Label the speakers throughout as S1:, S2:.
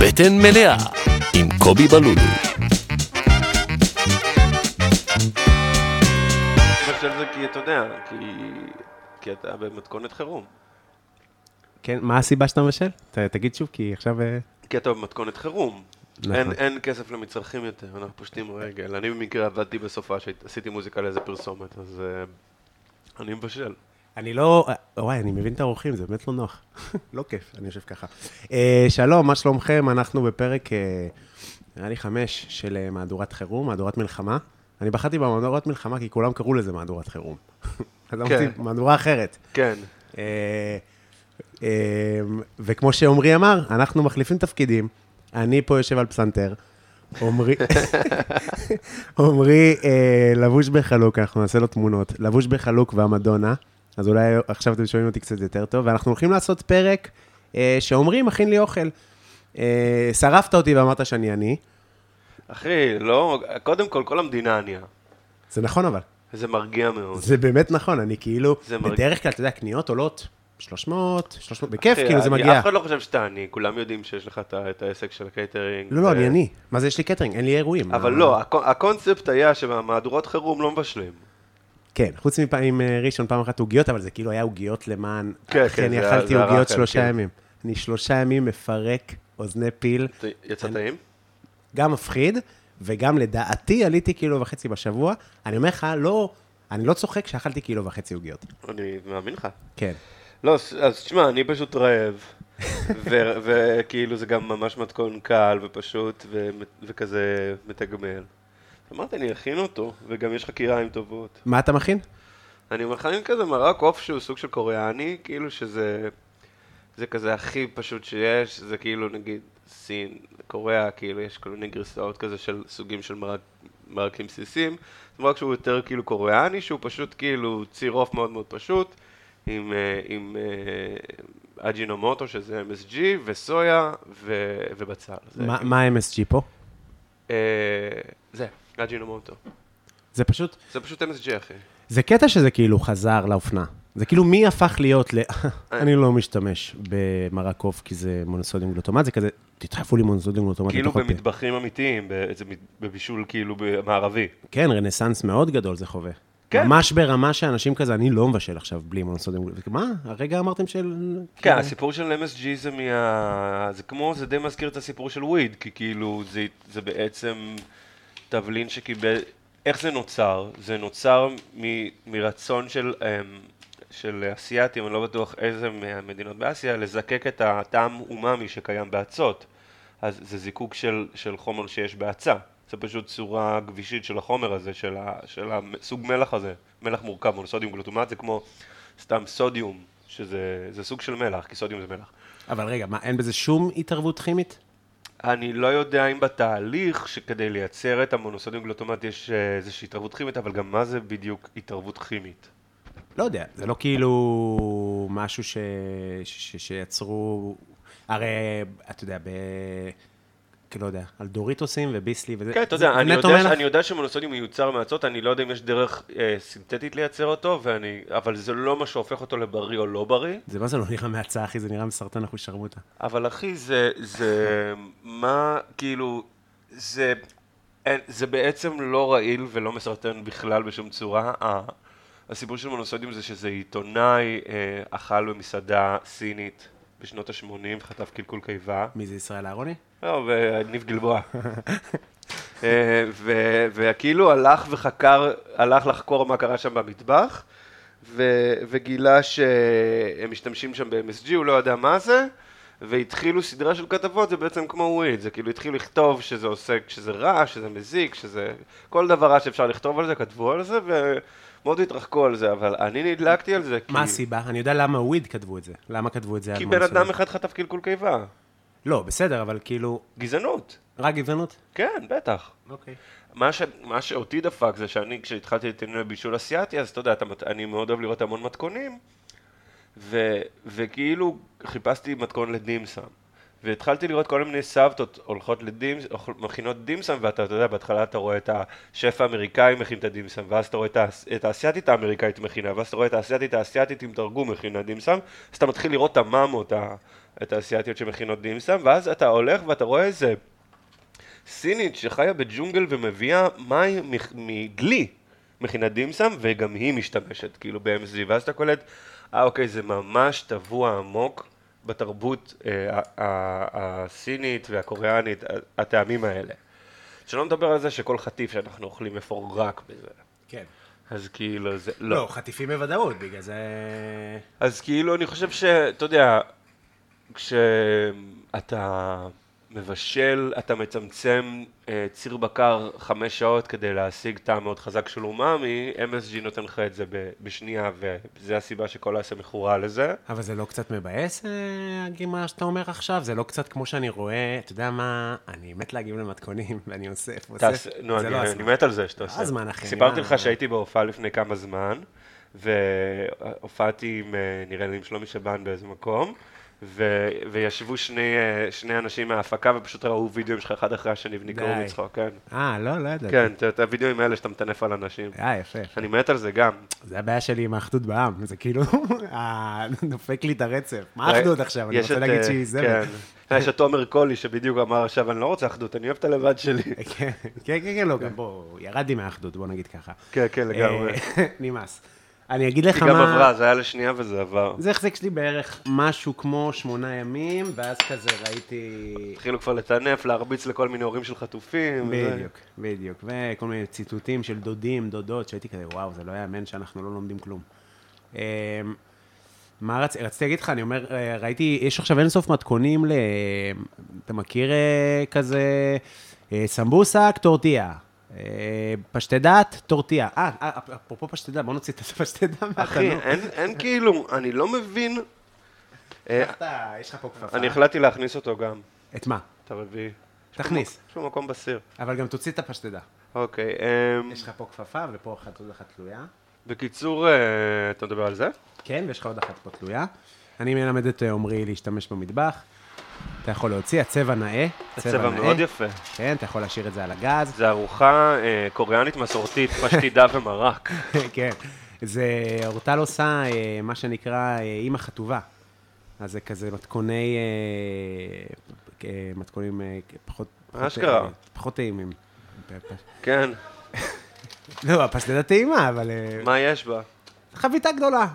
S1: בטן מלאה עם קובי בלולו.
S2: אני חושב שזה כי אתה יודע, כי, כי אתה במתכונת חירום.
S3: כן, מה הסיבה שאתה מבשל? ת- תגיד שוב, כי עכשיו... אה,
S2: כי אתה במתכונת חירום.
S3: נכון.
S2: אין, אין כסף למצרכים יותר, אנחנו פושטים רגל. אני במקרה עבדתי בסופה, שעשיתי מוזיקה לאיזה פרסומת, אז אה, אני מבשל.
S3: אני לא... אה, וואי, אני מבין את האורחים, זה באמת לא נוח. לא כיף, אני יושב ככה. אה, שלום, מה שלומכם? אנחנו בפרק, אה, נראה לי חמש, של אה, מהדורת חירום, מהדורת מלחמה. אני בחרתי במהדורת מלחמה כי כולם קראו לזה מהדורת חירום. אז אמרתי, מהדורה אחרת.
S2: כן,
S3: אה, אה, וכמו שעמרי אמר, אנחנו מחליפים תפקידים, אני פה יושב על פסנתר, עמרי עמרי, אה, לבוש בחלוק, אנחנו נעשה לו תמונות, לבוש בחלוק והמדונה, אז אולי עכשיו אתם שומעים אותי קצת יותר טוב, ואנחנו הולכים לעשות פרק אה, שעמרי מכין לי אוכל. אה, שרפת אותי ואמרת שאני עני,
S2: אחי, לא, קודם כל, כל המדינה ענייה.
S3: זה נכון אבל,
S2: זה מרגיע מאוד.
S3: זה באמת נכון, אני כאילו,
S2: זה מרגיע.
S3: בדרך כלל, אתה יודע, קניות עולות 300, 300, בכיף,
S2: אחי,
S3: כאילו זה
S2: אני-
S3: מגיע.
S2: אף אחד לא חושב שאתה עני, כולם יודעים שיש לך את ה- את העסק של הקייטרינג.
S3: לא, לא,
S2: ו-
S3: אני עני. מה זה יש לי קטרינג? אין לי אירועים.
S2: אבל
S3: אה,
S2: לא, הקו- הקונספט היה שבמהדורות חירום לא מבשלים.
S3: כן, חוץ מפעמים אה, ראשון, פעם אחת עוגיות, אבל זה כאילו היה עוגיות למען...
S2: כן,
S3: אחי,
S2: כן,
S3: אני
S2: זה-
S3: אכלתי
S2: זה הרע
S3: עוגיות
S2: כאן,
S3: שלושה
S2: כן.
S3: ימים. אני שלושה ימים מפרק אוזני פיל,
S2: ת- יצא
S3: אני-
S2: טעים?
S3: גם מפחיד, וגם לדעתי עליתי קילו וחצי בשבוע. אני אומר לך, לא... אני לא צוחק שאכלתי קילו וחצי עוגיות.
S2: אני מאמין לך.
S3: כן.
S2: לא, ס- אז תשמע, אני פשוט רעב, ו- וכאילו זה גם ממש מתכון קל ופשוט ו- וכזה מתגמל. אמרתי, אני אכין אותו, וגם יש לך קיריים טובות.
S3: מה אתה מכין?
S2: אני מכין כזה מרק עוף שהוא סוג של קוריאני, כאילו שזה... זה כזה הכי פשוט שיש, זה כאילו נגיד סין, קוריאה, כאילו יש כל מיני גרסאות כזה של סוגים של מרק, מרקים בסיסיים. זה מרק שהוא יותר כאילו קוריאני, שהוא פשוט כאילו ציר עוף מאוד מאוד פשוט, עם, אה, עם אה, אג'ינומוטו שזה MSG, וסויה ו, ובצל. זה,
S3: מה-
S2: כאילו,
S3: מה ה-MSG פה?
S2: אה, זה, אג'ינומוטו.
S3: זה פשוט...
S2: זה פשוט MSG אחי.
S3: זה קטע שזה כאילו חזר לאופנה. זה כאילו מי הפך להיות ל... אני לא משתמש במרק עוף כי זה מונוסודיום גלוטומט, זה כזה, תדחפו לי מונוסודיום גלוטומט
S2: כאילו
S3: לתוך הפה.
S2: במטבחים אמיתיים, ב- זה מת- בבישול כאילו מערבי.
S3: כן, רנסאנס מאוד גדול זה חווה.
S2: כן.
S3: כן. ממש ברמה שאנשים כזה, אני לא מבשל עכשיו בלי מונוסודיום גלוטומט. מה? הרגע אמרתם של...
S2: כן, הסיפור של MSG זה מה... זה כמו, זה די מזכיר את הסיפור של וויד, כי כאילו זה, זה בעצם תבלין שקיבל... איך זה נוצר? זה נוצר מ, מרצון של, אמ, של אסייתים, אני לא בטוח איזה מהמדינות באסיה, לזקק את הטעם אומאמי שקיים באצות. אז זה זיקוק של, של חומר שיש באצה. זה פשוט צורה גבישית של החומר הזה, של, ה, של הסוג מלח הזה, מלח מורכב, או סודיום גלוטומט, זה כמו סתם סודיום, שזה זה סוג של מלח, כי סודיום זה מלח.
S3: אבל רגע, מה, אין בזה שום התערבות כימית?
S2: אני לא יודע אם בתהליך שכדי לייצר את המונוסודיום גלוטומט יש אה, איזושהי התערבות כימית, אבל גם מה זה בדיוק התערבות כימית?
S3: לא יודע, זה לא כאילו משהו ש... ש... שיצרו... הרי, אתה יודע, ב... כאילו, לא יודע, על דוריטוסים וביסלי וזה...
S2: כן, אתה
S3: זה
S2: יודע, אני
S3: באמת
S2: יודע,
S3: אומר לך-
S2: אני יודע שמונוסודיום מיוצר מאצות, אני לא יודע אם יש דרך אה, סינתטית לייצר אותו, ואני, אבל זה לא מה שהופך אותו לבריא או לא בריא.
S3: זה מה זה לא נראה מהצעה, אחי, זה נראה מסרטן אחושרמוטה.
S2: אבל אחי, זה, זה, מה, כאילו, זה, אין, זה בעצם לא רעיל ולא מסרטן בכלל בשום צורה. ה- הסיפור של מונוסודיום זה שזה עיתונאי אה, אכל במסעדה סינית בשנות ה-80, חטף קלקול קיבה.
S3: מי זה ישראל אהרוני?
S2: לא, וניב גלבוע. אה, ו- וכאילו הלך וחקר, הלך לחקור מה קרה שם במטבח, ו- וגילה שהם משתמשים שם ב-MSG, הוא לא ידע מה זה, והתחילו סדרה של כתבות, זה בעצם כמו וויד, זה כאילו התחילו לכתוב שזה עושה, שזה רע, שזה מזיק, שזה... כל דבר רע שאפשר לכתוב על זה, כתבו על זה, ומאוד התרחקו על זה, אבל אני נדלקתי על זה, כי,
S3: מה הסיבה? אני יודע למה וויד כתבו את זה. למה כתבו את זה?
S2: כי
S3: על
S2: בן
S3: מונוסודיום?
S2: אדם אחד חטף קלקול קיבה.
S3: לא, בסדר, אבל כאילו...
S2: גזענות.
S3: רק גזענות?
S2: כן, בטח.
S3: אוקיי.
S2: מה, ש... מה שאותי דפק זה שאני, כשהתחלתי את עניין הבישול אסיאתי, אז אתה יודע, אתה... מת- אני מאוד אוהב לראות המון מתכונים, ו... וכאילו חיפשתי מתכון לדימסם. והתחלתי לראות כל מיני סבתות הולכות לדימס, אוכל- מכינות דימסם, ואתה אתה יודע, בהתחלה אתה רואה את השף האמריקאי מכין את הדימסם, ואז אתה רואה את האס- את האסייתית האמריקאית מכינה, ואז אתה רואה את האסייתית האסייתית עם תרגום מכינה דימסם, אז אתה מתחיל לראות את המאמות, ה- את האסיאתיות שמכינות דים סם, ואז אתה הולך ואתה רואה איזה סינית שחיה בג'ונגל ומביאה מים מח- מדלי מכינת דים סם, וגם היא משתמשת כאילו ב-MSG, ואז אתה קולט, אה אוקיי, זה ממש טבוע עמוק בתרבות אה, ה- ה- הסינית והקוריאנית, ה- הטעמים האלה. שלא נדבר על זה שכל חטיף שאנחנו אוכלים מפורק בזה.
S3: כן.
S2: אז כאילו זה, לא.
S3: לא, חטיפים בוודאות, בגלל זה...
S2: אז כאילו, אני חושב שאתה יודע, כשאתה מבשל, אתה מצמצם אה, ציר בקר חמש שעות כדי להשיג טעם מאוד חזק של אומאמי, MSG נותן לך את זה ב- בשנייה, וזו הסיבה שכל העשה מכורה לזה.
S3: אבל זה לא קצת מבאס, אה, הגיל, מה שאתה אומר עכשיו? זה לא קצת כמו שאני רואה, אתה יודע מה, אני מת להגיב למתכונים, ואני אוסף, אוסף.
S2: תעשה, נו,
S3: זה
S2: אני,
S3: לא
S2: אני
S3: הזמן.
S2: מת על זה שאתה
S3: לא
S2: עושה.
S3: הזמן, אחי, אני
S2: סיפרתי
S3: מה-
S2: לך שהייתי בהופעה לפני כמה זמן, והופעתי עם, אה, נראה לי, עם שלומי שבן באיזה מקום, ו, וישבו שני, אה, שני אנשים מההפקה ופשוט ראו וידאוים שלך אחד אחרי השני ונקראו
S3: די.
S2: מצחוק, כן.
S3: אה, לא, לא ידעתי.
S2: כן, את- את הוידאוים האלה שאתה מטנף על אנשים.
S3: אה, יפה. יפה.
S2: אני מת על זה גם.
S3: זה הבעיה שלי עם האחדות בעם, זה כאילו, אה, דופק לי את הרצף. מה האחדות עכשיו? אני
S2: אה, יש
S3: רוצה
S2: את,
S3: להגיד
S2: אה,
S3: שהיא זמר.
S2: כן. יש את תומר קולי שבדיוק אמר עכשיו, אני לא רוצה אחדות, אני אוהב את הלבד שלי.
S3: כן, כן, כן, כן, לא, גם בוא, ירדתי מהאחדות, בוא נגיד ככה.
S2: כן, כן, לגמרי.
S3: אה, נמאס. אני אגיד לך
S2: היא
S3: מה...
S2: גם עברה, זה היה לשנייה וזה עבר.
S3: זה החזיק שלי בערך משהו כמו שמונה ימים, ואז כזה ראיתי...
S2: התחילו כבר לטנף, להרביץ לכל מיני הורים של חטופים. וזה.
S3: בדיוק, בדיוק. וכל מיני ציטוטים של דודים, דודות, שהייתי כזה, וואו, זה לא יאמן שאנחנו לא לומדים כלום. אמ, מה רצ... רציתי להגיד לך, אני אומר, אה, ראיתי, יש עכשיו אינסוף מתכונים ל... אתה מכיר אה, כזה אה, סמבוסק, טורטיה. אה, פשטי דת, טורטיה. אה, אה, אפרופו פשטי דת, בוא נוציא את הפשטי דת מהתנור.
S2: אחי, אין- אין כאילו, אני לא מבין. אה,
S3: איך אתה- יש לך פה כפפה.
S2: אני החלטתי להכניס אותו גם,
S3: את מה?
S2: את הרביעי. יש לו
S3: תכניס.
S2: מקום- יש לו מקום בסיר.
S3: אבל גם תוציא את הפשטדה.
S2: אוקיי, אמ,
S3: יש לך פה כפפה ופה אחת עוד אחת תלויה.
S2: בקיצור, אה, אתה מדבר על זה?
S3: כן, ויש לך עוד אחת פה תלויה. אני מלמד את אה, עמרי להשתמש במטבח. אתה יכול להוציא, הצבע נאה.
S2: הצבע
S3: נאה.
S2: מאוד יפה.
S3: כן, אתה יכול להשאיר את זה על הגז.
S2: זה ארוחה אה, קוריאנית מסורתית, פשטידה ומרק.
S3: כן. זה, אורטל עושה אה, מה שנקרא אה, אימא חטובה. אז זה כזה מתכוני, אה, אה, מתכונים אה, פחות... פחות,
S2: אשכרה.
S3: אה, פחות טעימים. פ-
S2: כן,
S3: לא, הפסטדה טעימה, אבל... אה,
S2: מה יש בה?
S3: חביתה גדולה.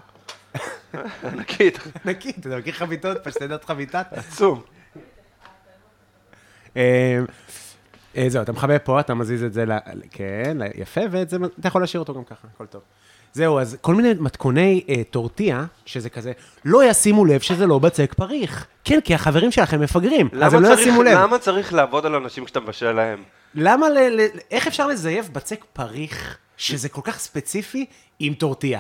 S2: ענקית,
S3: נקי, אתה מכיר חביתות, פשטדת חביתת.
S2: עצום.
S3: אה, אה, זהו, אתה מכבה פה, אתה מזיז את זה, ל- ל- כן, ל- יפה, ואת זה, אתה יכול להשאיר אותו גם ככה, הכל טוב. זהו, אז כל מיני מתכוני אה, טורטיה, שזה כזה, לא ישימו לב שזה לא בצק פריך. כן, כי החברים שלכם מפגרים, אז
S2: למה
S3: הם לא
S2: צריך-
S3: ישימו לב.
S2: למה צריך לעבוד על אנשים כשאתה מבשל להם?
S3: למה, ל- ל- איך אפשר לזייף בצק פריך, שזה כל כך ספציפי, עם טורטיה?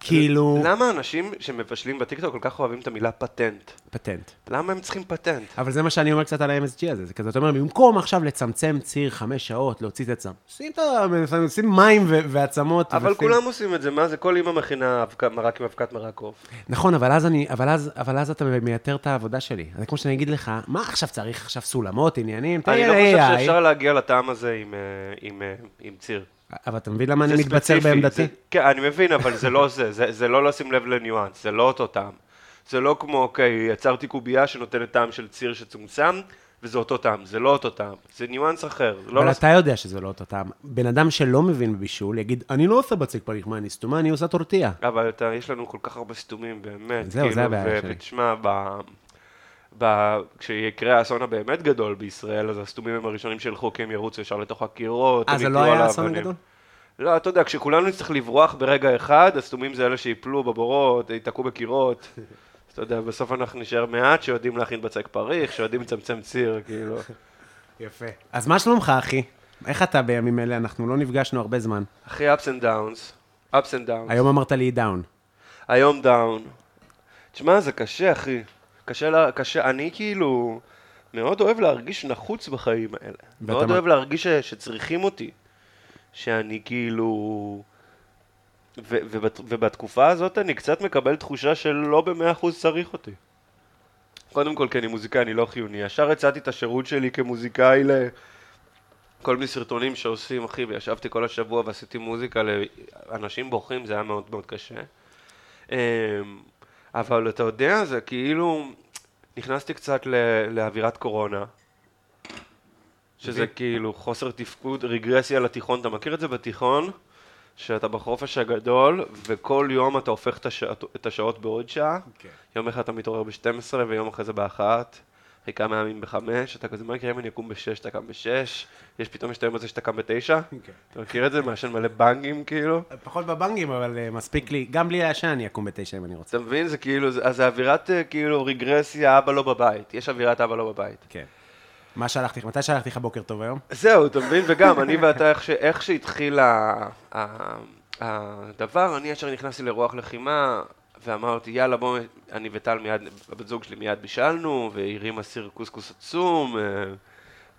S3: כאילו,
S2: למה אנשים שמבשלים בטיקטוק כל כך אוהבים את המילה פטנט?
S3: פטנט.
S2: למה הם צריכים פטנט?
S3: אבל זה מה שאני אומר קצת על ה-MSG הזה, זה כזה, אתה אומר, במקום עכשיו לצמצם ציר חמש שעות, להוציא את עצם, שים את ה... שים מים ו- ועצמות.
S2: אבל
S3: ושים-
S2: כולם עושים את זה, מה זה? כל אימא מכינה אבק- מרק עם אבקת מרק עוף.
S3: נכון, אבל אז, אני, אבל, אז, אבל אז אתה מייתר את העבודה שלי. זה כמו שאני אגיד לך, מה עכשיו צריך עכשיו סולמות, עניינים? תן לי
S2: אני לא חושב
S3: AI.
S2: שאפשר להגיע לטעם הזה עם, אה, עם, אה, עם ציר.
S3: אבל אתה מבין למה אני
S2: זה
S3: מתבצר
S2: ספציפי,
S3: בעמדתי?
S2: זה- כן, אני מבין, אבל זה לא זה, זה, זה לא לשים לב לניואנס, זה לא אותו טעם. זה לא כמו, אוקיי, יצרתי קובייה שנותנת טעם של ציר שצומצם, וזה אותו טעם, זה לא אותו טעם, זה ניואנס אחר. זה לא
S3: אבל
S2: לס-
S3: אתה יודע שזה לא אותו טעם. בן אדם שלא מבין בבישול, יגיד, אני לא עושה בצק פריך, מה, אני סתומה, אני עושה טורטיה.
S2: אבל אתה, יש לנו כל כך הרבה סתומים, באמת. כאילו,
S3: זהו, זה הבעיה שלי.
S2: ותשמע, ב... ב... כשיקרה האסון הבאמת גדול בישראל, אז הסתומים הם הראשונים שילכו, כי הם ירוצו ישר לתוך הקירות.
S3: אה,
S2: הם
S3: זה לא
S2: ייפלו
S3: היה
S2: על
S3: האסון
S2: האבנים.
S3: הגדול?
S2: לא, אתה יודע, כשכולנו נצטרך לברוח ברגע אחד, הסתומים זה אלה שיפלו בבורות, ייתקעו בקירות. אז אתה יודע, בסוף אנחנו נשאר מעט שיודעים להכין בצק פריך, שיודעים לצמצם ציר, כאילו.
S3: יפה. אז מה שלומך, אחי? איך אתה בימים אלה? אנחנו לא נפגשנו הרבה זמן.
S2: אחי, ups and downs, ups and downs.
S3: היום אמרת לי דאון.
S2: היום דאון. תשמע, זה קשה, אחי. קשה, לה, קשה, אני כאילו מאוד אוהב להרגיש נחוץ בחיים האלה. מאוד
S3: מה-
S2: אוהב להרגיש ש, שצריכים אותי. שאני כאילו... ו, ובת, ובתקופה הזאת אני קצת מקבל תחושה שלא במאה אחוז צריך אותי. קודם כל, כי אני מוזיקאי, אני לא חיוני. ישר הצעתי את השירות שלי כמוזיקאי ל... כל מיני סרטונים שעושים, אחי, וישבתי כל השבוע ועשיתי מוזיקה לאנשים בוכים, זה היה מאוד מאוד קשה. אמ, אבל אתה יודע, זה כאילו, נכנסתי קצת ל- לאווירת קורונה, שזה כאילו חוסר תפקוד, רגרסיה לתיכון, אתה מכיר את זה בתיכון? שאתה בחופש הגדול, וכל יום אתה הופך את, השע... את השעות בעוד שעה.
S3: כן.
S2: יום אחד אתה מתעורר ב-12 ויום אחרי זה ב-1. אחרי כמה ימים ב-5, אתה כזה, מה יקרה אם אני אקום ב-6, אתה קם ב-6, יש פתאום יש את היום הזה שאתה קם ב-9?
S3: כן.
S2: אתה מכיר את זה? מעשן מלא בנגים כאילו?
S3: פחות בבנגים, אבל אה, מספיק לי, גם בלי העשן אני אקום בתשע אם אני רוצה.
S2: אתה מבין? זה כאילו, זה- אז זה אווירת אה, כאילו רגרסיה, אבא לא בבית. יש אווירת אבא לא בבית.
S3: כן. מה שלחתי לך? מתי שלחתי לך בוקר טוב היום?
S2: זהו, אתה מבין? וגם, אני ואתה, איך, ש... איך שהתחיל ה... ה... הדבר, אני ישר נכנסתי לרוח לחימה, ואמרתי, יאללה, בואו, אני וטל מיד, הבת זוג שלי מיד בישלנו, והיא הרימה סיר קוסקוס עצום, אה,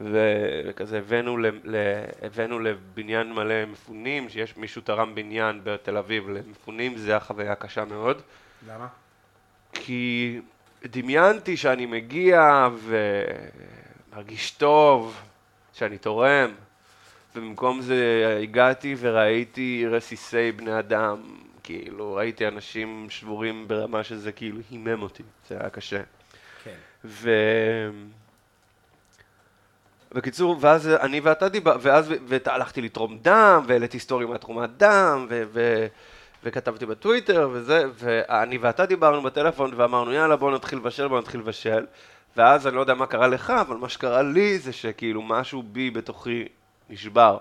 S2: ו... וכזה הבאנו, ל... ל... הבאנו לבניין מלא מפונים, שיש מישהו תרם בניין בתל אביב למפונים, זה היה חוויה קשה מאוד.
S3: למה?
S2: כי דמיינתי שאני מגיע ומרגיש טוב, שאני תורם, ובמקום זה הגעתי וראיתי רסיסי בני אדם, כאילו ראיתי אנשים שבורים ברמה שזה כאילו הימם אותי, זה היה קשה.
S3: כן.
S2: ו... בקיצור, ואז אני ואתה דיבר, ואז ואתה הלכתי לתרום דם, והעליתי סטורי מהתרומת דם, ו... ו... וכתבתי בטוויטר וזה, ואני ואתה דיברנו בטלפון ואמרנו יאללה בוא נתחיל לבשל, בוא נתחיל לבשל. ואז אני לא יודע מה קרה לך, אבל מה שקרה לי זה שכאילו משהו בי בתוכי נשבר.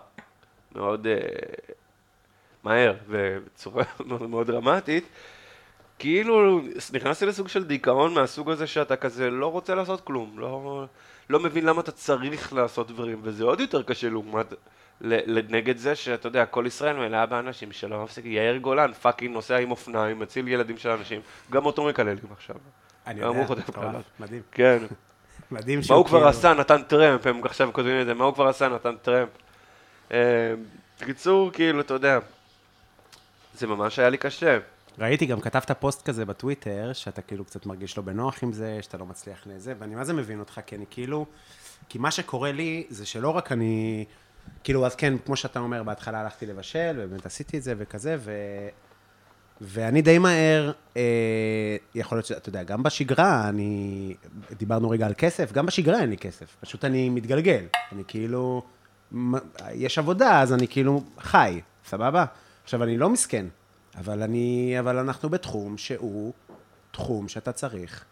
S2: מאוד אה, מהר ובצורה מאוד, מאוד דרמטית. כאילו נכנסתי לסוג של דיכאון מהסוג הזה שאתה כזה לא רוצה לעשות כלום, לא, לא מבין למה אתה צריך לעשות דברים, וזה עוד יותר קשה לעומת, ל- ל- נגד זה שאתה יודע, כל ישראל מלאה באנשים שלא מפסיקים, יאיר גולן פאקינג נוסע עם אופניים, מציל ילדים של אנשים, גם אותו מקללים עכשיו.
S3: אני
S2: גם
S3: יודע,
S2: הוא חוטף
S3: מטורף,
S2: קללות.
S3: מדהים.
S2: כן.
S3: מדהים
S2: מה
S3: שהוא
S2: הוא כבר
S3: כאילו-
S2: עשה, נתן טרמפ, הם עכשיו כותבים את זה, מה הוא כבר עשה, נתן טרמפ. אה, בקיצור, כאילו, אתה יודע, זה ממש היה לי קשה.
S3: ראיתי, גם כתבת פוסט כזה בטוויטר, שאתה כאילו קצת מרגיש לא בנוח עם זה, שאתה לא מצליח לזה, ואני מה זה מבין אותך, כי אני כאילו... כי מה שקורה לי, זה שלא רק אני... כאילו, אז כן, כמו שאתה אומר, בהתחלה הלכתי לבשל, ובאמת עשיתי את זה וכזה, ו... ואני די מהר, אה, יכול להיות שאתה יודע, גם בשגרה, אני... דיברנו רגע על כסף, גם בשגרה אין לי כסף, פשוט אני מתגלגל. אני כאילו... מ- יש עבודה, אז אני כאילו חי, סבבה? עכשיו, אני לא מסכן, אבל אני... אבל אנחנו בתחום שהוא תחום שאתה צריך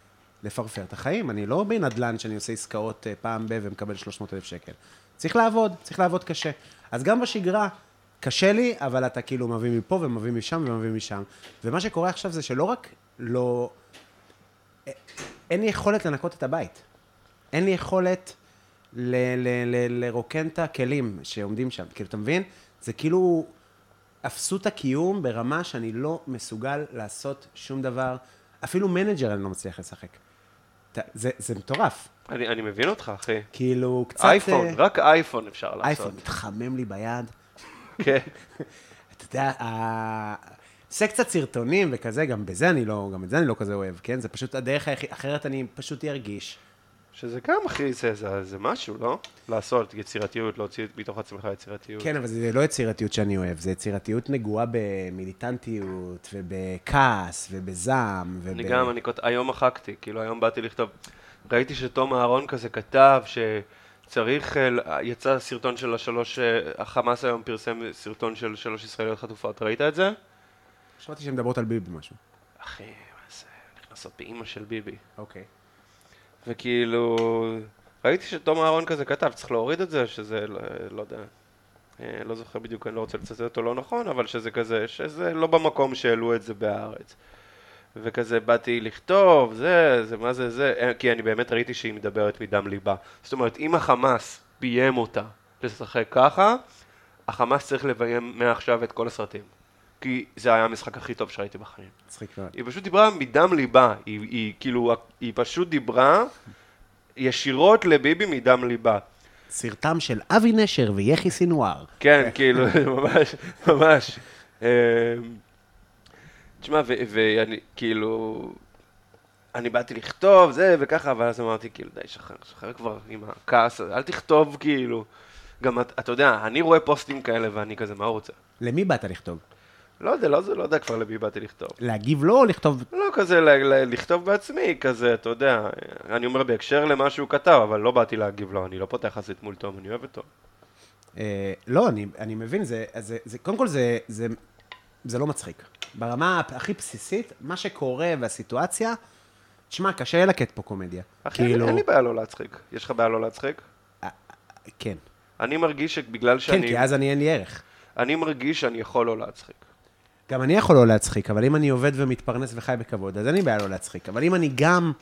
S3: לפרפר את החיים. אני לא בנדל"ן שאני עושה עסקאות אה, פעם ב- ומקבל 300,000 שקל. צריך לעבוד, צריך לעבוד קשה. אז גם בשגרה, קשה לי, אבל אתה כאילו מביא מפה ומביא משם ומביא משם. ומה שקורה עכשיו זה שלא רק לא... א- אין לי יכולת לנקות את הבית. אין לי יכולת ל- ל- ל- לרוקן את הכלים שעומדים שם. כאילו, אתה מבין? זה כאילו אפסות הקיום ברמה שאני לא מסוגל לעשות שום דבר. אפילו מנג'ר אני לא מצליח לשחק. אתה- זה, זה מטורף.
S2: אני, אני מבין אותך, אחי.
S3: כאילו, קצת...
S2: אייפון,
S3: אה,
S2: רק אייפון אפשר לעשות.
S3: אייפון, מתחמם לי ביד.
S2: כן.
S3: אתה יודע, ה- עושה קצת סרטונים וכזה, גם בזה אני לא, גם את זה אני לא כזה אוהב, כן? זה פשוט הדרך היחיד, אחרת אני פשוט ארגיש.
S2: שזה גם, אחי, זה, זה, זה משהו, לא? לעשות יצירתיות, להוציא מתוך עצמך יצירתיות.
S3: כן, אבל זה לא יצירתיות שאני אוהב, זה יצירתיות נגועה במיליטנטיות, ובכעס, ובזעם, וב...
S2: אני גם, אני כות... היום מחקתי, כאילו היום באתי לכתוב, ראיתי שתום אהרון כזה כתב שצריך, אה, ל- יצא סרטון של השלוש, אה, החמאס היום פרסם סרטון של שלוש ישראליות חטופות, ראית את זה?
S3: שמעתי שהן מדברות על ביבי משהו.
S2: אחי, מה זה, נכנסות באימא של ביבי.
S3: אוקיי.
S2: וכאילו, ראיתי שתום אהרון כזה כתב, צריך להוריד את זה, שזה, לא, לא יודע, אה, לא זוכר בדיוק, אני לא רוצה לצטט אותו לא נכון, אבל שזה כזה, שזה לא במקום שהעלו את זה בהארץ. וכזה באתי לכתוב, זה, זה, מה זה, זה, אה, כי אני באמת ראיתי שהיא מדברת מדם ליבה. זאת אומרת, אם החמאס ביים אותה לשחק ככה, החמאס צריך לביים מעכשיו את כל הסרטים. כי זה היה המשחק הכי טוב שראיתי בחיים.
S3: מצחיק מאוד.
S2: היא פשוט דיברה מדם ליבה, היא, היא כאילו, היא פשוט דיברה ישירות לביבי מדם ליבה.
S3: סרטם של אבי נשר ויחי סינואר.
S2: כן, כאילו, ממש, ממש. אמ, תשמע, ו- ואני, כאילו, אני באתי לכתוב זה וככה, אבל אז אמרתי, כאילו, די, שחרר, שחרר כבר עם הכעס, הזה, אל תכתוב, כאילו. גם, את- אתה יודע, אני רואה פוסטים כאלה ואני כזה, מה הוא רוצה?
S3: למי באת לכתוב?
S2: לא יודע, לא זה- לא יודע כבר למי באתי לכתוב.
S3: להגיב לו או לכתוב...
S2: לא כזה ל- ל- לכתוב בעצמי, כזה, אתה יודע, אני אומר בהקשר למה שהוא כתב, אבל לא באתי להגיב לו, אני לא פותח חסית מול תום, אני אוהב אותו.
S3: אה, לא, אני, אני מבין, זה, אז זה, זה, קודם כל זה, זה, זה לא מצחיק. ברמה הפ- הכי בסיסית, מה שקורה והסיטואציה, תשמע, קשה ללקט פה קומדיה. כאילו,
S2: אחי, אין- אין לי בעיה לא להצחיק. יש לך בעיה לא להצחיק?
S3: כן.
S2: אני מרגיש שבגלל
S3: כן,
S2: שאני...
S3: כי אז אני אין לי ערך.
S2: אני מרגיש שאני יכול לא להצחיק.
S3: גם אני יכול לא להצחיק, אבל אם אני עובד ומתפרנס וחי בכבוד, אז אין לי בעיה לא להצחיק. אבל אם אני גם...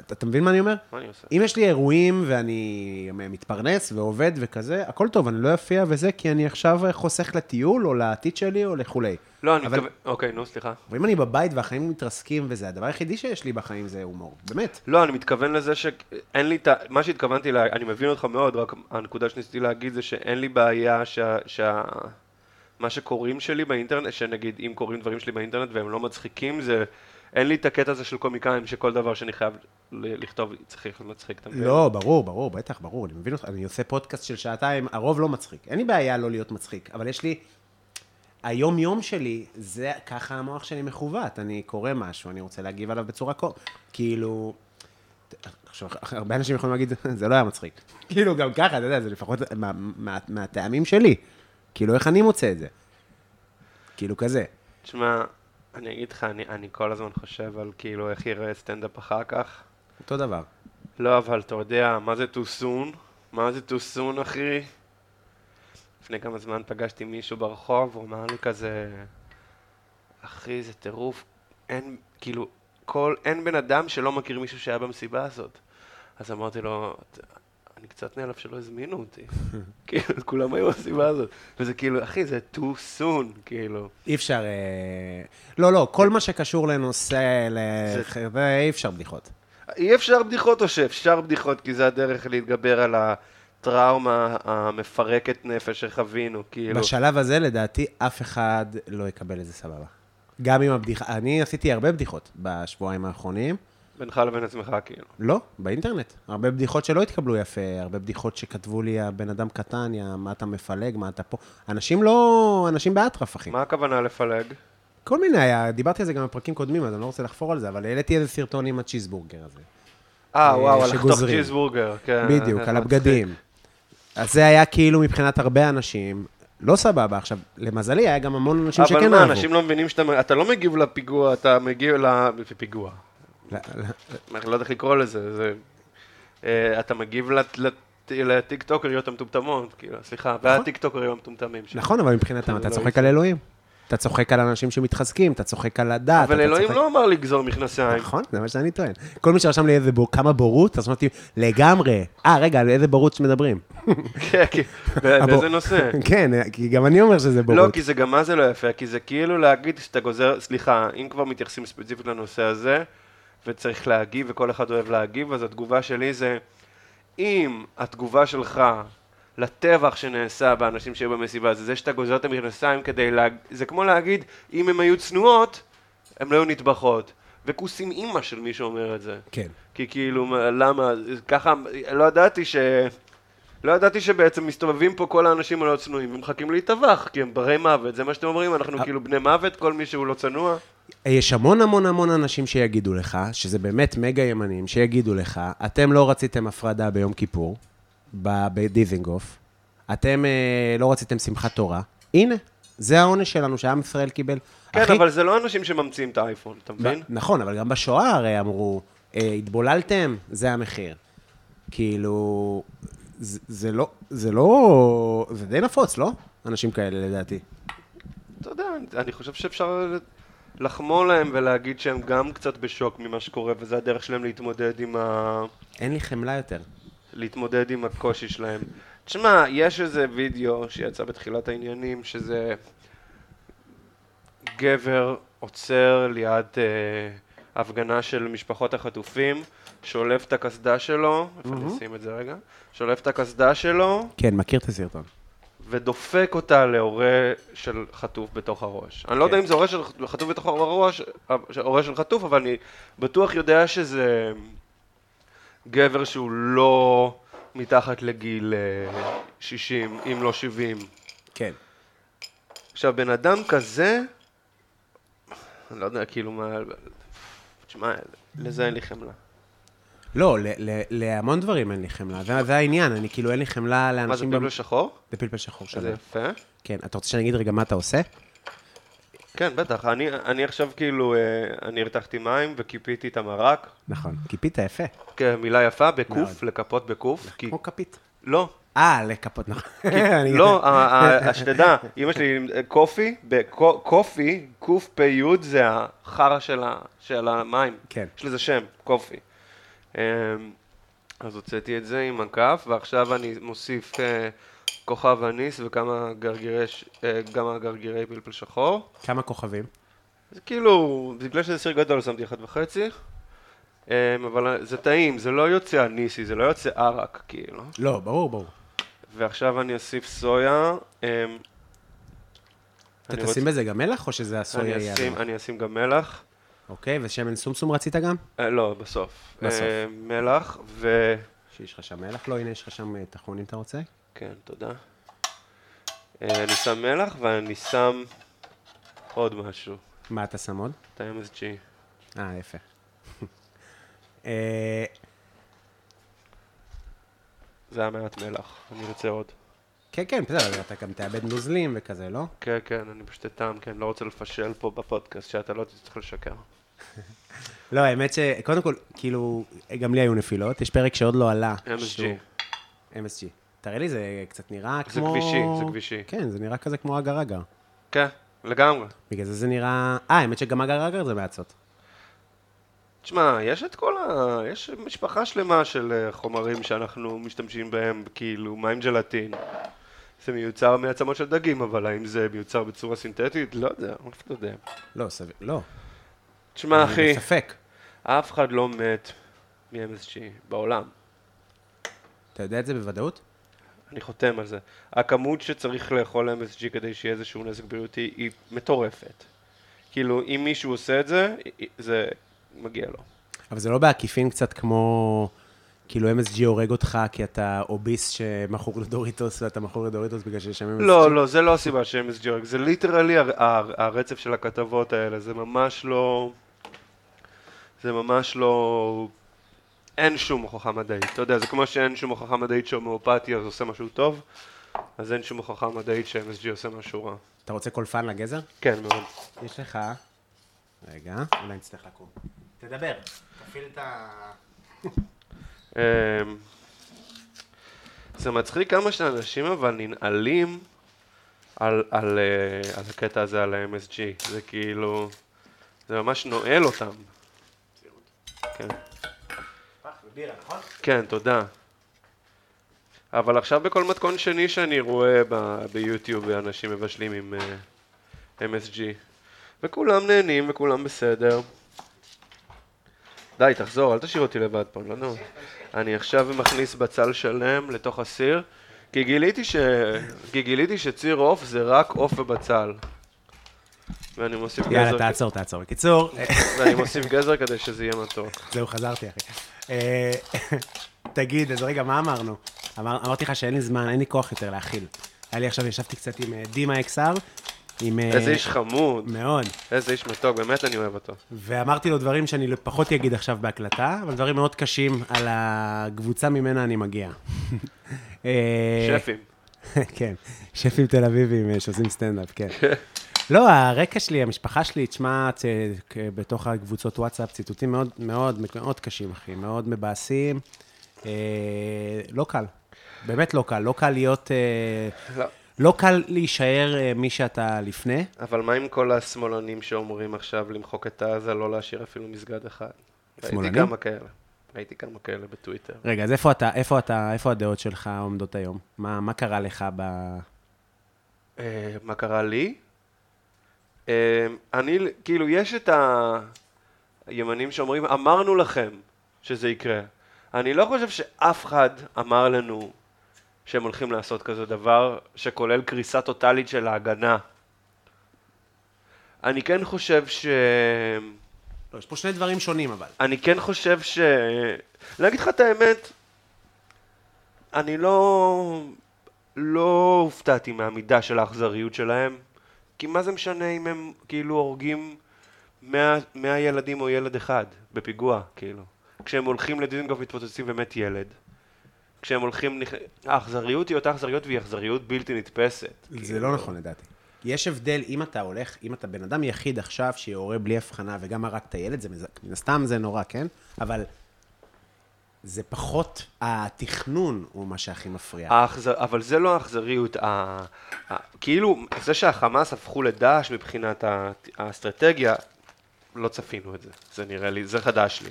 S3: אתה, אתה מבין מה אני אומר?
S2: מה אני עושה?
S3: אם יש לי אירועים ואני מתפרנס ועובד וכזה, הכל טוב, אני לא אפיע וזה, כי אני עכשיו חוסך לטיול או לעתיד שלי או לכולי.
S2: לא, אני
S3: אבל-
S2: מתכוון... אוקיי, נו, סליחה.
S3: ואם אני בבית והחיים מתרסקים וזה, הדבר היחידי שיש לי בחיים זה הומור, באמת.
S2: לא, אני מתכוון לזה שאין לי את ה... מה שהתכוונתי, לה... אני מבין אותך מאוד, רק הנקודה שניסיתי להגיד זה שאין לי בעיה שה... שה... מה שקוראים שלי באינטרנט, שנגיד אם קוראים דברים שלי באינטרנט והם לא מצחיקים, זה... אין לי את הקטע הזה של קומיקאים שכל דבר שאני חייב ל... לכתוב צריך מצחיק. אתה מבין?
S3: לא, ברור, ברור, בטח, ברור, אני מבין אותך, אני עושה פודקאסט של שעתיים, הרוב לא מצחיק. אין לי בעיה לא להיות מצחיק, אבל יש לי... היום-יום שלי, זה ככה המוח שלי מכוות, אני קורא משהו, אני רוצה להגיב עליו בצורה כל... כאילו... עכשיו, הרבה אנשים יכולים להגיד, זה לא היה מצחיק. כאילו, גם ככה, אתה יודע, זה לפחות מה- מה- מהטעמים שלי. כאילו, איך אני מוצא את זה? כאילו, כזה.
S2: תשמע, אני אגיד לך, אני, אני כל הזמן חושב על כאילו איך ייראה סטנדאפ אחר כך.
S3: אותו דבר.
S2: לא, אבל אתה יודע, מה זה too soon? מה זה too soon, אחי? לפני כמה זמן פגשתי מישהו ברחוב, הוא אמר לי כזה, אחי, זה טירוף, אין, כאילו, כל, אין בן אדם שלא מכיר מישהו שהיה במסיבה הזאת. אז אמרתי לו, "אתה- אני קצת נעלב שלא הזמינו אותי. כאילו, כולם היו במסיבה הזאת. וזה כאילו, אחי, זה too soon, כאילו.
S3: אי אפשר... אה, לא, לא, כל מה שקשור לנושא, לח- זה אי אפשר בדיחות.
S2: אי אפשר בדיחות או שאפשר בדיחות, כי זה הדרך להתגבר על הטראומה המפרקת נפש שחווינו, כאילו.
S3: בשלב הזה, לדעתי, אף אחד לא יקבל את זה סבבה. גם אם הבדיחה... אני עשיתי הרבה בדיחות בשבועיים האחרונים.
S2: בינך לבין עצמך, כאילו.
S3: לא, באינטרנט. הרבה בדיחות שלא התקבלו יפה, הרבה בדיחות שכתבו לי, הבן אדם קטן, יא, מה אתה מפלג, מה אתה פה. אנשים לא... אנשים באטרף, אחי.
S2: מה הכוונה לפלג?
S3: כל מיני היה, דיברתי על זה גם בפרקים קודמים, אז אני לא רוצה לחפור על זה, אבל העליתי איזה סרטון עם הצ'יזבורגר הזה.
S2: אה,
S3: אה,
S2: וואו, על לחתוך
S3: שגוזרים.
S2: צ'יזבורגר, כן.
S3: בדיוק,
S2: זה
S3: על
S2: מצחיק.
S3: הבגדים.
S2: אה.
S3: אז זה היה כאילו מבחינת הרבה אנשים, לא סבבה. עכשיו, למזלי, היה גם המון אנשים שכן
S2: אבל
S3: אהבו.
S2: מה, אנשים לא מבינים שאתה אתה לא מגיב לפיגוע, אתה מגיב לפיגוע.
S3: לא...
S2: אני לא יודע איך לקרוא לזה, זה... אה, אתה מגיב לט- לט- לטיקטוקריות המטומטמות, כאילו, סליחה, והטיקטוקרים המטומטמים. ש-
S3: נכון, אבל מבחינתם אתה
S2: לא
S3: צוחק
S2: איזה.
S3: על אלוהים. אתה צוחק על אנשים שמתחזקים, אתה צוחק על הדת.
S2: אבל
S3: אתה
S2: אלוהים
S3: צוחק-
S2: לא אמר לגזור מכנסיים.
S3: נכון, זה מה שאני טוען. כל מי שרשם לי איזה בור, כמה בורות, אז אמרתי, לגמרי. אה, רגע, על איזה בורות שמדברים?
S2: כן, כן. בא-
S3: הבור-
S2: באיזה נושא?
S3: כן, כי גם אני אומר שזה
S2: לא,
S3: בורות.
S2: כי זה גם מה זה לא יפה, כי זה כאילו להגיד שאתה גוזר, סליחה, אם כבר מתייחסים ספציפית לנושא הזה, וצריך להגיב, וכל אחד אוהב להגיב, אז התגובה שלי זה, אם התגובה שלך לטבח שנעשה באנשים שהיו במסיבה, זה זה שאתה גוזר את המכנסיים כדי להג... זה כמו להגיד, אם הן היו צנועות, הן לא היו נטבחות. וכוסים אימא של מי שאומר את זה.
S3: כן.
S2: כי כאילו, מה- למה, ככה, לא ידעתי ש... לא ידעתי שבעצם מסתובבים פה כל האנשים הלא צנועים ומחכים להיטבח, כי הם ברי מוות, זה מה שאתם אומרים, אנחנו כאילו בני מוות, כל מי שהוא לא צנוע.
S3: יש המון המון המון אנשים שיגידו לך, שזה באמת מגה ימנים, שיגידו לך, אתם לא רציתם הפרדה ביום כיפור, ב- בדיזינגוף, אתם אה, לא רציתם שמחת תורה, הנה, זה העונש שלנו שעם ישראל קיבל.
S2: כן,
S3: אחי,
S2: אבל זה לא אנשים שממציאים את האייפון, אתה
S3: ב-
S2: מבין?
S3: נכון, אבל גם בשואה הרי אמרו, אה, התבוללתם, זה המחיר. כאילו, זה, זה לא, זה לא, זה די נפוץ, לא? אנשים כאלה, לדעתי.
S2: אתה יודע, אני- אני חושב שאפשר לחמול להם ולהגיד שהם גם קצת בשוק ממה שקורה, וזה הדרך שלהם להתמודד עם ה...
S3: אין לי חמלה יותר.
S2: להתמודד עם הקושי שלהם. תשמע, יש איזה וידאו שיצא בתחילת העניינים, שזה גבר עוצר ליד אה, הפגנה של משפחות החטופים, שולף את הקסדה שלו, איפה אני אשים את זה רגע? שולף את הקסדה שלו,
S3: כן, מכיר את הסרטון.
S2: ודופק אותה להורה של חטוף בתוך הראש. אני לא יודע אם זה הורה של ח- חטוף בתוך הראש, אה, ש- הורה של חטוף, אבל אני בטוח יודע שזה גבר שהוא לא מתחת לגיל אה, 60, אם לא 70.
S3: כן.
S2: עכשיו, בן אדם כזה, אני לא יודע, כאילו, מה... תשמע, לזה אין לי חמלה.
S3: לא, ל- ל- להמון דברים אין לי חמלה, זה זה העניין, אני כאילו אין לי חמלה לאנשים...
S2: מה זה,
S3: במ-
S2: פלפל שחור?
S3: זה פלפל שחור
S2: זה
S3: שלהם.
S2: יפה.
S3: כן, אתה רוצה שאני אגיד רגע מה אתה עושה?
S2: כן, בטח. אני, אני עכשיו כאילו, אה, אני הרתחתי מים וקיפיתי את המרק,
S3: נכון, כיפית יפה,
S2: כמילה יפה,
S3: מאוד.
S2: בקוף, לקפות בקוף, כי...
S3: כמו כפית.
S2: לא,
S3: אה, לכפות, נכון. אני-
S2: לא, ה- ה- השתדע, אמא שלי, עם קופי, בקו- קופי, קפ"י זה החרא של ה- של המים.
S3: כן.
S2: יש לזה שם, קופי. אמ, אז הוצאתי את זה עם הכף, ועכשיו אני מוסיף אה, כוכב אניס וכמה גרגירי, ש- אה, כמה גרגירי פלפל שחור.
S3: כמה כוכבים?
S2: זה כאילו, בגלל שזה סיר גדול שמתי אחת וחצי. אמ, אבל זה טעים, זה לא יוצא אניסי, זה לא יוצא ערק, כאילו.
S3: לא, ברור, ברור.
S2: ועכשיו אני אוסיף סויה. אמ,
S3: אתה
S2: אני
S3: תשים
S2: רוצ-
S3: בזה גם מלח, או שזה הסויה
S2: אני
S3: יהיה?
S2: אשים,
S3: עליו?
S2: אני אשים גם מלח.
S3: אוקיי, ושמן סומסום רצית גם?
S2: אה, לא, בסוף.
S3: בסוף.
S2: אה, מלח ו...
S3: שיש לך שם מלח? לא, הנה, יש לך שם אה, טחון אם אתה רוצה.
S2: כן, תודה. אה, אני שם מלח ואני שם עוד משהו.
S3: מה אתה שם עוד?
S2: את ה-MSG.
S3: אה, יפה. אה,
S2: זה היה מעט מלח, אני רוצה עוד.
S3: כן, כן, בסדר, אתה גם תאבד נוזלים וכזה, לא?
S2: כן, כן, אני פשוט טעם, כן, לא רוצה לפשל פה בפודקאסט, שאתה לא תצטרך לשקר.
S3: לא, האמת שקודם כל, כאילו, גם לי היו נפילות, יש פרק שעוד לא עלה.
S2: MSG.
S3: שהוא- MSG. תראה לי, זה קצת נראה
S2: זה
S3: כמו...
S2: כבישי, זה כבישי.
S3: כן, זה נראה כזה כמו אגר אגר.
S2: כן, לגמרי.
S3: בגלל זה זה נראה... אה, האמת שגם אגר אגר זה מעצות.
S2: תשמע, יש את כל ה... יש משפחה שלמה של אה, חומרים שאנחנו משתמשים בהם, כאילו, מה עם ג'לטין? זה מיוצר מעצמות של דגים, אבל האם זה מיוצר בצורה סינתטית? לא יודע, אף אחד לא יודע.
S3: לא, סביר, לא.
S2: תשמע,
S3: אני
S2: אחי,
S3: בספק.
S2: אף אחד לא מת מ-MSG בעולם.
S3: אתה יודע את זה בוודאות?
S2: אני חותם על זה. הכמות שצריך לאכול MSG כדי שיהיה איזשהו נזק בריאותי היא מטורפת. כאילו, אם מישהו עושה את זה, זה מגיע לו.
S3: אבל זה לא בעקיפין קצת כמו, כאילו, MSG הורג אותך כי אתה אוביס שמכור לדוריטוס, ואתה מכור לדוריטוס בגלל שיש שם MSG?
S2: לא, לא, זה לא הסיבה שאמס ג'ורג, זה ליטרלי הר- הר- הרצף של הכתבות האלה, זה ממש לא... זה ממש לא... אין שום הוכחה מדעית, אתה יודע, זה כמו שאין שום הוכחה מדעית שהומאופתיה עושה משהו טוב, אז אין שום הוכחה מדעית ש-MSG עושה משהו רע.
S3: אתה רוצה קולפן לגזר?
S2: כן, מאוד.
S3: יש לך... רגע, אולי נצטרך לקום. תדבר, תפעיל את ה...
S2: אמ, זה מצחיק כמה שאנשים אבל ננעלים על, על, אה, על הקטע הזה, על ה-MSG. זה כאילו, זה ממש נועל אותם. כן,
S3: נכון?
S2: כן, תודה. אבל עכשיו בכל מתכון שני שאני רואה ב- ביוטיוב אנשים מבשלים עם אה, MSG. וכולם נהנים וכולם בסדר. די, תחזור, אל תשאיר אותי לבד פה, לא נו. אני עכשיו מכניס בצל שלם לתוך הסיר, כי גיליתי, ש... כי גיליתי שציר עוף זה רק עוף ובצל. ואני מוסיף
S3: יאללה,
S2: גזר,
S3: תעצור, תעצור. בקיצור,
S2: ואני מוסיף גזר כדי שזה יהיה מתוק.
S3: זהו, חזרתי, אחי. אה, תגיד, אז רגע, מה אמרנו? אמר, אמרתי לך שאין לי זמן, אין לי כוח יותר להכיל. היה לי עכשיו, ישבתי קצת עם אה, דימה XR, עם... אה,
S2: איזה איש חמוד,
S3: מאוד.
S2: איזה איש מתוק, באמת אני אוהב אותו.
S3: ואמרתי לו דברים שאני פחות אגיד עכשיו בהקלטה, אבל דברים מאוד קשים על הקבוצה ממנה אני מגיע. אה,
S2: שפים.
S3: כן, שפים תל אביבים אה, שעושים סטנדאפ, כן. לא, הרקע שלי, המשפחה שלי, תשמע, צ- כ- בתוך הקבוצות וואטסאפ, ציטוטים מאוד מאוד מאוד קשים, אחי, מאוד מבאסים. אה, לא קל, באמת לא קל. לא קל להיות... אה,
S2: לא.
S3: לא קל להישאר אה, מי שאתה לפני.
S2: אבל מה עם כל השמאלנים שאומרים עכשיו למחוק את עזה, לא להשאיר אפילו מסגד אחד?
S3: שמאלנים?
S2: ראיתי כמה כאלה. ראיתי כמה כאלה בטוויטר.
S3: רגע, אז איפה אתה, איפה אתה, איפה הדעות שלך עומדות היום? מה, מה קרה לך ב...
S2: אה, מה קרה לי? אה, אני, כאילו, יש את הימנים שאומרים, אמרנו לכם שזה יקרה. אני לא חושב שאף אחד אמר לנו שהם הולכים לעשות כזה דבר שכולל קריסה טוטאלית של ההגנה. אני כן חושב ש...
S3: לא, יש פה שני דברים שונים, אבל.
S2: אני כן חושב ש... להגיד לך את האמת, אני לא... לא הופתעתי מהמידה של האכזריות שלהם, כי מה זה משנה אם הם כאילו הורגים 100, 100 ילדים או ילד אחד בפיגוע, כאילו. כשהם הולכים לדיזנגוף מתפוצצים ומת ילד. כשהם הולכים... נכ- האכזריות היא אותה אכזריות והיא אכזריות בלתי נתפסת.
S3: זה לא נכון לדעתי. יש הבדל אם אתה הולך, אם אתה בן אדם יחיד עכשיו שיורה בלי הבחנה וגם הרג את הילד, זה מז- מן הסתם זה נורא, כן? אבל זה פחות, התכנון הוא מה שהכי מפריע.
S2: האכזר... אבל זה לא האכזריות, ה... ה... כאילו זה שהחמאס הפכו לדאעש מבחינת ה... האסטרטגיה, לא צפינו את זה, זה נראה לי, זה חדש לי.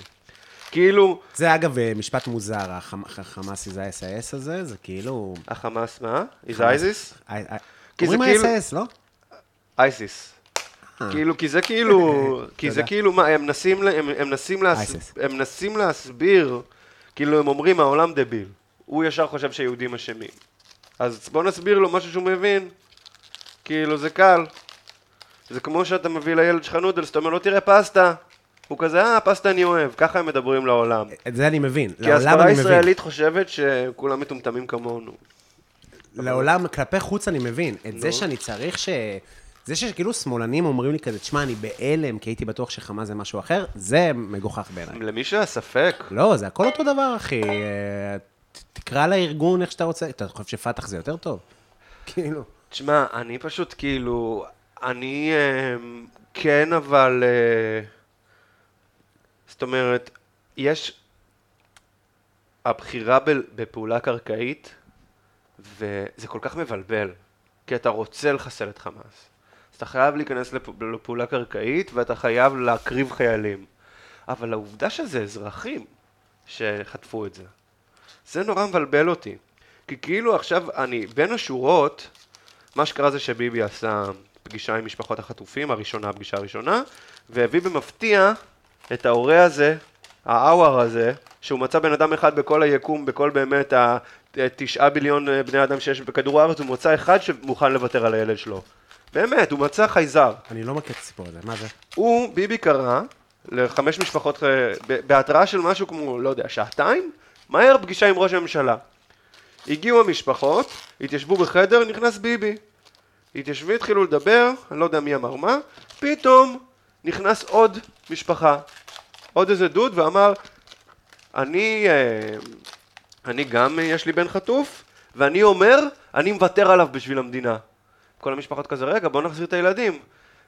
S2: כאילו,
S3: זה אגב אה, משפט מוזר, החמ- הח- החמאס איזה ה-SAS הזה, זה כאילו...
S2: החמאס מה? איז אייזיס?
S3: אה, אה,
S2: כי זה
S3: אומרים
S2: כאילו-
S3: ה-SAS, לא?
S2: אייסיס. כאילו, כי זה כאילו, כי זה
S3: אה. תודה.
S2: כאילו, מה, הם מנסים, ל- הם, הם מנסים, להס...
S3: אייסיס.
S2: הם מנסים להסביר, כאילו, הם אומרים, העולם דביל. הוא ישר חושב שהיהודים אשמים. אז בוא נסביר לו משהו שהוא מבין. כאילו, זה קל. זה כמו שאתה מביא לילד שלך נודלס, אתה אומר לו, תראה פסטה. הוא כזה, אה, פסטה אני אוהב. ככה הם מדברים לעולם.
S3: את זה אני מבין.
S2: כי
S3: אה, לעולם
S2: ההסברה
S3: אני מבין.
S2: הישראלית חושבת שכולם מטומטמים כמונו.
S3: לעולם, כלפי חוץ אני מבין. את זה שאני צריך ש... זה שכאילו שמאלנים אומרים לי כזה, תשמע, אני בהלם, כי הייתי בטוח שחמאס זה משהו אחר, זה מגוחך בעיניי.
S2: למי שהיה ספק,
S3: לא, זה הכל אותו דבר, אחי. אה, ת- תקרא לארגון איך שאתה רוצה. אתה חושב שפתח זה יותר טוב? כאילו.
S2: תשמע, אני פשוט כאילו, אני אמ, כן, אבל... אה, זאת אומרת, יש... הבחירה ב- בפעולה קרקעית, וזה כל כך מבלבל, כי אתה רוצה לחסל את חמאס. אז אתה חייב להיכנס לפ- לפעולה קרקעית, ואתה חייב להקריב חיילים. אבל העובדה שזה אזרחים שחטפו את זה, זה נורא מבלבל אותי. כי כאילו עכשיו אני, בין השורות, מה שקרה זה שביבי עשה פגישה עם משפחות החטופים, הראשונה, הפגישה הראשונה, והביא במפתיע את ההורה הזה, האוואר הזה, שהוא מצא בן אדם אחד בכל היקום, בכל באמת התשעה ביליון אה, בני אדם שיש בכדור הארץ, הוא מצא אחד שמוכן לוותר על הילד שלו. באמת, הוא מצא חייזר.
S3: אני לא מכיר את הסיפור הזה, מה זה?
S2: הוא, ביבי קרא לחמש משפחות, אה, ב- בהתראה של משהו כמו, לא יודע, שעתיים, מהר פגישה עם ראש הממשלה. הגיעו המשפחות, התיישבו בחדר, נכנס ביבי. התיישבו, התחילו לדבר, אני לא יודע מי אמר מה, פתאום נכנס עוד משפחה, עוד איזה דוד, ואמר, אני, אה, אני גם, אה, יש לי בן חטוף, ואני אומר, אני מוותר עליו בשביל המדינה. כל המשפחות כזה, רגע, בואו נחזיר את הילדים.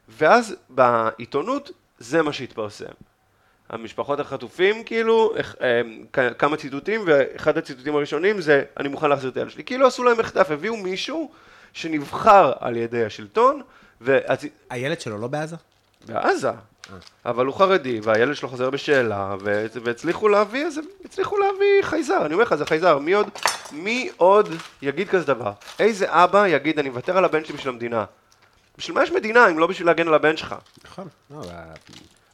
S2: ואז בעיתונות, זה מה שהתפרסם. המשפחות החטופים, כאילו, איך- אה, כ- כמה ציטוטים, ואחד הציטוטים הראשונים זה, אני מוכן להחזיר את הילד שלי. כאילו עשו להם מחטף, הביאו מישהו שנבחר על ידי השלטון, והצ...
S3: הילד שלו לא בעזה?
S2: בעזה. אבל הוא חרדי, והילד שלו חוזר בשאלה, ו- והצליחו להביא איזה, הצליחו להביא חייזר, אני אומר לך, זה חייזר, מי עוד, מי עוד יגיד כזה דבר? איזה אבא יגיד, אני מוותר על הבן שלי בשביל המדינה? בשביל מה יש מדינה אם לא בשביל להגן על הבן שלך?
S3: נכון. לא, אבל-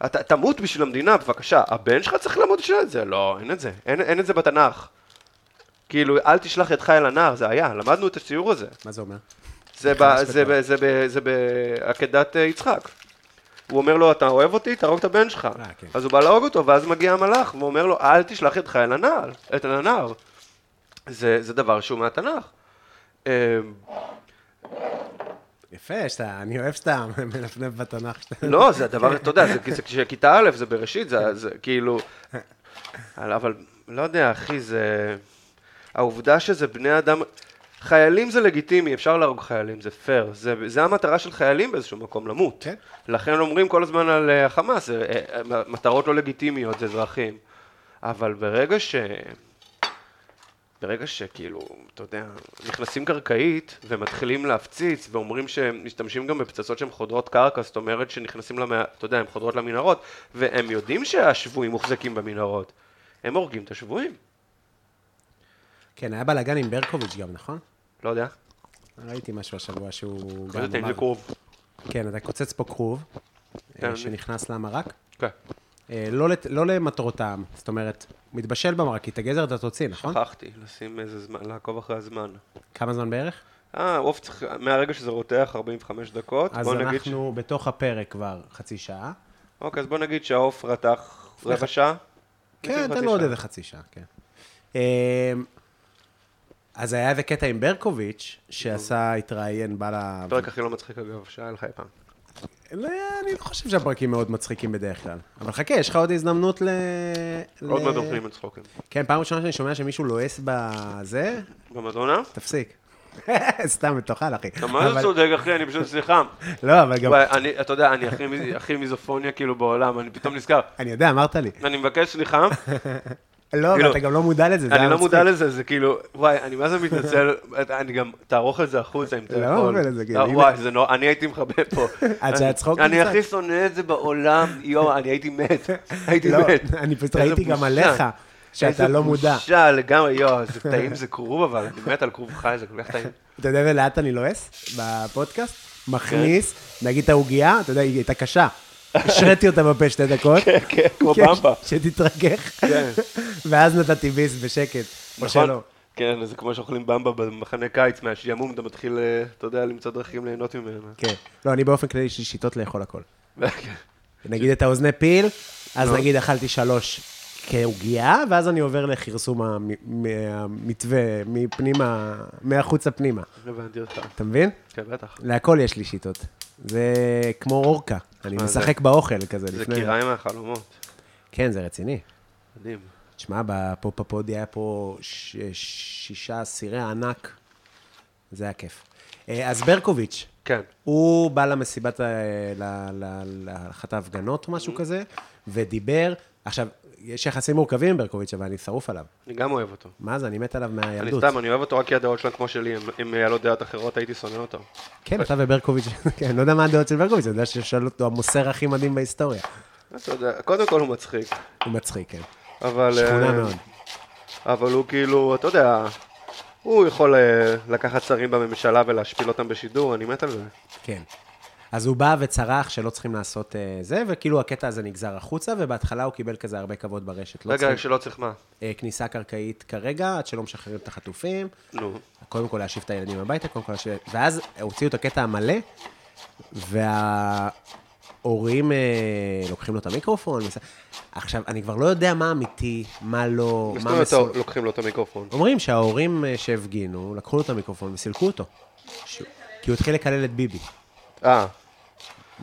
S2: אתה תמות בשביל המדינה, בבקשה. הבן שלך צריך למות בשביל זה? לא, אין את זה. אין, אין את זה בתנ"ך. כאילו, אל תשלח ידך אל הנער, זה היה, למדנו את הציור הזה.
S3: מה זה אומר?
S2: זה ב-
S3: נכנס
S2: זה
S3: בטוב.
S2: ב- זה ב- זה בעקדת אה, יצחק. הוא אומר לו, אתה אוהב אותי? תהרוג את הבן שלך.
S3: אה, כן.
S2: אז הוא בא להרוג אותו, ואז מגיע המלאך, ואומר לו, אל תשלח ידך אל הנער. את הנער. זה, זה דבר שהוא מהתנ"ך. אה,
S3: יפה, שאתה, אני אוהב שאתה מנפנף בתנ"ך. שאתה-
S2: לא, זה הדבר, אתה יודע, זה זה כשכיתה א', זה בראשית, זה זה כאילו... אבל- אבל לא יודע, אחי, זה... העובדה שזה בני אדם... חיילים זה לגיטימי, אפשר להרוג חיילים, זה פייר. זה, זה המטרה של חיילים באיזשהו מקום, למות.
S3: כן.
S2: לכן אומרים כל הזמן על אה, החמאס, זה, אה, אה, מטרות לא לגיטימיות, זה אזרחים. אבל ברגע ש... ברגע שכאילו, אתה יודע, נכנסים קרקעית ומתחילים להפציץ ואומרים שהם משתמשים גם בפצצות שהן חודרות קרקע, זאת אומרת שנכנסים, למע... אתה יודע, הן חודרות למנהרות, והם יודעים שהשבויים מוחזקים במנהרות. הם הורגים את השבויים,
S3: כן, היה בלאגן עם ברקוביץ' גם, נכון?
S2: לא יודע.
S3: ראיתי משהו השבוע שהוא
S2: לא
S3: גם
S2: יודע אם זה
S3: אמר.
S2: קרוב.
S3: כן, אתה קוצץ פה כרוב, אה,
S2: כן.
S3: שנכנס למרק.
S2: כן.
S3: אה, לא לת- לא למטרותיהם, זאת אומרת, מתבשל במרק, כי את הגזר אתה תוציא, נכון?
S2: שכחתי לשים איזה זמן, לעקוב אחרי הזמן.
S3: כמה זמן בערך?
S2: אה, עוף צריך, מהרגע שזה רותח 45 דקות,
S3: אז
S2: בוא נגיד... ש-
S3: אנחנו בתוך הפרק כבר חצי שעה.
S2: אוקיי, אז בוא נגיד שהעוף רתח רבע שעה.
S3: כן,
S2: חצי
S3: תן לו עוד
S2: שעה.
S3: איזה חצי שעה, כן. אמ, אז היה איזה קטע עם ברקוביץ', שעשה, התראיין, בא ל...
S2: הפרק הכי לא מצחיק אגב, שהיה לך אי פעם.
S3: לא, אני לא חושב שהפרקים מאוד מצחיקים בדרך כלל. אבל חכה, יש לך עוד הזדמנות ל...
S2: עוד
S3: ל-
S2: מעט אוכלים את צחוקים.
S3: כן, פעם ראשונה שאני שומע שמישהו לועס בזה,
S2: במדונה?
S3: תפסיק. סתם, תאכל, אחי.
S2: אתה מה זה
S3: אבל-
S2: צודק אחי, אני פשוט, סליחה.
S3: לא, אבל גם...
S2: וואי, אני- אתה יודע, אני הכי מי- הכי מיזופוניה כאילו בעולם, אני פתאום נזכר.
S3: אני יודע, אמרת לי.
S2: אני מבקש סליחה,
S3: לא, אבל
S2: כאילו,
S3: אתה גם לא מודע לזה, זה היה
S2: אני לא
S3: מצחיק.
S2: מודע לזה, זה כאילו, וואי, אני מה זה מתנצל, אני גם, תערוך את זה החוצה אם אתה
S3: לא,
S2: יכול.
S3: אבל זה כאילו,
S2: אה,
S3: הנה.
S2: וואי, זה נורא, אני הייתי מכבה פה.
S3: עד שהצחוק
S2: אני
S3: נמצא.
S2: הכי שונא את זה בעולם, יואו, אני הייתי מת, הייתי
S3: לא,
S2: מת.
S3: אני פשוט
S2: איזה
S3: ראיתי גם
S2: בושה.
S3: עליך, שאתה לא מודע.
S2: איזה בושה לגמרי, יואו, זה טעים, זה כרוב, אבל אני מת על כרוב חי, זה כל כך טעים.
S3: אתה יודע לאט אני לועס בפודקאסט? מכניס,
S2: כן.
S3: נגיד את העוגייה, אתה יודע, היא הייתה קשה. השריתי אותה בפה שתי דקות.
S2: כן, כן, כמו
S3: כן,
S2: במבה.
S3: שתתרכך.
S2: כן.
S3: ואז נתתי ביס בשקט. או שלא.
S2: כן, זה כמו שאוכלים במבה במחנה קיץ, מהשעמום אתה מתחיל, אה, אתה יודע, למצוא דרכים ליהנות ממנה.
S3: כן. לא, אני באופן כללי, יש לי שיטות לאכול הכל.
S2: כן.
S3: נגיד את האוזני פיל, אז
S2: נו.
S3: נגיד אכלתי שלוש כעוגייה, ואז אני עובר לכרסום המ- המתווה, מפנימה, מהחוצה פנימה.
S2: הבנתי אותך.
S3: אתה מבין?
S2: כן, בטח.
S3: להכל יש לי שיטות. זה כמו אורקה, אני
S2: מה,
S3: משחק באוכל כזה
S2: זה
S3: לפני...
S2: קיריים מהחלומות.
S3: כן, זה רציני.
S2: מדהים.
S3: תשמע, פה בפודי היה פה ש- שישה אסירי ענק. זה היה כיף. אה, אז ברקוביץ',
S2: כן.
S3: הוא בא למסיבת, אה, ל- ל- לאחת ההפגנות או
S2: Mm-hmm.
S3: משהו כזה, ודיבר. עכשיו, יש יחסים מורכבים עם ברקוביץ', אבל אני שרוף עליו.
S2: אני גם אוהב אותו.
S3: מה זה, אני מת עליו
S2: אני
S3: מהילדות.
S2: סתם, אני אוהב אותו רק כי הדעות שלו כמו שלי, אם- אם היה לו דעות אחרות הייתי שונא אותו.
S3: כן, אתה וברקוביץ', כן, אני לא יודע מה הדעות של ברקוביץ', אני יודע ששאלו אותו המוסר הכי מדהים בהיסטוריה.
S2: אתה יודע, קודם כל הוא מצחיק,
S3: הוא מצחיק, כן.
S2: אבל...
S3: שכונה
S2: אה,
S3: מאוד.
S2: אבל הוא כאילו, אתה יודע, הוא יכול אה, לקחת שרים בממשלה ולהשפיל אותם בשידור, אני מת על זה.
S3: כן. אז הוא בא וצרח שלא צריכים לעשות אה, זה, וכאילו הקטע הזה נגזר החוצה, ובהתחלה הוא קיבל כזה הרבה כבוד ברשת. לא
S2: רגע,
S3: צריכים
S2: שלא צריך מה.
S3: אה, כניסה קרקעית כרגע, עד שלא משחררים את החטופים.
S2: נו.
S3: קודם כל להשיב את הילדים הביתה, קודם כל להשיב... ואז הוציאו את הקטע המלא, וההורים אה, לוקחים לו את המיקרופון. וס- עכשיו, אני כבר לא יודע מה אמיתי, מה לא,
S2: מה זאת
S3: מה מסור...
S2: אומרת לוקחים לו את המיקרופון?
S3: אומרים שההורים אה, שהפגינו, לקחו לו את המיקרופון וסילקו אותו. ש... כי הוא התחיל לקלל את ביבי.
S2: אה,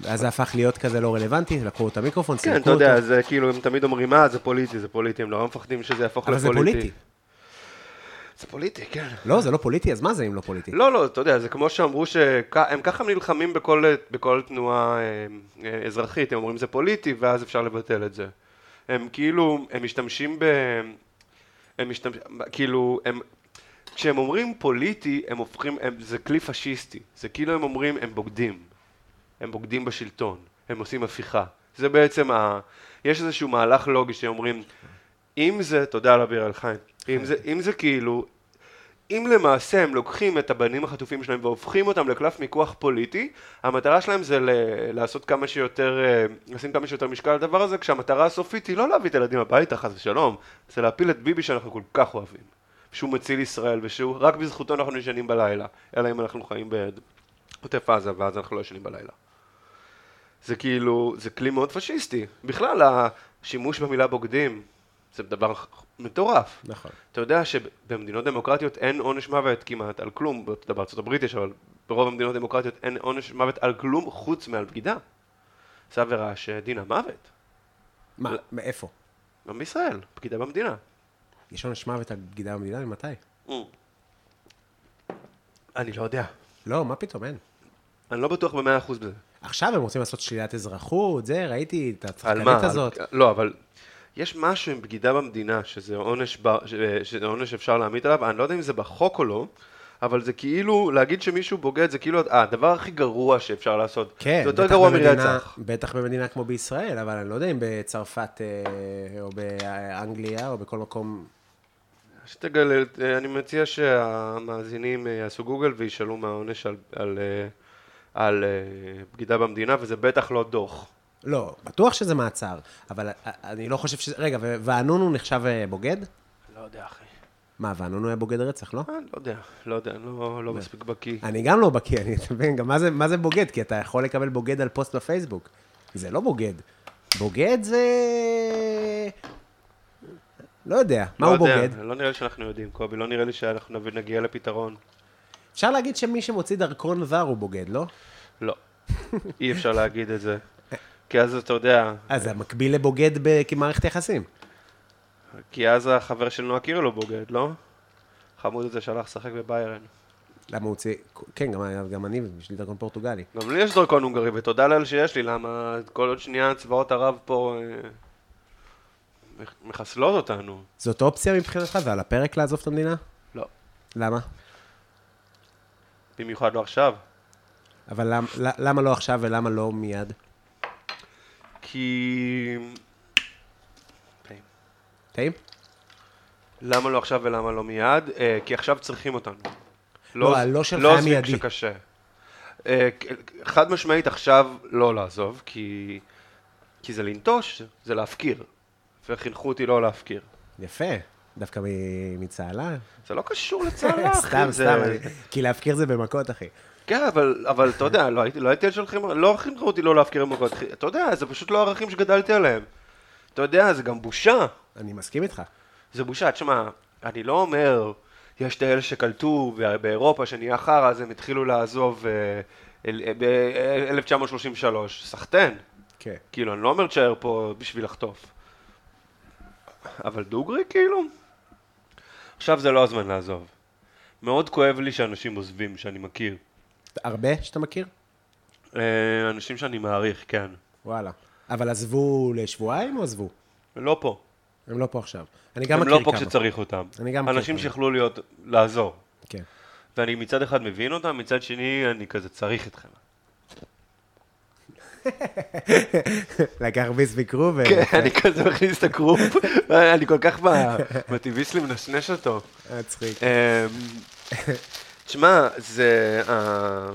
S3: אז זה הפך להיות כזה לא רלוונטי, לקחו את המיקרופון,
S2: כן,
S3: סילקו
S2: אתה
S3: אותו.
S2: יודע, זה כאילו, הם תמיד אומרים, מה, זה פוליטי, זה פוליטי, הם נורא מפחדים שזה יהפוך
S3: אבל זה
S2: לפוליטי.
S3: פוליטי.
S2: זה פוליטי, כן.
S3: לא, זה לא פוליטי, אז מה זה אם לא פוליטי?
S2: לא, לא, אתה יודע, זה כמו שאמרו שהם ככה נלחמים בכל, בכל תנועה אה, אה, אזרחית, הם אומרים זה פוליטי, ואז אפשר לבטל את זה. הם כאילו, הם משתמשים ב... הם משתמשים, כאילו, הם... כשהם אומרים פוליטי, הם הופכים, הם, זה כלי פשיסטי. זה כאילו הם אומרים, הם בוגדים. הם בוגדים בשלטון, הם עושים הפיכה. זה בעצם ה... יש איזשהו מהלך לוגי שאומרים, אם זה, תודה על אביר אלחיים, אם זה, אם זה כאילו, אם למעשה הם לוקחים את הבנים החטופים שלהם והופכים אותם לקלף מיקוח פוליטי, המטרה שלהם זה ל- לעשות כמה שיותר, אה, לשים כמה שיותר משקל לדבר הזה, כשהמטרה הסופית היא לא להביא את הילדים הביתה, חס ושלום, זה להפיל את ביבי שאנחנו כל כך אוהבים, שהוא מציל ישראל ושהוא, רק בזכותו אנחנו ישנים בלילה, אלא אם אנחנו חיים בעוטף עזה ואז אנחנו לא ישנים בלילה. זה כאילו, זה כלי מאוד פשיסטי. בכלל, השימוש במילה בוגדים זה דבר מטורף.
S3: נכון.
S2: אתה יודע שבמדינות דמוקרטיות אין עונש מוות כמעט על כלום, אתה יודע, בארצות הברית יש, אבל ברוב המדינות הדמוקרטיות אין עונש מוות על כלום חוץ מעל בגידה. זו עבירה שדינה מוות,
S3: מה, מאיפה?
S2: גם בישראל, בגידה במדינה.
S3: יש עונש מוות על בגידה במדינה? ממתי?
S2: אני לא יודע.
S3: לא, מה פתאום, אין.
S2: אני לא בטוח במאה אחוז בזה.
S3: עכשיו הם רוצים לעשות שלילת אזרחות, זה, ראיתי את
S2: על מה?
S3: השחקנית הזאת.
S2: על... לא, אבל יש משהו עם בגידה במדינה, שזה עונש, ב... ש... שזה עונש שאפשר להעמיד עליו, אני לא יודע אם זה בחוק או לא, אבל זה כאילו, להגיד שמישהו בוגד, זה כאילו אה, הדבר הכי גרוע שאפשר לעשות.
S3: כן,
S2: זה יותר
S3: בטח
S2: גרוע
S3: במדינה-
S2: מרצח.
S3: בטח במדינה כמו בישראל, אבל אני לא יודע אם בצרפת אה, או באנגליה או בכל מקום.
S2: שתגלה, אה, אני מציע שהמאזינים אה, יעשו גוגל וישאלו מה העונש על, על, אה, על אה, בגידה במדינה, וזה בטח לא דוח.
S3: לא, בטוח שזה מעצר, אבל אה, אני לא חושב שזה... רגע, ו- ואנונו נחשב אה, בוגד?
S2: לא יודע, אחי.
S3: מה, ואנונו היה בוגד רצח, לא?
S2: אה, לא יודע, לא יודע, אני לא, לא מספיק בקיא.
S3: אני גם לא בקיא, אני אתה מבין, גם מה זה, מה זה בוגד? כי אתה יכול לקבל בוגד על פוסט בפייסבוק. זה לא בוגד. בוגד זה... לא יודע, מה
S2: לא
S3: הוא
S2: יודע,
S3: בוגד?
S2: לא נראה לי שאנחנו יודעים, קובי, לא נראה לי שאנחנו נביא- נגיע לפתרון.
S3: אפשר להגיד שמי שמוציא דרכון זר הוא בוגד, לא?
S2: לא. אי אפשר להגיד את זה. כי אז אתה יודע,
S3: אז זה מקביל לבוגד ב- כמערכת יחסים.
S2: כי אז החבר של נועה קירל הוא בוגד, לא? חמוד הזה שהלך לשחק בביירן.
S3: למה הוא הוציא... כן, גם, גם אני, יש לי דרכון פורטוגלי.
S2: גם לי יש דרכון הונגרי, ותודה לאל שיש לי, למה כל עוד שנייה צבאות ערב פה אה, מח- מחסלות אותנו.
S3: זאת אופציה מבחינתך? זה על הפרק לעזוב את המדינה?
S2: לא.
S3: למה?
S2: במיוחד לא עכשיו.
S3: אבל למ, ל- למה לא עכשיו ולמה לא מיד?
S2: כי... פעים.
S3: טעים?
S2: למה לא עכשיו ולמה לא מיד? אה, כי עכשיו צריכים אותנו.
S3: לא, הלא שלך
S2: לא
S3: היה
S2: עוזבים
S3: מיידי.
S2: כשקשה. אה, כ- חד משמעית עכשיו לא לעזוב, כי, כי זה לנטוש, זה להפקיר. וחינכו אותי לא להפקיר.
S3: יפה. דווקא מ- מצהלה?
S2: זה לא קשור לצהלה, אחי.
S3: סתם,
S2: זה...
S3: סתם. אני- כי להפקיר זה במכות, אחי.
S2: כן, אבל, אבל אתה יודע, לא הייתי, לא הייתי שולחים, לא חינכו אותי לא להפקיר מכות. אתה יודע, זה פשוט לא הערכים שגדלתי עליהם. אתה יודע, זה גם בושה.
S3: אני מסכים איתך.
S2: זה בושה, תשמע, אני לא אומר, יש את האלה שקלטו בא- באירופה שנהיה חרא, אז הם התחילו לעזוב אה, ב-1933, סחטיין.
S3: כן.
S2: כאילו, אני לא אומר תשאר פה בשביל לחטוף. אבל דוגרי, כאילו? עכשיו זה לא הזמן לעזוב. מאוד כואב לי שאנשים עוזבים, שאני מכיר.
S3: הרבה שאתה מכיר?
S2: אה, אנשים שאני מעריך, כן.
S3: וואלה. אבל עזבו לשבועיים או עזבו?
S2: לא פה.
S3: הם לא פה עכשיו. אני גם
S2: הם
S3: מכיר כמה.
S2: לא פה כשצריך אותם.
S3: אני גם מכיר
S2: אנשים
S3: כמה.
S2: שיכלו להיות, לעזור.
S3: כן.
S2: ואני מצד אחד מבין אותם, מצד שני אני כזה צריך אתכם.
S3: לקח ביס ביקרו ו...
S2: כן, אני
S3: אוקיי.
S2: כזה מכניס את הקרופ, אני כל כך ב- בטבעיסט לי מנשנש אותו.
S3: אה, צחיק.
S2: אמ, תשמע, זה... אה, ה-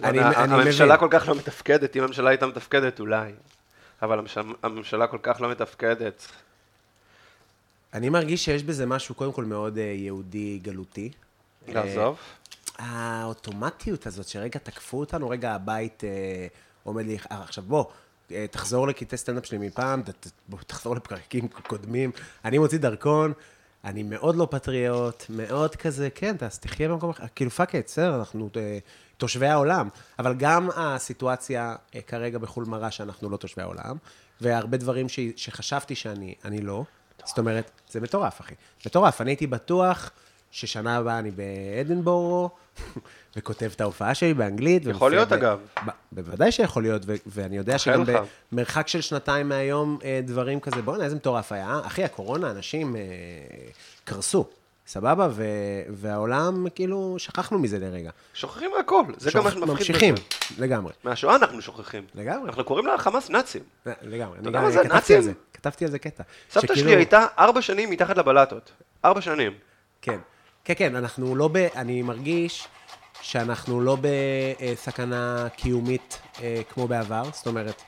S2: לא
S3: אני-
S2: יודע,
S3: אני
S2: הממשלה
S3: מבין.
S2: כל כך לא מתפקדת, אם הממשלה הייתה מתפקדת אולי, אבל המש- הממשלה כל כך לא מתפקדת.
S3: אני מרגיש שיש בזה משהו, קודם כל, מאוד אה, יהודי גלותי. אה,
S2: לעזוב?
S3: האוטומטיות הזאת, שרגע תקפו אותנו, רגע הבית אה, עומד לי... אה, עכשיו בוא, אה, תחזור לקטעי סטנדאפ שלי מפעם, ת, ת, בוא, תחזור לפרקים קודמים. אני מוציא דרכון, אני מאוד לא פטריוט, מאוד כזה, כן, אז תחיה במקום אחר, כאילו פאק את, בסדר, אנחנו אה, תושבי העולם. אבל גם הסיטואציה אה, כרגע בחו"ל מראה שאנחנו לא תושבי העולם, והרבה דברים ש, שחשבתי שאני, אני לא. זאת אומרת, זה מטורף, אחי. מטורף, אני הייתי בטוח... ששנה הבאה אני באדנבורו, וכותב את ההופעה שלי באנגלית. ומופיע
S2: להיות,
S3: ב-
S2: אגב.
S3: ב- בוודאי שיכול להיות, ו- ואני יודע
S2: מאחל
S3: שגם
S2: לך.
S3: במרחק של שנתיים מהיום, אה, דברים כזה, בואנה, איזה מטורף היה. אחי, הקורונה, אנשים אה, קרסו, סבבה? ו- והעולם, כאילו, שכחנו מזה לרגע.
S2: שוכחים מהכל, זה גם מה
S3: שוכח-
S2: שמפחיד.
S3: ממשיכים,
S2: בזה.
S3: לגמרי.
S2: מהשואה אנחנו שוכחים.
S3: לגמרי.
S2: אנחנו קוראים לה חמאס נאצים.
S3: לגמרי. אני
S2: יודע
S3: גם-
S2: מה זה,
S3: כתבתי על זה,
S2: נאצים?
S3: כתבתי על זה קטע.
S2: סבתא
S3: שכאילו-
S2: שלי הייתה ארבע שנים מתחת לבלטות. ארבע שנים.
S3: כן. כן, כן, אנחנו לא ב... אני מרגיש שאנחנו לא בסכנה קיומית אה, כמו בעבר, זאת אומרת,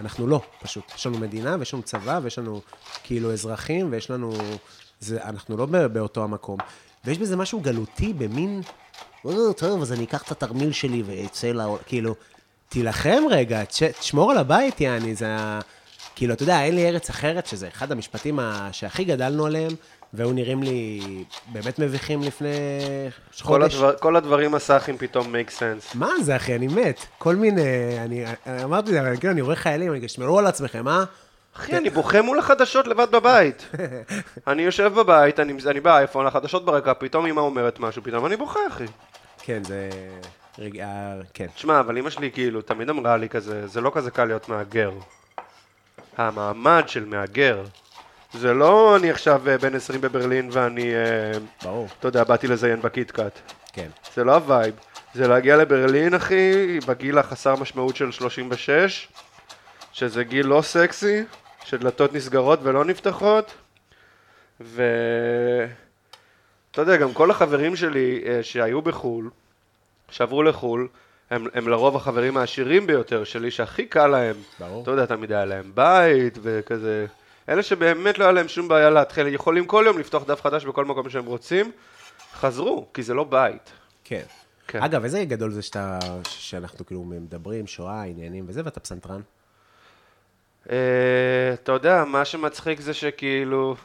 S3: אנחנו לא, פשוט. יש לנו מדינה ויש לנו צבא ויש לנו כאילו אזרחים ויש לנו... זה, אנחנו לא ב- באותו המקום. ויש בזה משהו גלותי במין... "אה, טוב, אז אני אקח את התרמיל שלי ואצא לעולם, כאילו, תילחם רגע, תש- תשמור על הבית, יעני, זה ה... כאילו, אתה יודע, אין לי ארץ אחרת, שזה אחד המשפטים ה... שהכי גדלנו עליהם, והיו נראים לי באמת מביכים לפני
S2: כל,
S3: חודש.
S2: הדבר, כל הדברים הסאחים פתאום make sense.
S3: מה זה, אחי, אני מת. כל מיני, אני אני אמרתי, זה, אבל כאילו, אני רואה חיילים, אני אגיד, שמרו על עצמכם, אה?
S2: אחי, אני בוכה מול החדשות לבד בבית. אני יושב בבית, אני, אני באייפון, החדשות ברקע, פתאום אמא אומרת משהו, פתאום אני בוכה, אחי.
S3: כן, זה... רגע, כן.
S2: תשמע, אבל אמא שלי כאילו תמיד אמרה לי כזה, זה לא כזה קל להיות מהגר. המעמד של מהגר. זה לא אני עכשיו אה, בן 20 בברלין ואני, אה,
S3: ברור.
S2: אתה יודע, באתי לזיין בקיטקאט.
S3: כן.
S2: זה לא הווייב. זה להגיע לברלין, אחי, בגיל החסר משמעות של 36, שזה גיל לא סקסי, שדלתות נסגרות ולא נפתחות, ו... אתה יודע, גם כל החברים שלי אה, שהיו בחו"ל, שעברו לחו"ל, הם, הם לרוב החברים העשירים ביותר שלי, שהכי קל להם.
S3: ברור.
S2: אתה יודע, תמיד היה להם בית וכזה. אלה שבאמת לא היה להם שום בעיה להתחיל, יכולים כל יום לפתוח דף חדש בכל מקום שהם רוצים, חזרו, כי זה לא בית.
S3: כן.
S2: כן.
S3: אגב, איזה גדול זה שאתה, שאנחנו כאילו מדברים, שואה, עניינים וזה, ואתה פסנתרן.
S2: אה, אתה יודע, מה שמצחיק זה שכאילו,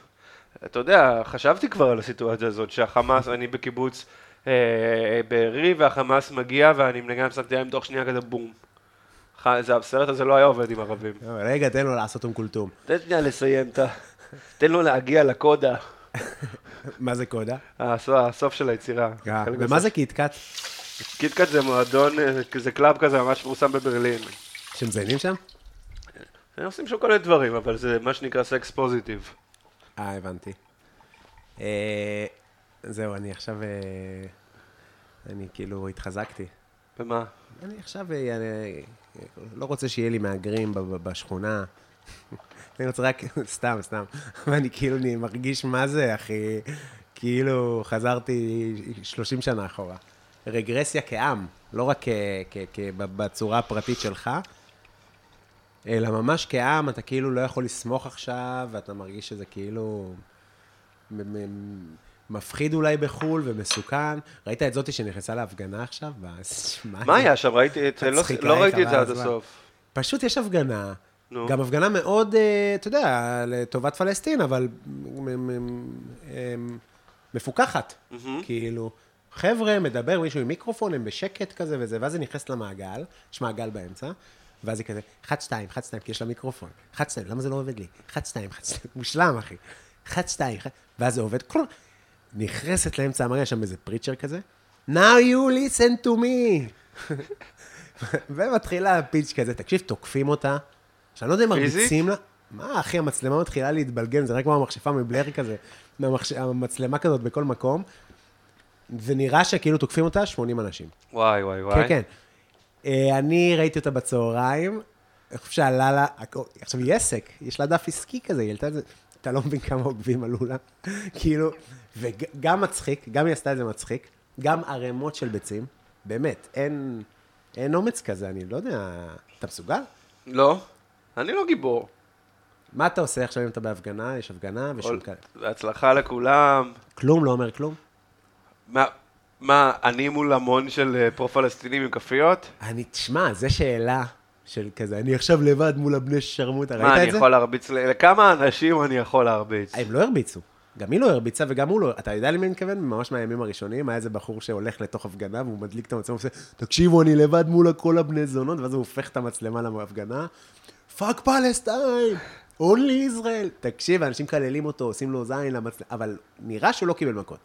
S2: אתה יודע, חשבתי כבר על הסיטואציה הזאת, שהחמאס, אני בקיבוץ אה, בארי, והחמאס מגיע, ואני מנגן פסק דעה עם תוך שנייה כזה בום. ח- זה הסרט הזה לא היה עובד עם ערבים.
S3: רגע, תן לו לעשות אום כולתום.
S2: תן שנייה לסיים את ה... תן לו להגיע לקודה.
S3: מה זה קודה?
S2: הסוף, הסוף של היצירה.
S3: אה,
S2: חלק
S3: ומה
S2: מהסוף.
S3: זה קיטקאט?
S2: קיטקאט זה מועדון, אה, זה קלאב כזה ממש פורסם בברלין.
S3: שמזיינים שם?
S2: הם עושים שם כל מיני דברים, אבל זה מה שנקרא סקס פוזיטיב.
S3: אה, הבנתי. אה, זהו, אני עכשיו... אה, אני כאילו התחזקתי.
S2: ומה?
S3: אני עכשיו אה, אני לא רוצה שיהיה לי מהגרים ב- ב- בשכונה. אני רוצה רק, סתם, סתם. ואני כאילו, אני מרגיש מה זה, אחי. כאילו, חזרתי 30 שנה אחורה. רגרסיה כעם, לא רק כ- כ- כ- ב- בצורה הפרטית שלך, אלא ממש כעם, אתה כאילו לא יכול לסמוך עכשיו, ואתה מרגיש שזה כאילו... מ- מ- מפחיד אולי בחו"ל ומסוכן. ראית את זאתי שנכנסה להפגנה עכשיו? בס-
S2: מה
S3: היא?
S2: היה שם? ראיתי את זה, לא-
S3: מצחיקה,
S2: לא ראיתי את
S3: חבל
S2: זה עד
S3: הזמן.
S2: הסוף.
S3: פשוט יש הפגנה,
S2: נו.
S3: גם הפגנה מאוד, אה, אתה יודע, לטובת פלסטין, אבל מ- מ- מ- אמ, מפוקחת. כאילו, חבר'ה, מדבר מישהו עם מיקרופון, הם בשקט כזה וזה, ואז היא נכנסת למעגל, יש מעגל באמצע, ואז היא כזה, 1, 2, 1, 2, כי יש לה מיקרופון, 1, 2, למה זה לא עובד לי? 1, 2, 1, 2, מושלם, אחי. 1, 2, ואז זה עובד, כלום. נכנסת לאמצע המראה, יש שם איזה פריצ'ר כזה, Now you listen to me. ומתחילה הפיץ' כזה, תקשיב, תוקפים אותה, שאני לא יודע אם
S2: פיזית?
S3: מרביצים לה. מה, אחי, המצלמה מתחילה להתבלגן, זה רק כמו המכשפה מבלר כזה, מהמכש- המצלמה כזאת בכל מקום, ונראה שכאילו תוקפים אותה 80 אנשים.
S2: וואי וואי וואי.
S3: כן, כן. אה, אני ראיתי אותה בצהריים, אני חושב שעלה לה, הכל- עכשיו היא עסק, יש לה דף עסקי כזה, היא העלתה את זה, אתה לא מבין כמה עוקבים עלו לה, כאילו, וגם מצחיק, גם היא עשתה את זה מצחיק, גם ערימות של ביצים, באמת, אין, אין אומץ כזה, אני לא יודע, אתה מסוגל?
S2: לא? אני לא גיבור.
S3: מה אתה עושה עכשיו אם אתה בהפגנה, יש הפגנה ושום כאלה?
S2: בהצלחה לכולם.
S3: כלום, לא אומר כלום?
S2: מה, מה, אני מול המון של אה, פרו-פלסטינים עם כפיות?
S3: אני, תשמע, זו שאלה של כזה, אני עכשיו לבד מול הבני שרמוטה, ראית את זה?
S2: מה, אני יכול להרביץ, ל- לכמה אנשים אני יכול להרביץ?
S3: הם לא הרביצו. גם היא לא הרביצה וגם הוא לא, אתה יודע למי אני מתכוון? ממש מהימים הראשונים, היה איזה בחור שהולך לתוך הפגנה והוא מדליק את המצלמה ועושה, תקשיבו, אני לבד מול כל הבני זונות, ואז הוא הופך את המצלמה להפגנה, פאק פלסטיין, אונלי ישראל. תקשיב, אנשים מקללים אותו, עושים לו זין למצלמה, אבל נראה שהוא לא קיבל מכות.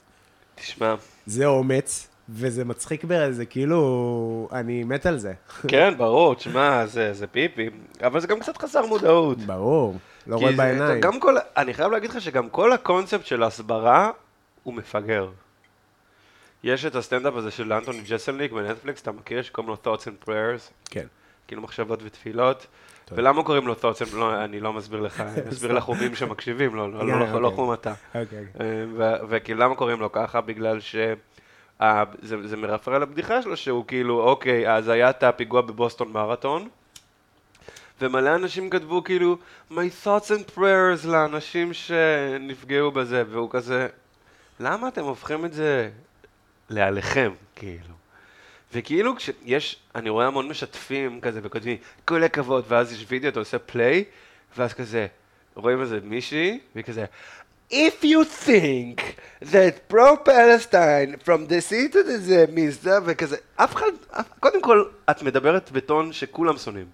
S2: תשמע,
S3: זה אומץ, וזה מצחיק, ב- זה כאילו, אני מת על זה.
S2: כן, ברור, תשמע, זה זה פיפי, אבל זה גם קצת חסר מודעות.
S3: ברור, לא
S2: כי
S3: רואה
S2: זה-
S3: בעיניים.
S2: גם כל, אני חייב להגיד לך שגם כל הקונספט של הסברה הוא מפגר. יש את הסטנדאפ הזה של אנטוני ג'סלניק בנטפליקס, אתה מכיר? שקוראים לו Thoughts and Prayers,
S3: כן.
S2: כאילו מחשבות ותפילות. ולמה קוראים לו Thoughts and... לא, אני לא מסביר לך, אני מסביר לחומים שמקשיבים, לא, לא,
S3: כן,
S2: לא, לא
S3: אוקיי.
S2: חום אתה.
S3: אוקיי.
S2: וכאילו למה קוראים לו ככה? בגלל ש... ה- זה, זה מרפרר לבדיחה שלו שהוא כאילו, אוקיי, אז היה את הפיגוע בבוסטון מרתון, ומלא אנשים כתבו כאילו, my thoughts and prayers לאנשים שנפגעו בזה, והוא כזה, למה אתם הופכים את זה לעליכם, כאילו? וכאילו כשיש, אני רואה המון משתפים כזה וכותבים, כל הכבוד, ואז יש וידאו, אתה עושה פליי, ואז כזה, רואים איזה מישהי, והיא כזה, If you think that pro-Palestine from the seat of the means that, וכזה, אף אחד, אף, קודם כל, את מדברת בטון שכולם שונאים.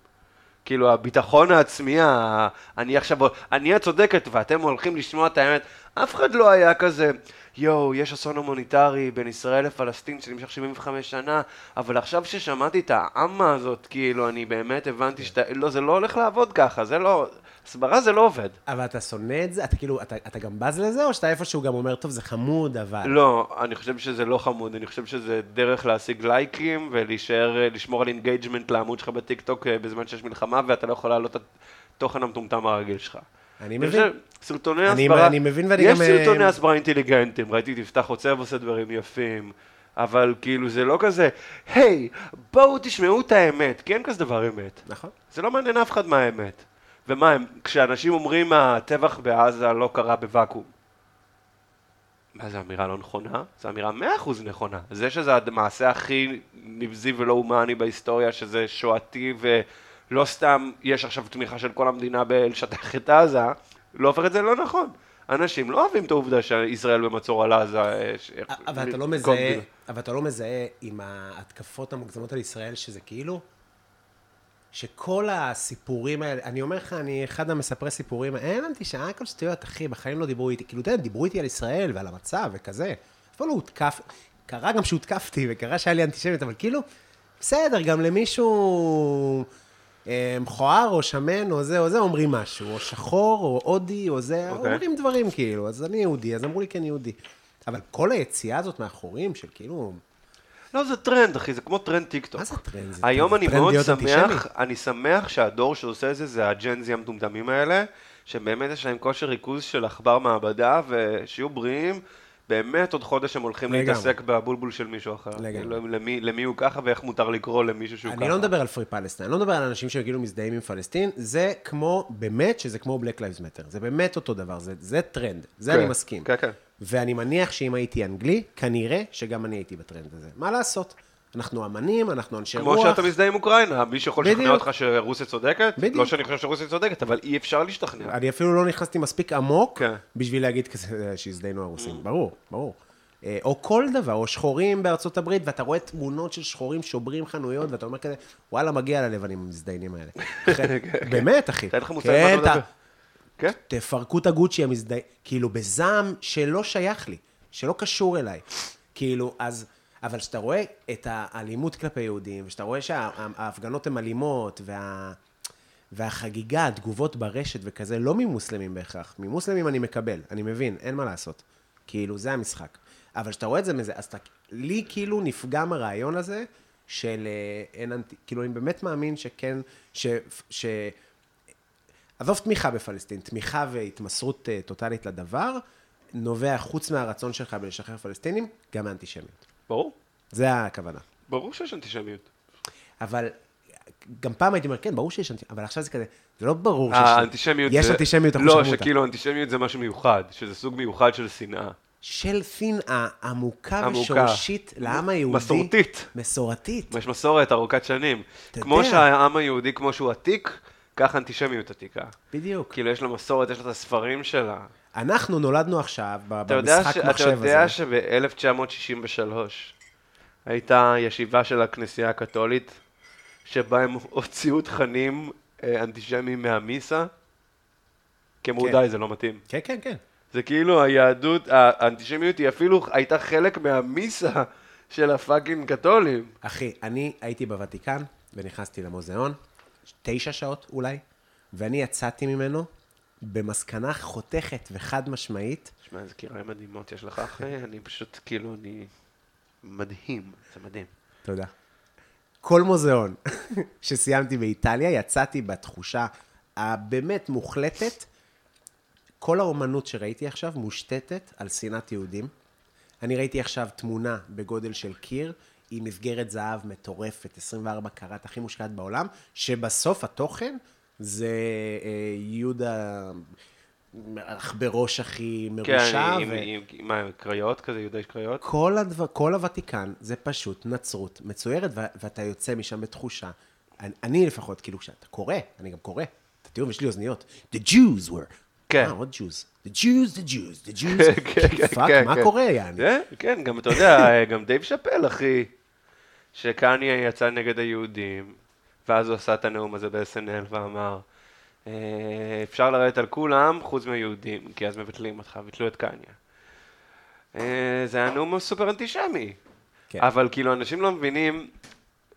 S2: כאילו, הביטחון העצמי, ה- אני עכשיו, אני הצודקת ואתם הולכים לשמוע את האמת. אף אחד לא היה כזה, יואו, יש אסון הומניטרי בין ישראל לפלסטין שנמשך 75 שנה, אבל עכשיו ששמעתי את העמה הזאת, כאילו, אני באמת הבנתי שאתה, לא, זה לא הולך לעבוד ככה, זה לא, הסברה זה לא עובד.
S3: אבל אתה שונא את זה? אתה כאילו, אתה, אתה גם בז לזה, או שאתה איפשהו גם אומר, טוב, זה חמוד, אבל...
S2: לא, אני חושב שזה לא חמוד, אני חושב שזה דרך להשיג לייקים ולהישאר, אה, לשמור על אינגייג'מנט לעמוד שלך בטיקטוק אה, בזמן שיש מלחמה ואתה לא יכול להעלות את התוכן המטומטם הרגיל שלך.
S3: אני מבין.
S2: חושב, סרטוני
S3: אני-
S2: הסברה,
S3: אני מבין ואני
S2: יש
S3: גם,
S2: סרטוני
S3: אה,
S2: הסברה אינטליגנטים, ראיתי את יפתח חוצב עושה דברים יפים, אבל כאילו זה לא כזה, היי, בואו תשמעו את האמת, כי אין כזה דבר אמת.
S3: נכון.
S2: זה לא מעניין אף אחד מה האמת. ומה, הם- כשאנשים אומרים הטבח בעזה לא קרה בוואקום, מה, זו אמירה לא נכונה? זו אמירה מאה אחוז נכונה. זה שזה המעשה הכי נבזי ולא הומני בהיסטוריה, שזה שואתי ו... לא סתם יש עכשיו תמיכה של כל המדינה בלשטח את עזה, לא הופך את זה לא נכון. אנשים לא אוהבים את העובדה שישראל במצור על עזה. אה, ש-
S3: אבל אתה לא
S2: כל
S3: מזהה,
S2: מדינה.
S3: אבל אתה לא מזהה עם ההתקפות המוגזמות על ישראל, שזה כאילו, שכל הסיפורים האלה, אני אומר לך, אני אחד המספרי סיפורים, אין אנטישמי, הכל שטויות, אחי, בחיים לא דיברו איתי, כאילו, אתה יודע, דיברו איתי על ישראל ועל המצב וכזה, אף פעם לא הותקף, קרה גם שהותקפתי וקרה שהיה לי אנטישמיות, אבל כאילו, בסדר, גם למישהו... אה, מכוער או שמן או זה או זה, אומרים משהו, או שחור או הודי או זה,
S2: אוקיי.
S3: אומרים דברים כאילו, אז אני יהודי, אז אמרו לי כן יהודי. אבל כל היציאה הזאת מהחורים של כאילו,
S2: לא, זה טרנד, אחי, זה כמו טרנד טיקטוק.
S3: מה זה טרנד? זה
S2: היום
S3: טרנד
S2: אני מאוד
S3: להיות אנטישמי?
S2: שמח, אני שמח שהדור שעושה את זה, זה הג'נזי המטומטמים האלה, שבאמת יש להם כושר ריכוז של עכבר מעבדה, ושיהיו בריאים, באמת עוד חודש הם הולכים
S3: לגמרי.
S2: להתעסק בבולבול של מישהו אחר.
S3: לגמרי.
S2: כאילו, למי, למי הוא ככה ואיך מותר לקרוא למישהו שהוא ככה.
S3: אני לא מדבר על פרי פלסטין, אני לא מדבר על אנשים שכאילו מזדהים עם פלסטין, זה כמו, באמת שזה כמו Black Lives Matter, זה באמת אותו דבר, זה, זה טרנד, זה
S2: כן,
S3: אני מסכים.
S2: כן, כן.
S3: ואני מניח שאם הייתי אנגלי, כנראה שגם אני הייתי בטרנד הזה. מה לעשות? אנחנו אמנים, אנחנו אנשי רוח.
S2: כמו שאתה מזדהה עם אוקראינה, מישהו יכול לשכנע
S3: בדיוק.
S2: אותך שרוסיה צודקת?
S3: בדיוק.
S2: לא שאני חושב שרוסיה צודקת, אבל אי אפשר להשתכנע.
S3: אני אפילו לא נכנסתי מספיק עמוק
S2: כן. Mm.
S3: בשביל להגיד כזה אה, שהזדיינו הרוסים. ברור, ברור. אה, או כל דבר, או שחורים בארצות הברית, ואתה רואה תמונות של שחורים שוברים חנויות, ואתה אומר כזה, וואלה, מגיע ללבנים המזדיינים האלה. אחי, באמת, אחי.
S2: כן. אין לך מושג מה אתה
S3: כן,
S2: מדבר. כן?
S3: תפרקו את הגוצ'י המזדהה, כאילו בזעם שלא שייך לי, שלא קשור אליי. כאילו, אז, אבל כשאתה רואה את האלימות כלפי יהודים, וכשאתה רואה שההפגנות הן אלימות, וה, והחגיגה, התגובות ברשת וכזה, לא ממוסלמים בהכרח. ממוסלמים אני מקבל, אני מבין, אין מה לעשות. כאילו, זה המשחק. אבל כשאתה רואה את זה מזה, אז אתה, לי כאילו נפגם הרעיון הזה של אה, אין אנטי, כאילו, אני באמת מאמין שכן, ש... ש עזוב תמיכה בפלסטין, תמיכה והתמסרות אה, טוטאלית לדבר, נובע חוץ מהרצון שלך בלשחרר פלסטינים, גם מאנטישמיות.
S2: ברור.
S3: זה הכוונה.
S2: ברור שיש אנטישמיות.
S3: אבל גם פעם הייתי אומר, כן, ברור שיש אנטישמיות, אבל עכשיו זה כזה, זה לא ברור שיש...
S2: האנטישמיות
S3: יש
S2: זה...
S3: אנטישמיות, אנחנו
S2: לא,
S3: שמעו אותה.
S2: שכאילו אנטישמיות זה משהו מיוחד, שזה סוג מיוחד של שנאה.
S3: של שנאה עמוקה
S2: עמוקה.
S3: ושורשית לעם היהודי.
S2: מסורתית.
S3: מסורתית.
S2: יש מסורת ארוכת שנים.
S3: אתה
S2: כמו
S3: יודע.
S2: שהעם היהודי, כמו שהוא עתיק, כך האנטישמיות עתיקה.
S3: בדיוק.
S2: כאילו, יש לה מסורת, יש לה את הספרים שלה.
S3: אנחנו נולדנו עכשיו, ב-
S2: אתה יודע,
S3: במשחק
S2: ש... אתה
S3: מחשב הזה.
S2: יודע שב-1963 הייתה ישיבה של הכנסייה הקתולית, שבה הם הוציאו תכנים אה, אנטישמיים מהמיסה, כי אמרו,
S3: כן.
S2: די, זה לא מתאים.
S3: כן, כן, כן.
S2: זה כאילו היהדות, האנטישמיות היא אפילו הייתה חלק מהמיסה של הפאקינג קתולים.
S3: אחי, אני הייתי בוותיקן ונכנסתי למוזיאון, תשע שעות אולי, ואני יצאתי ממנו במסקנה חותכת וחד משמעית,
S2: תשמע, איזה קיריים כאילו מדהימות יש לך, אחי, אני פשוט, כאילו, אני... מדהים, זה מדהים.
S3: תודה. כל מוזיאון שסיימתי באיטליה, יצאתי בתחושה הבאמת מוחלטת. כל האומנות שראיתי עכשיו מושתתת על שנאת יהודים. אני ראיתי עכשיו תמונה בגודל של קיר, עם מסגרת זהב מטורפת, 24 קראט, הכי מושקעת בעולם, שבסוף התוכן זה אה, יהודה עכברוש הכי
S2: כן,
S3: מרושע.
S2: עם, עם, עם, מה, קריות כזה, יהודי קריות?
S3: כל, הדבר, כל הוותיקן זה פשוט נצרות מצוירת, ו- ואתה יוצא משם בתחושה, אני, אני לפחות, כאילו, כשאתה קורא, אני גם קורא, אתה תראו, יש לי אוזניות, The Jews were,
S2: כן.
S3: אה, עוד Jews, The Jews, the Jews, the Jews, פאק, מה קורה, יעני?
S2: זה? כן, גם אתה יודע, גם דייב שאפל, אחי, שקניה יצא נגד היהודים, ואז הוא עשה את הנאום הזה ב-SNL ואמר, "אה, אפשר לרדת על כולם חוץ מהיהודים, כי אז מבטלים אותך, ביטלו את קניה. אה, זה היה נאום סופר אנטישמי.
S3: כן.
S2: אבל כאילו, אנשים לא מבינים,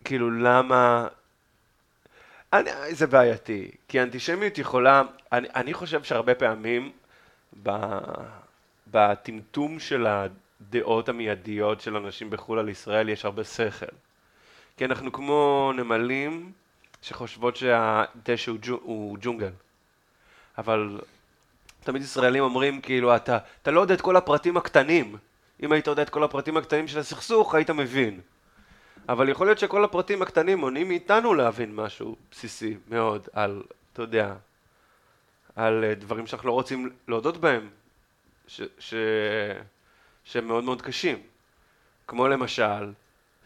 S2: כאילו, למה... אני, זה בעייתי, כי האנטישמיות יכולה, אני, אני חושב שהרבה פעמים ב, בטמטום של הדעות המיידיות של אנשים בחו"ל על ישראל יש הרבה שכל. כי אנחנו כמו נמלים שחושבות שהדשא הוא, ג'ו- הוא ג'ונגל. אבל תמיד ישראלים אומרים כאילו, אתה, אתה לא יודע את כל הפרטים הקטנים. אם היית יודע את כל הפרטים הקטנים של הסכסוך, היית מבין. אבל יכול להיות שכל הפרטים הקטנים מונעים מאיתנו להבין משהו בסיסי מאוד על, אתה יודע, על אה, דברים שאנחנו לא רוצים להודות בהם, ש, ש, שהם מאוד מאוד קשים. כמו למשל,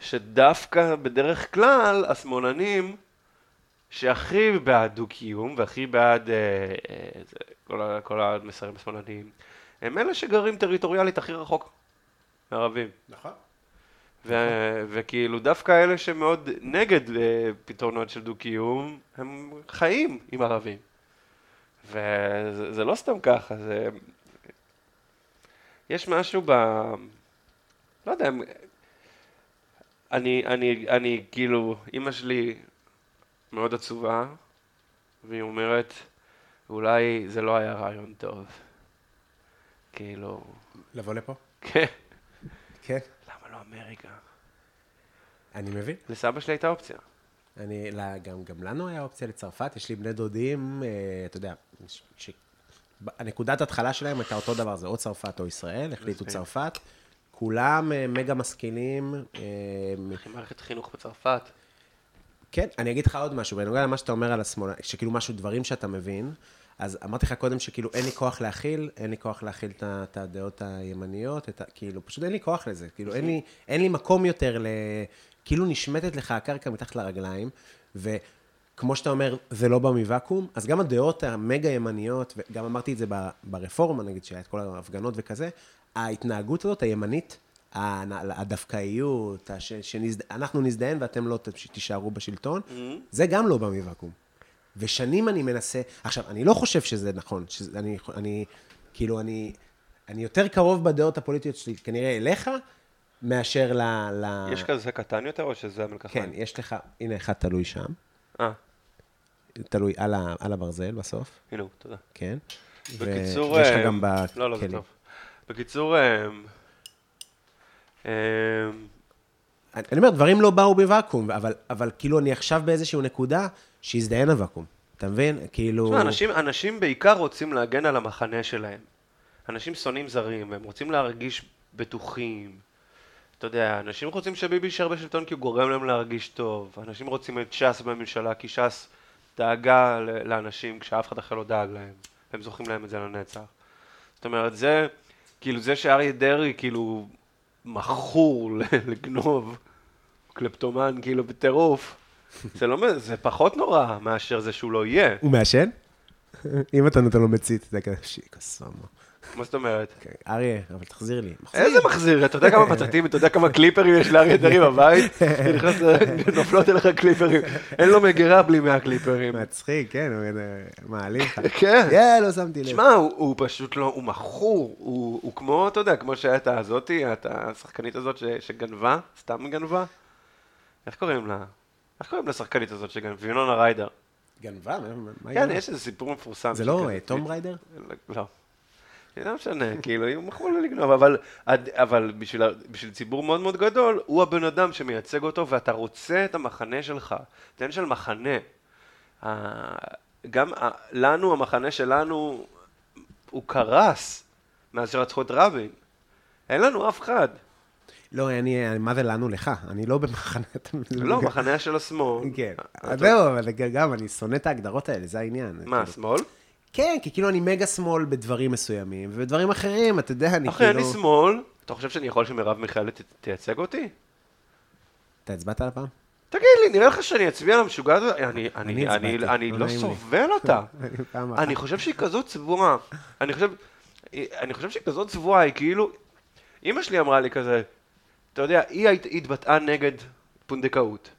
S2: שדווקא בדרך כלל השמאלנים שהכי בעד דו-קיום והכי בעד אה, אה, זה, כל, ה- כל המסרים השמאלניים, הם אלה שגרים טריטוריאלית הכי רחוק מערבים.
S3: נכון.
S2: ו- וכאילו דווקא אלה שמאוד נגד אה, פתרונות של דו-קיום, הם חיים עם ערבים. וזה זה לא סתם ככה, זה... יש משהו ב... לא יודע, הם- אני, אני, אני כאילו, אימא שלי מאוד עצובה, והיא אומרת, אולי זה לא היה רעיון טוב. כאילו,
S3: לבוא לפה?
S2: כן,
S3: כן.
S2: למה לא אמריקה?
S3: אני מבין.
S2: לסבא שלי הייתה אופציה.
S3: אני, לה- גם, גם לנו היה אופציה לצרפת, יש לי בני דודים, אה, אתה יודע, ש, ש, ב- הנקודת התחלה שלהם הייתה אותו דבר, זה או צרפת או ישראל, החליטו צרפת. כולם אה, מגה משכילים. אה, מ-
S2: אחי, מערכת חינוך בצרפת.
S3: כן, אני אגיד לך עוד משהו, בנוגע למה שאתה אומר על השמאל, שכאילו משהו, דברים שאתה מבין, אז אמרתי לך קודם שכאילו אין לי כוח להכיל, אין לי כוח להכיל את ה- את הדעות הימניות, את ה, כאילו, פשוט אין לי כוח לזה, כאילו, אין לי, אין לי מקום יותר ל... כאילו נשמטת לך הקרקע מתחת לרגליים, וכמו שאתה אומר, זה לא בא מוואקום, אז גם הדעות המגה ימניות, וגם אמרתי את זה ב- ברפורמה, נגיד, שהיה את כל ההפגנות וכזה, ההתנהגות הזאת, הימנית, הנ- הדווקאיות, הש- שנזד- אנחנו נזדיין ואתם לא ת- תישארו בשלטון,
S2: Mm-hmm.
S3: זה גם לא בא מוואקום. ושנים אני מנסה, עכשיו, אני לא חושב שזה נכון, שזה- אני, אני, כאילו, אני, אני יותר קרוב בדעות הפוליטיות שלי, כנראה אליך, מאשר ל... ל...
S2: יש כזה קטן יותר או שזה
S3: כן,
S2: המלקחיים?
S3: יש לך, הנה אחד תלוי שם,
S2: אה,
S3: תלוי על, ה, על הברזל בסוף,
S2: הנה הוא, תודה.
S3: כן.
S2: בקיצור...
S3: ויש לך
S2: אה,
S3: גם כן. בכלים.
S2: לא, לא, זה טוב. בקיצור... אה, אה,
S3: אני אני אומר, דברים לא באו בוואקום, אבל, אבל כאילו אני עכשיו באיזושהי נקודה שהזדיין הוואקום. אתה מבין? כאילו...
S2: תשמע, אנשים- אנשים בעיקר רוצים להגן על המחנה שלהם. אנשים שונאים זרים, הם רוצים להרגיש בטוחים. אתה יודע, אנשים רוצים שביבי יישאר בשלטון כי הוא גורם להם להרגיש טוב. אנשים רוצים את ש"ס בממשלה כי ש"ס דאגה ל- לאנשים כשאף אחד אחר לא דאג להם. הם זוכרים להם את זה לנצח. זאת אומרת, זה, כאילו, זה שאריה דרעי, כאילו, מכור ל- לגנוב, קלפטומן, כאילו, בטירוף, זה לא, מ- זה פחות נורא מאשר זה שהוא לא יהיה.
S3: הוא מעשן? אם אתה נותן לו מצית, אתה כזה, שיק, אסמה.
S2: מה זאת אומרת?
S3: כן. אריה, אבל תחזיר לי. מחזיר.
S2: איזה מחזיר, אתה יודע כמה פצצים, אתה יודע כמה קליפרים יש לאריה דרעי בבית? אתה נכנס, נופלות אליך קליפרים. אין לו מגירה בלי 100 קליפרים.
S3: מצחיק, כן, הוא אה, מעליב לך.
S2: כן.
S3: כן, לא שמתי לב.
S2: תשמע, הוא, הוא פשוט לא, הוא מכור, הוא, הוא כמו, אתה יודע, כמו שהיה את הזאתי, את השחקנית הזאת ש, שגנבה, סתם גנבה. איך קוראים לה? איך קוראים לשחקנית הזאת שגנבה? יונונה ריידר.
S3: גנבה? מה- מה- מה
S2: כן,
S3: היא
S2: יש איזה סיפור מפורסם.
S3: זה לא
S2: שכזה-
S3: אה, תום ריידר?
S2: לא. זה לא משנה, כאילו, הם יכלו לא לגנוב, אבל, עד- אבל בשביל, ה- בשביל ציבור מאוד מאוד גדול, הוא הבן אדם שמייצג אותו, ואתה רוצה את המחנה שלך. זה עניין של מחנה. ה- גם ה- לנו, המחנה שלנו, הוא קרס מאז שרצחו את רבין. אין לנו אף אחד.
S3: לא, אני, אני- מה זה לנו לך? אני לא במחנה... אתה מבין?
S2: לא, מחנה של השמאל.
S3: כן.
S2: אה, אתה-
S3: זהו, אבל גם, אני שונא את ההגדרות האלה, זה העניין.
S2: מה,
S3: כאילו,
S2: שמאל?
S3: כן, כי כאילו אני מגה שמאל בדברים מסוימים, ובדברים אחרים, אתה יודע, אני
S2: אחי,
S3: כאילו...
S2: אני שמאל. אתה חושב שאני יכול שמרב מיכאלי ת- תייצג אותי?
S3: אתה הצבעת על הפעם?
S2: תגיד לי, נראה לך שאני אצביע על המשוגע הזה? אני, אני,
S3: הצבעתי,
S2: אני, אני
S3: לא
S2: לא
S3: נעים לי.
S2: סובל אותה.
S3: אני לא פעם אחת.
S2: אני חושב שהיא כזו צבועה. אני חושב, אני חושב שהיא כזו צבועה, היא כאילו... אימא שלי אמרה לי כזה, אתה יודע, היא היית- היא התבטאה נגד פונדקאות.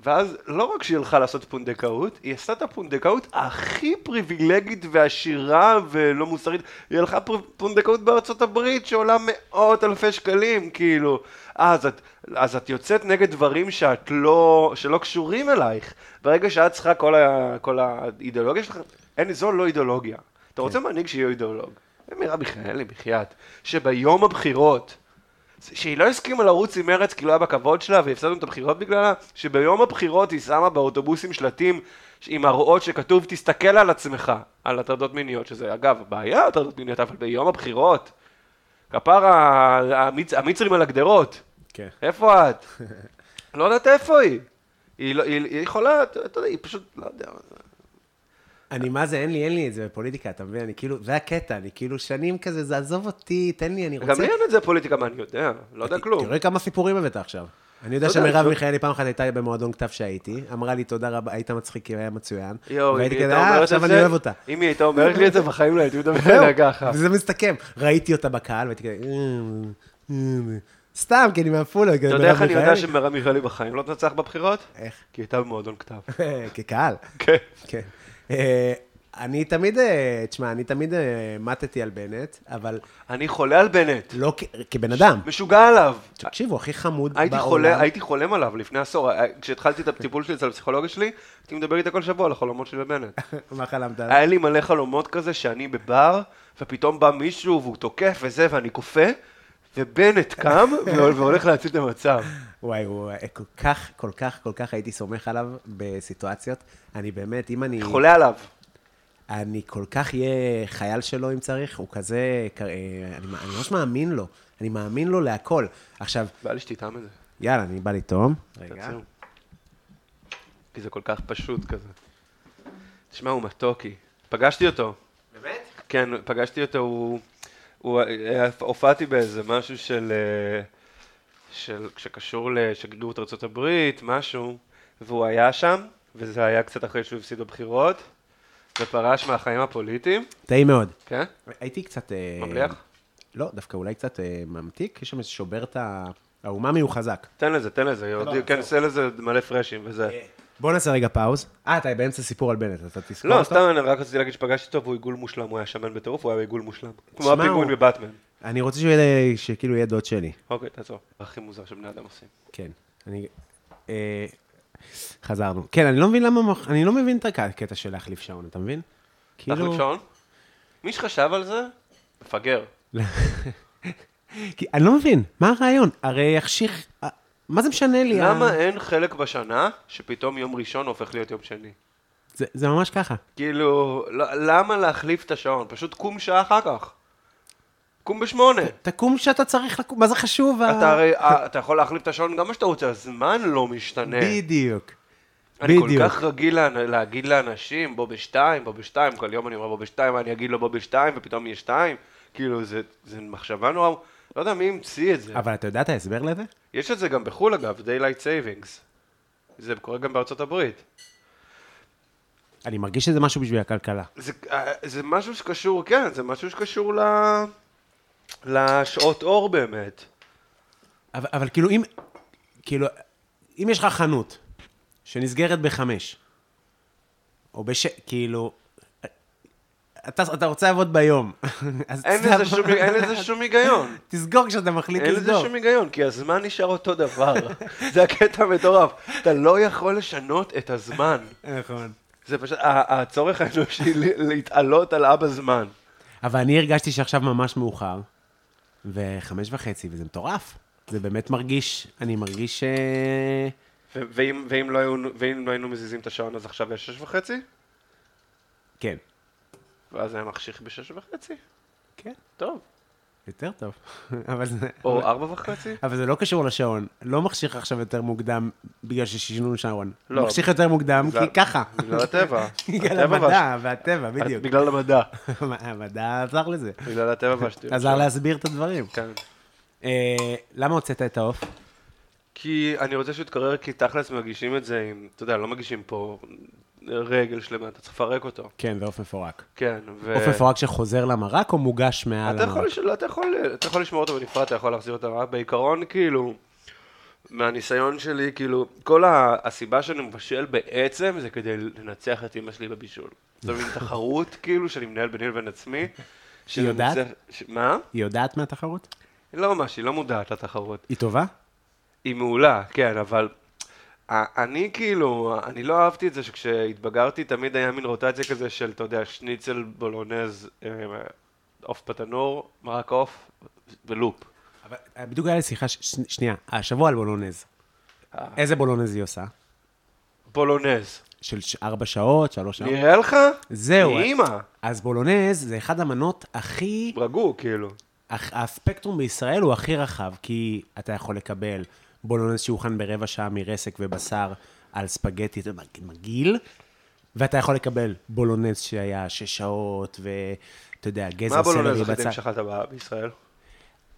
S2: ואז לא רק שהיא הלכה לעשות פונדקאות, היא עשתה את הפונדקאות הכי פריבילגית ועשירה ולא מוסרית. היא הלכה פר- פונדקאות בארצות הברית שעולה מאות אלפי שקלים, כאילו. "אה, אז את, אז את יוצאת נגד דברים שאת לא, שלא קשורים אלייך. ברגע שאת צריכה כל, ה, כל האידיאולוגיה שלך, אין, זו לא אידיאולוגיה. אתה רוצה מנהיג שיהיה אידיאולוג. זה מירב מיכאלי, בחייאת. שביום הבחירות... שהיא לא הסכימה לרוץ עם מרץ כי לא היה בכבוד שלה והפסדנו את הבחירות בגללה, שביום הבחירות היא שמה באוטובוסים שלטים עם מראות שכתוב תסתכל על עצמך, על הטרדות מיניות, שזה אגב בעיה הטרדות מיניות, אבל ביום הבחירות, כפרה המצ... המצרים על הגדרות,
S3: כן.
S2: איפה את? לא יודעת איפה היא. היא, לא, היא, היא יכולה, אתה אתה יודע, היא פשוט, לא יודע.
S3: אני, מה זה, אין לי, אין לי את זה בפוליטיקה, אתה מבין? אני כאילו, זה הקטע, אני כאילו שנים כזה, זה עזוב אותי, תן לי, אני רוצה...
S2: גם לי אין את זה פוליטיקה, מה אני יודע? לא יודע כלום.
S3: תראה כמה סיפורים הבאת עכשיו. אני יודע
S2: לא יודע,
S3: שמרב
S2: לא-
S3: מיכאלי פעם אחת הייתה במועדון כתב שהייתי, אמרה לי, תודה רבה, היית מצחיק, היה מצוין.
S4: יואו, אם
S3: והייתי
S4: היא
S3: כזה,
S4: הייתה
S3: "אה,
S4: אומרת את
S3: עכשיו אני
S4: זה-
S3: אוהב אותה.
S4: אם היא הייתה אומרת לי את זה בחיים לא הייתי מדבר עליה ככה.
S3: זהו, וזה מסתכם. ראיתי אותה בקהל, והייתי כזה, "אמ, אמ." סתם, כי אני מעפולה.
S2: אתה יודע איך אני יודע שמרב מיכאלי בחיים לא תנצח בבחירות?
S3: איך?
S2: כי היא הייתה במועדון כתב.
S3: כקהל.
S2: כן.
S3: כן. אה, אני תמיד, אה, תשמע, אני תמיד אה, מתתי על בנט, אבל
S2: אני חולה על בנט.
S3: לא כ- כבן אדם.
S2: משוגע עליו.
S3: תקשיבו, הכי חמוד בעולם.
S2: הייתי חולה, הייתי חולם עליו לפני עשור. אה, כשהתחלתי את הטיפול שלי אצל הפסיכולוגיה שלי, הייתי מדבר איתה כל שבוע על החלומות שלי בבנט.
S3: מה חלמת עליו?
S2: היה לי מלא חלומות כזה שאני בבר, ופתאום בא מישהו והוא תוקף וזה, ואני כופה, ובנט קם והול- והולך להציל את המצב.
S3: וואי, הוא אה, כל כך, כל כך, כל כך הייתי סומך עליו בסיטואציות. אני באמת, אם אני...
S2: חולה עליו.
S3: אני כל כך אהיה חייל שלו אם צריך, הוא כזה, כ- אה, אני, מ- אני ממש מאמין לו, אני מאמין לו להכל. עכשיו,
S2: בא לי שתטעם את זה.
S3: יאללה, אני בא לטעום. רגע.
S2: תעצור. כי זה כל כך פשוט כזה. תשמע, הוא מתוקי. פגשתי אותו. באמת? כן, פגשתי אותו, הוא... הוא אה, הופעתי באיזה משהו של... אה, של... שקשור לשגרירות ארה"ב, משהו, והוא היה שם, וזה היה קצת אחרי שהוא הפסיד בבחירות, ופרש מהחיים הפוליטיים,
S3: טעים מאוד.
S2: כן?
S3: הייתי קצת... אה,
S2: מבליח?
S3: לא, דווקא אולי קצת אה, ממתיק, יש שם איזה שובר את ה... האומאמי הוא חזק.
S2: תן לזה, תן לזה, יורדי, כן, עושה לזה מלא פרשים וזה.
S3: בוא נעשה רגע פאוז. אה, אתה באמצע סיפור על בנט, אתה תזכור
S2: לא,
S3: אותו?
S2: סתם, אני רק רציתי להגיד שפגשתי אותו והוא עיגול מושלם, הוא היה שמן בטירוף, הוא היה עיגול מושלם. כמו
S3: תשמע,
S2: הפיגועים
S3: הוא-
S2: בבטמן.
S3: אני רוצה שהוא יהיה, שכאילו יהיה דוד שלי.
S2: אוקיי, תעצור. הכי מוזר שבני אדם עושים.
S3: כן. אני... אה, חזרנו. כן, אני לא מבין למה... מח- אני לא מבין את הקטע של להחליף שעון, אתה מבין? כאילו-
S2: תחליף שעון? מי שחשב על זה, מפגר.
S3: כי אני לא מבין, מה הרעיון? הרי יחשיך... אה, מה זה משנה לי? אה. ה-
S2: למה אין חלק בשנה שפתאום יום ראשון הופך להיות יום שני?
S3: זה, זה ממש ככה.
S2: כאילו, לא- למה להחליף את השעון? פשוט קום שעה אחר כך. קום בשמונה.
S3: תקום שאתה צריך לקום, מה זה חשוב? ה-
S2: אתה הרי, אה, אתה יכול להחליף את השעון גם מה שאתה רוצה, הזמן לא משתנה.
S3: בדיוק.
S2: אני כל
S3: בדיוק.
S2: כך רגיל לאנ- להגיד לאנשים, בוא בשתיים, בוא בשתיים, כל יום אני אומר בוא בשתיים, אני אגיד לו בוא בשתיים, ופתאום יהיה שתיים. כאילו, זה, זה מחשבה נורא, לא יודע מי המציא את זה.
S3: אבל אתה יודע את ההסבר לזה?
S2: יש את זה גם בחו"ל אגב, Daylight Savings. זה קורה גם בארצות הברית.
S3: אני מרגיש שזה משהו בשביל הכלכלה.
S2: זה, אה, זה משהו שקשור, כן, זה משהו שקשור ל... לשעות אור באמת.
S3: אבל, אבל כאילו, אם... כאילו, אם יש לך חנות שנסגרת בחמש, או בש... כאילו... אתה, אתה רוצה לעבוד ביום, אז
S2: אין
S3: תעבוד-
S2: לזה שום, אין לזה שום היגיון.
S3: תסגור כשאתה מחליט
S2: אין לזה
S3: לסגור.
S2: שום היגיון, כי הזמן נשאר אותו דבר. זה הקטע המטורף. אתה לא יכול לשנות את הזמן.
S3: נכון.
S2: זה פשוט, ה- הצורך האנושי ל- להתעלות על אבא זמן.
S3: אבל אני הרגשתי שעכשיו ממש מאוחר, וחמש וחצי, וזה מטורף. זה באמת מרגיש, אני מרגיש אה, ש...
S2: ו- ואם ואם לא היו- ואם לא היינו מזיזים את השעון, אז עכשיו יש שש וחצי?
S3: כן.
S2: ואז היה מחשיך בשש וחצי?
S3: כן.
S2: טוב.
S3: יותר טוב. אבל זה...
S2: או ארבע וחצי?
S3: אבל זה לא קשור לשעון. לא מחשיך עכשיו יותר מוקדם בגלל ששינו שעון.
S2: לא.
S3: מחשיך יותר מוקדם
S2: זה-
S3: כי ככה.
S2: בגלל הטבע.
S3: בגלל
S2: הטבע והש-
S3: המדע והטבע, בדיוק.
S2: בגלל המדע.
S3: המדע עזר לזה.
S2: בגלל הטבע והשטויות.
S3: עזר להסביר את הדברים.
S2: כן.
S3: אה, למה הוצאת את העוף?
S2: כי אני רוצה שהוא יתקרר, כי תכלס מגישים את זה עם, אתה יודע, לא מגישים פה רגל שלמה, אתה צריך לפרק אותו.
S3: כן, זה עוף מפורק.
S2: כן, ו...
S3: עוף מפורק שחוזר למרק או מוגש מעל
S2: אתה
S3: המרק?
S2: יכול, לשל... אתה, יכול, אתה יכול לשמור אותו בנפרד, אתה יכול להחזיר אותו, רק בעיקרון, כאילו, מהניסיון שלי, כאילו, כל ה... הסיבה שאני מבשל בעצם זה כדי לנצח את אמא שלי בבישול. זו מין תחרות, כאילו, שאני מנהל ביני לבין עצמי. שאני
S3: יודעת?
S2: מצליח- ש... מה?
S3: היא יודעת מהתחרות?
S2: לא ממש, היא לא מודעת לתחרות.
S3: היא טובה?
S2: היא מעולה, כן, אבל אה, אני כאילו, אני לא אהבתי את זה שכשהתבגרתי תמיד היה מין רוטציה כזה של, אתה יודע, שניצל, בולונז, אה, עוף בתנור, מרק עוף ולופ.
S3: אבל אה, בדיוק היה לי שיחה, ש... ש- שנייה, השבוע על בולונז.
S2: אה.
S3: איזה בולונז היא עושה?
S2: בולונז.
S3: של ש- ארבע שעות, שלוש שעות?
S2: נראה לך?
S3: לא. זהו.
S2: אימא.
S3: אז בולונז זה אחד המנות הכי...
S2: רגעו, כאילו.
S3: הח- הספקטרום בישראל הוא הכי רחב, כי אתה יכול לקבל בולונז שהוכן ברבע שעה מרסק ובשר על ספגטי, זה מג- מגעיל, ואתה יכול לקבל בולונז שהיה שש שעות, ואתה יודע,
S2: מה
S3: גזר סלרי
S2: הבולונז הכי טעים
S3: בצד.
S2: שאכלת ב- בישראל?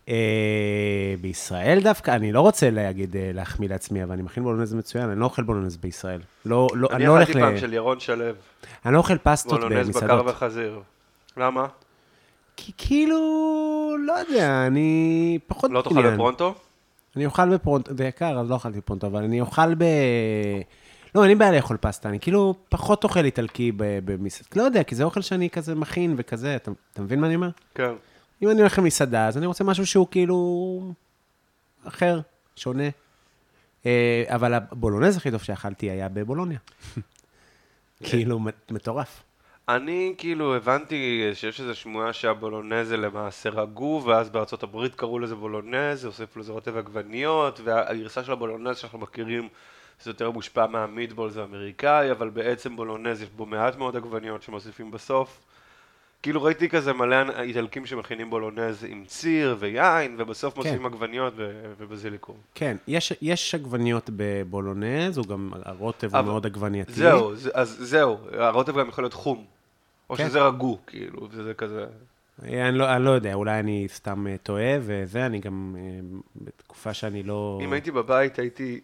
S3: אה, בישראל דווקא, אני לא רוצה להגיד, אה, להחמיא לעצמי, אבל אני מכין בולונז מצוין, אני לא אוכל בולונז בישראל. לא, לא, אני
S2: אני
S3: לא הולך
S2: אכלתי
S3: ל... לא.
S2: פעם של ירון שלו,
S3: אני לא אוכל פסטות
S2: בולונז בקר
S3: במסעדות.
S2: וחזיר. למה?
S3: כי כאילו, לא יודע, אני פחות
S2: לא תאכל לפרונטו?
S3: אני אוכל בפרונטו, זה יקר, אז לא אכלתי פרונטו, אבל אני אוכל ב... לא, אין לי בעיה לאכול פסטה, אני כאילו פחות אוכל איטלקי ב- במסעדה. לא יודע, כי זה אוכל שאני כזה מכין וכזה, אתה, אתה מבין מה אני אומר?
S2: כן.
S3: אם אני הולך למסעדה, אז אני רוצה משהו שהוא כאילו אחר, שונה. אה, אבל הבולונז הכי טוב שאכלתי היה בבולוניה. כאילו, מט- מטורף.
S2: אני כאילו הבנתי שיש איזו שמועה שהבולונז זה למעשה רגוב, ואז בארצות הברית קראו לזה בולונז, הוסיפו לזה רוטב עגבניות, והגרסה של הבולונז שאנחנו מכירים זה יותר מושפע מהמיטבולס האמריקאי, אבל בעצם בולונז יש בו מעט מאוד עגבניות שמוסיפים בסוף. כאילו ראיתי כזה מלא איטלקים שמכינים בולונז עם ציר ויין, ובסוף מוסיפים עגבניות ו- ובזיליקום.
S3: כן, יש, יש עגבניות בבולונז, הוא גם, הרוטב הוא
S2: אבל-
S3: מאוד עגבנייתי.
S2: זהו, זה- אז זהו, הרוטב גם יכול להיות חום. או
S3: כן.
S2: שזה רגו, כאילו, וזה כזה...
S3: אה, אני לא, אני לא יודע, אולי אני סתם אה, טועה וזה, אני גם אה, בתקופה שאני לא...
S2: אם הייתי בבית הייתי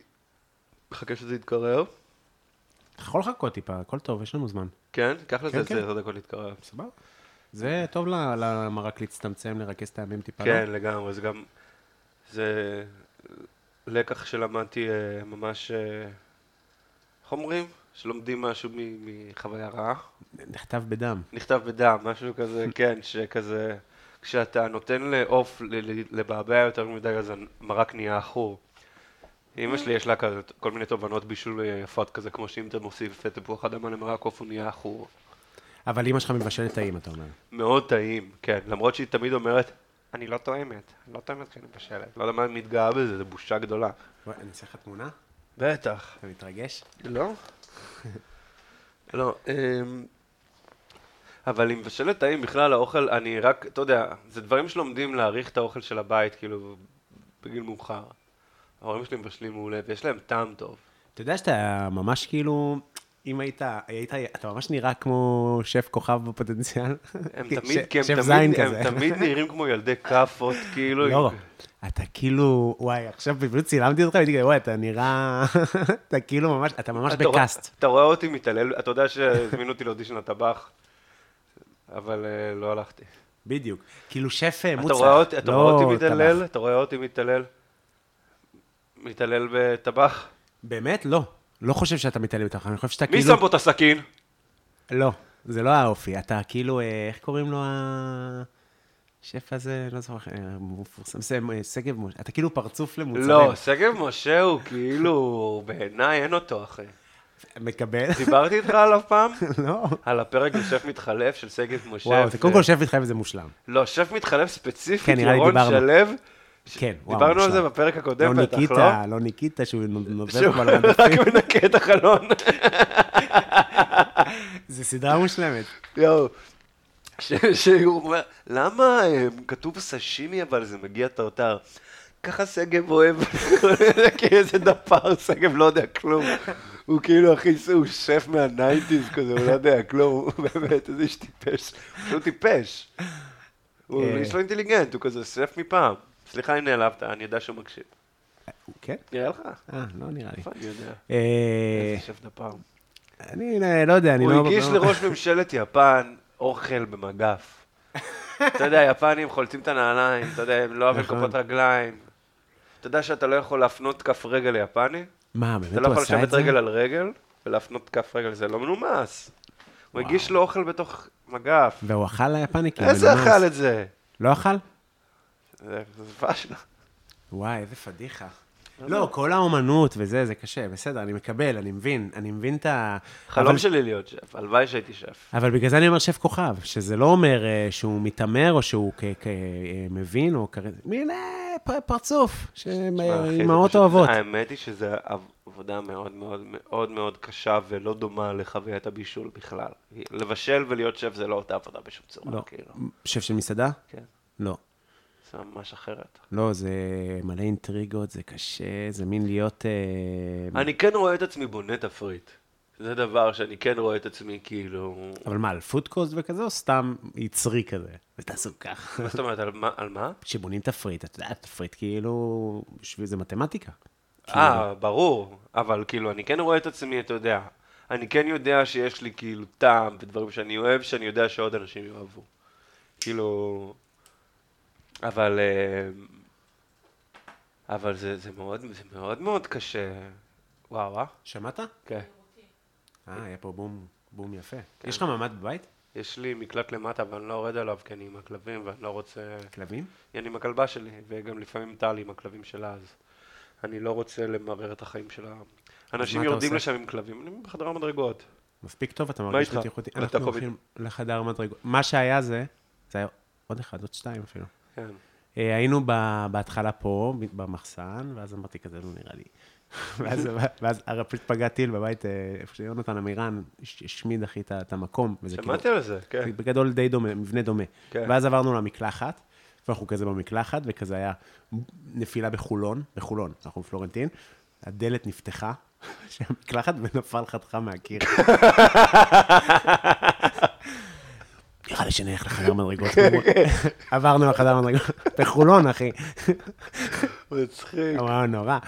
S2: מחכה שזה יתקרר,
S3: אתה יכול לחכות טיפה, הכל טוב, יש לנו זמן.
S2: כן? קח לזה
S3: כן, כן.
S2: עשר דקות להתקרר.
S3: סבבה. זה טוב ל- למרק להצטמצם, לרכז את הימים טיפה. לא?
S2: כן, לגמרי, זה גם... זה לקח שלמדתי אה, ממש... אה, איך אומרים? שלומדים משהו מ- מחוויה רעה.
S3: לא? נכתב בדם.
S2: נכתב בדם, משהו כזה, כן, שכזה... כשאתה נותן לעוף ל- ל- לבעבע יותר מדי, אז המרק נהיה עכור. אמא שלי יש לה כזה כל מיני תובנות בישול אה, יפות כזה, כמו שאם אתה מוסיף תפוח אדמה למרק עוף הוא נהיה עכור.
S3: אבל אמא שלך מבשלת טעים, אתה אומר.
S2: מאוד טעים, כן, למרות שהיא תמיד אומרת, אני לא תואמת, אני לא תואמת כשאני בשלט. לא יודע מה את מתגאה בזה, זו בושה גדולה.
S3: בואי, אני אעשה לך תמונה?
S2: בטח.
S3: אתה מתרגש?
S2: לא? לא, אמ, אבל עם בשלט טעים בכלל האוכל, אני רק, אתה יודע, זה דברים שלומדים להעריך את האוכל של הבית, כאילו, בגיל מאוחר. ההורים שלי מבשלים מעולה, ויש להם טעם טוב.
S3: אתה יודע שאתה ממש כאילו... אם היית, היית, אתה ממש נראה כמו שף כוכב בפוטנציאל.
S2: הם
S3: ש-
S2: תמיד, כי הם
S3: שף זין
S2: תמיד,
S3: כזה.
S2: הם תמיד נראים כמו ילדי כאפות, כאילו.
S3: לא,
S2: עם-
S3: אתה כאילו, וואי, עכשיו בדיוק צילמתי אותך, והייתי כזה, וואי, אתה נראה, אתה כאילו ממש, אתה ממש
S2: אתה רואה-
S3: בקאסט.
S2: אתה רואה אותי מתעלל, אתה יודע שהזמינו אותי לאודישן לטבח, אבל אה, לא הלכתי.
S3: בדיוק. כאילו שף אה, מוצלח.
S2: אתה רואה אותי- אתה
S3: לא
S2: רואה אותי
S3: טבח.
S2: מתעלל? אתה רואה אותי מתעלל? מתעלל
S3: אה,
S2: בטבח?
S3: באמת? לא. לא חושב שאתה מתעלל בתוכן, אני חושב שאתה
S2: מי
S3: כאילו...
S2: שם פה את הסכין?
S3: לא, זה לא האופי. אתה כאילו, אה, איך קוראים לו ה- השף הזה? לא זוכר, אה, מפורסם, זה, אה, שגב משה. אתה כאילו פרצוף למוצרים.
S2: לא, שגב משה הוא כאילו, בעיניי אין אותו, אחי.
S3: מקבל?
S2: דיברתי איתך עליו פעם?
S3: לא.
S2: על הפרק בשף מתחלף של שגב משה.
S3: וואו, זה
S2: ו-
S3: קודם כל שף מתחייב, זה מושלם.
S2: לא, שף מתחלף ספציפית,
S3: כן, נראה לי
S2: ירון
S3: דיברנו.
S2: שלו. ש-
S3: כן, וואו,
S2: דיברנו על זה
S3: מושלם.
S2: בפרק הקודם,
S3: לא
S2: בטח, לא?
S3: ניקיטה, לא ניקיטה, שהוא נובב
S2: שהוא
S3: כבר למדפים.
S2: רק מנקה את החלון.
S3: זו סדרה מושלמת.
S2: יואו. ש- שהוא אומר, למה אה, כתוב סשימי אבל זה מגיע טרטר? ככה שגב אוהב, כאיזה דפר, שגב לא יודע כלום. הוא כאילו הכי, ס- הוא שף מהניינטיז כזה, הוא לא יודע כלום, הוא באמת איזה איש טיפש, הוא פשוט טיפש. הוא
S3: אה.
S2: איש לא אינטליגנט, הוא כזה שף מפעם. סליחה אם נעלבת, אני יודע שהוא מקשיב.
S3: כן?
S2: נראה לך?
S3: אה, לא נראה לי.
S2: איפה נכון, אני יודע?
S3: אה,
S2: איזה שף דפר.
S3: אני לא- לא יודע, אני לא...
S2: הוא הגיש
S3: לא-
S2: לראש ממשלת יפן אוכל במגף. אתה יודע, יפנים חולצים את הנעליים, אתה יודע, הם לא אוהבים
S3: נכון.
S2: כפות רגליים. אתה יודע שאתה לא יכול להפנות כף רגל ליפני?
S3: מה, באמת
S2: אתה לא
S3: הוא
S2: יכול
S3: עשה את
S2: לשבת
S3: זה?
S2: רגל על רגל ולהפנות כף רגל, זה לא מנומס. הוא הגיש לו אוכל בתוך מגף.
S3: והוא אכל ליפני כאילו
S2: איזה אכל את זה?
S3: לא אכל?
S2: זה זה פשלה.
S3: וואי, איזה פדיחה. לא, כל האומנות וזה, זה קשה, בסדר, אני מקבל, אני מבין, אני מבין את ה...
S2: חלום
S3: אבל-
S2: שלי להיות שף, הלוואי שהייתי שף.
S3: אבל בגלל זה אני אומר שף כוכב, שזה לא אומר אה, שהוא מתעמר או שהוא כ- כ- אה, מבין או כזה, מין אה, פ- פרצוף,
S2: שמע, אחי, זה
S3: שאימהות
S2: פשוט- אה,
S3: אוהבות.
S2: האמת היא שזו עבודה מאוד מאוד מאוד מאוד קשה ולא דומה לחוויית הבישול בכלל. לבשל ולהיות שף זה לא אותה עבודה בשום צורה,
S3: לא.
S2: כאילו.
S3: שף של מסעדה?
S2: כן,
S3: לא.
S2: זה ממש אחרת.
S3: לא, זה מלא אינטריגות, זה קשה, זה מין להיות... אה,
S2: אני כן רואה את עצמי בונה תפריט. זה דבר שאני כן רואה את עצמי כאילו...
S3: אבל מה, על פודקוסט וכזה, או סתם יצרי כזה? ותעשו ככה.
S2: מה זאת אומרת, על מה? על מה?
S3: כשבונים תפריט, אתה יודע, תפריט כאילו, בשביל זה מתמטיקה. כאילו,
S2: אה, ברור, אבל כאילו, אני כן רואה את עצמי, אתה יודע. אני כן יודע שיש לי כאילו טעם ודברים שאני אוהב, שאני יודע שעוד אנשים יאהבו. כאילו... אבל... אה, אבל זה, זה מאוד זה מאוד מאוד קשה. וואו, אה?
S3: שמעת?
S2: כן.
S3: אה, היה פה בום, בום יפה. יש לך ממ"ד בבית?
S2: יש לי מקלט למטה, אבל אני לא יורד עליו, כי אני עם הכלבים, ואני לא רוצה...
S3: כלבים?
S2: אני עם הכלבה שלי, וגם לפעמים טלי עם הכלבים שלה, אז אני לא רוצה למרר את החיים שלה. אנשים
S3: מה אתה
S2: יורדים
S3: עושה?
S2: לשם עם כלבים, אני בחדר המדרגות.
S3: מספיק טוב, אתה מרגיש
S2: איתך?
S3: בטיחותי.
S2: אתה
S3: אנחנו
S2: פה
S3: הולכים לחדר מדרגות. מה שהיה זה, זה היה עוד אחד, עוד שתיים אפילו.
S2: כן.
S3: אה, היינו ב- בהתחלה פה, במחסן, ואז אמרתי כזה, לא נראה לי. ואז, ואז הרי פשוט פגע טיל בבית, אה, איפה שיונתן עמירן הש- השמיד אחי את ה- את המקום. וזה כאילו-
S2: שמעתי על זה, כן.
S3: זה בגדול די דומה, מבנה דומה.
S2: כן.
S3: ואז עברנו למקלחת, ואנחנו כזה במקלחת, וכזה היה נפילה בחולון, בחולון, אנחנו בפלורנטין, הדלת נפתחה, שהמקלחת ונפל חתיכה מהקיר. נראה לי שנלך לחדר מדרגות.
S2: כן,
S3: עברנו לחדר מדרגות, בחולון, אחי.
S5: מצחיק.
S3: וואו, נורא.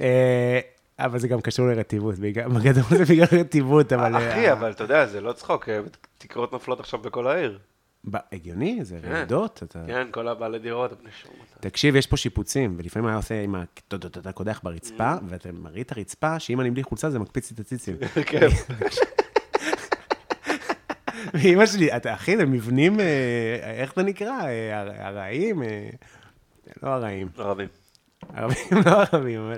S3: אה, אבל זה גם קשור לרטיבות, בגלל- בגדול זה בגלל רטיבות, אבל... אה,
S2: אחי, אבל אתה יודע, זה לא צחוק, אה, תקרות נופלות עכשיו בכל העיר.
S3: ב- הגיוני, זה רעידות, אתה...
S2: כן, כל הבעלי דירות, בני שומות.
S3: תקשיב, יש פה שיפוצים, ולפעמים היה עושה עם ה... טו, טו, טו, טו, קודח ברצפה,
S2: Mm.
S3: ואתה מראה את הרצפה, שאם אני בלי חולצה זה מקפיץ לי את הציצים.
S5: כן.
S3: ואימא שלי, אתה אחי, זה מבנים, אה, איך זה נקרא? אה, הר- הרעים? אה, לא הרעים.
S2: ערבים.
S3: הרבים לא הרבים, אבל...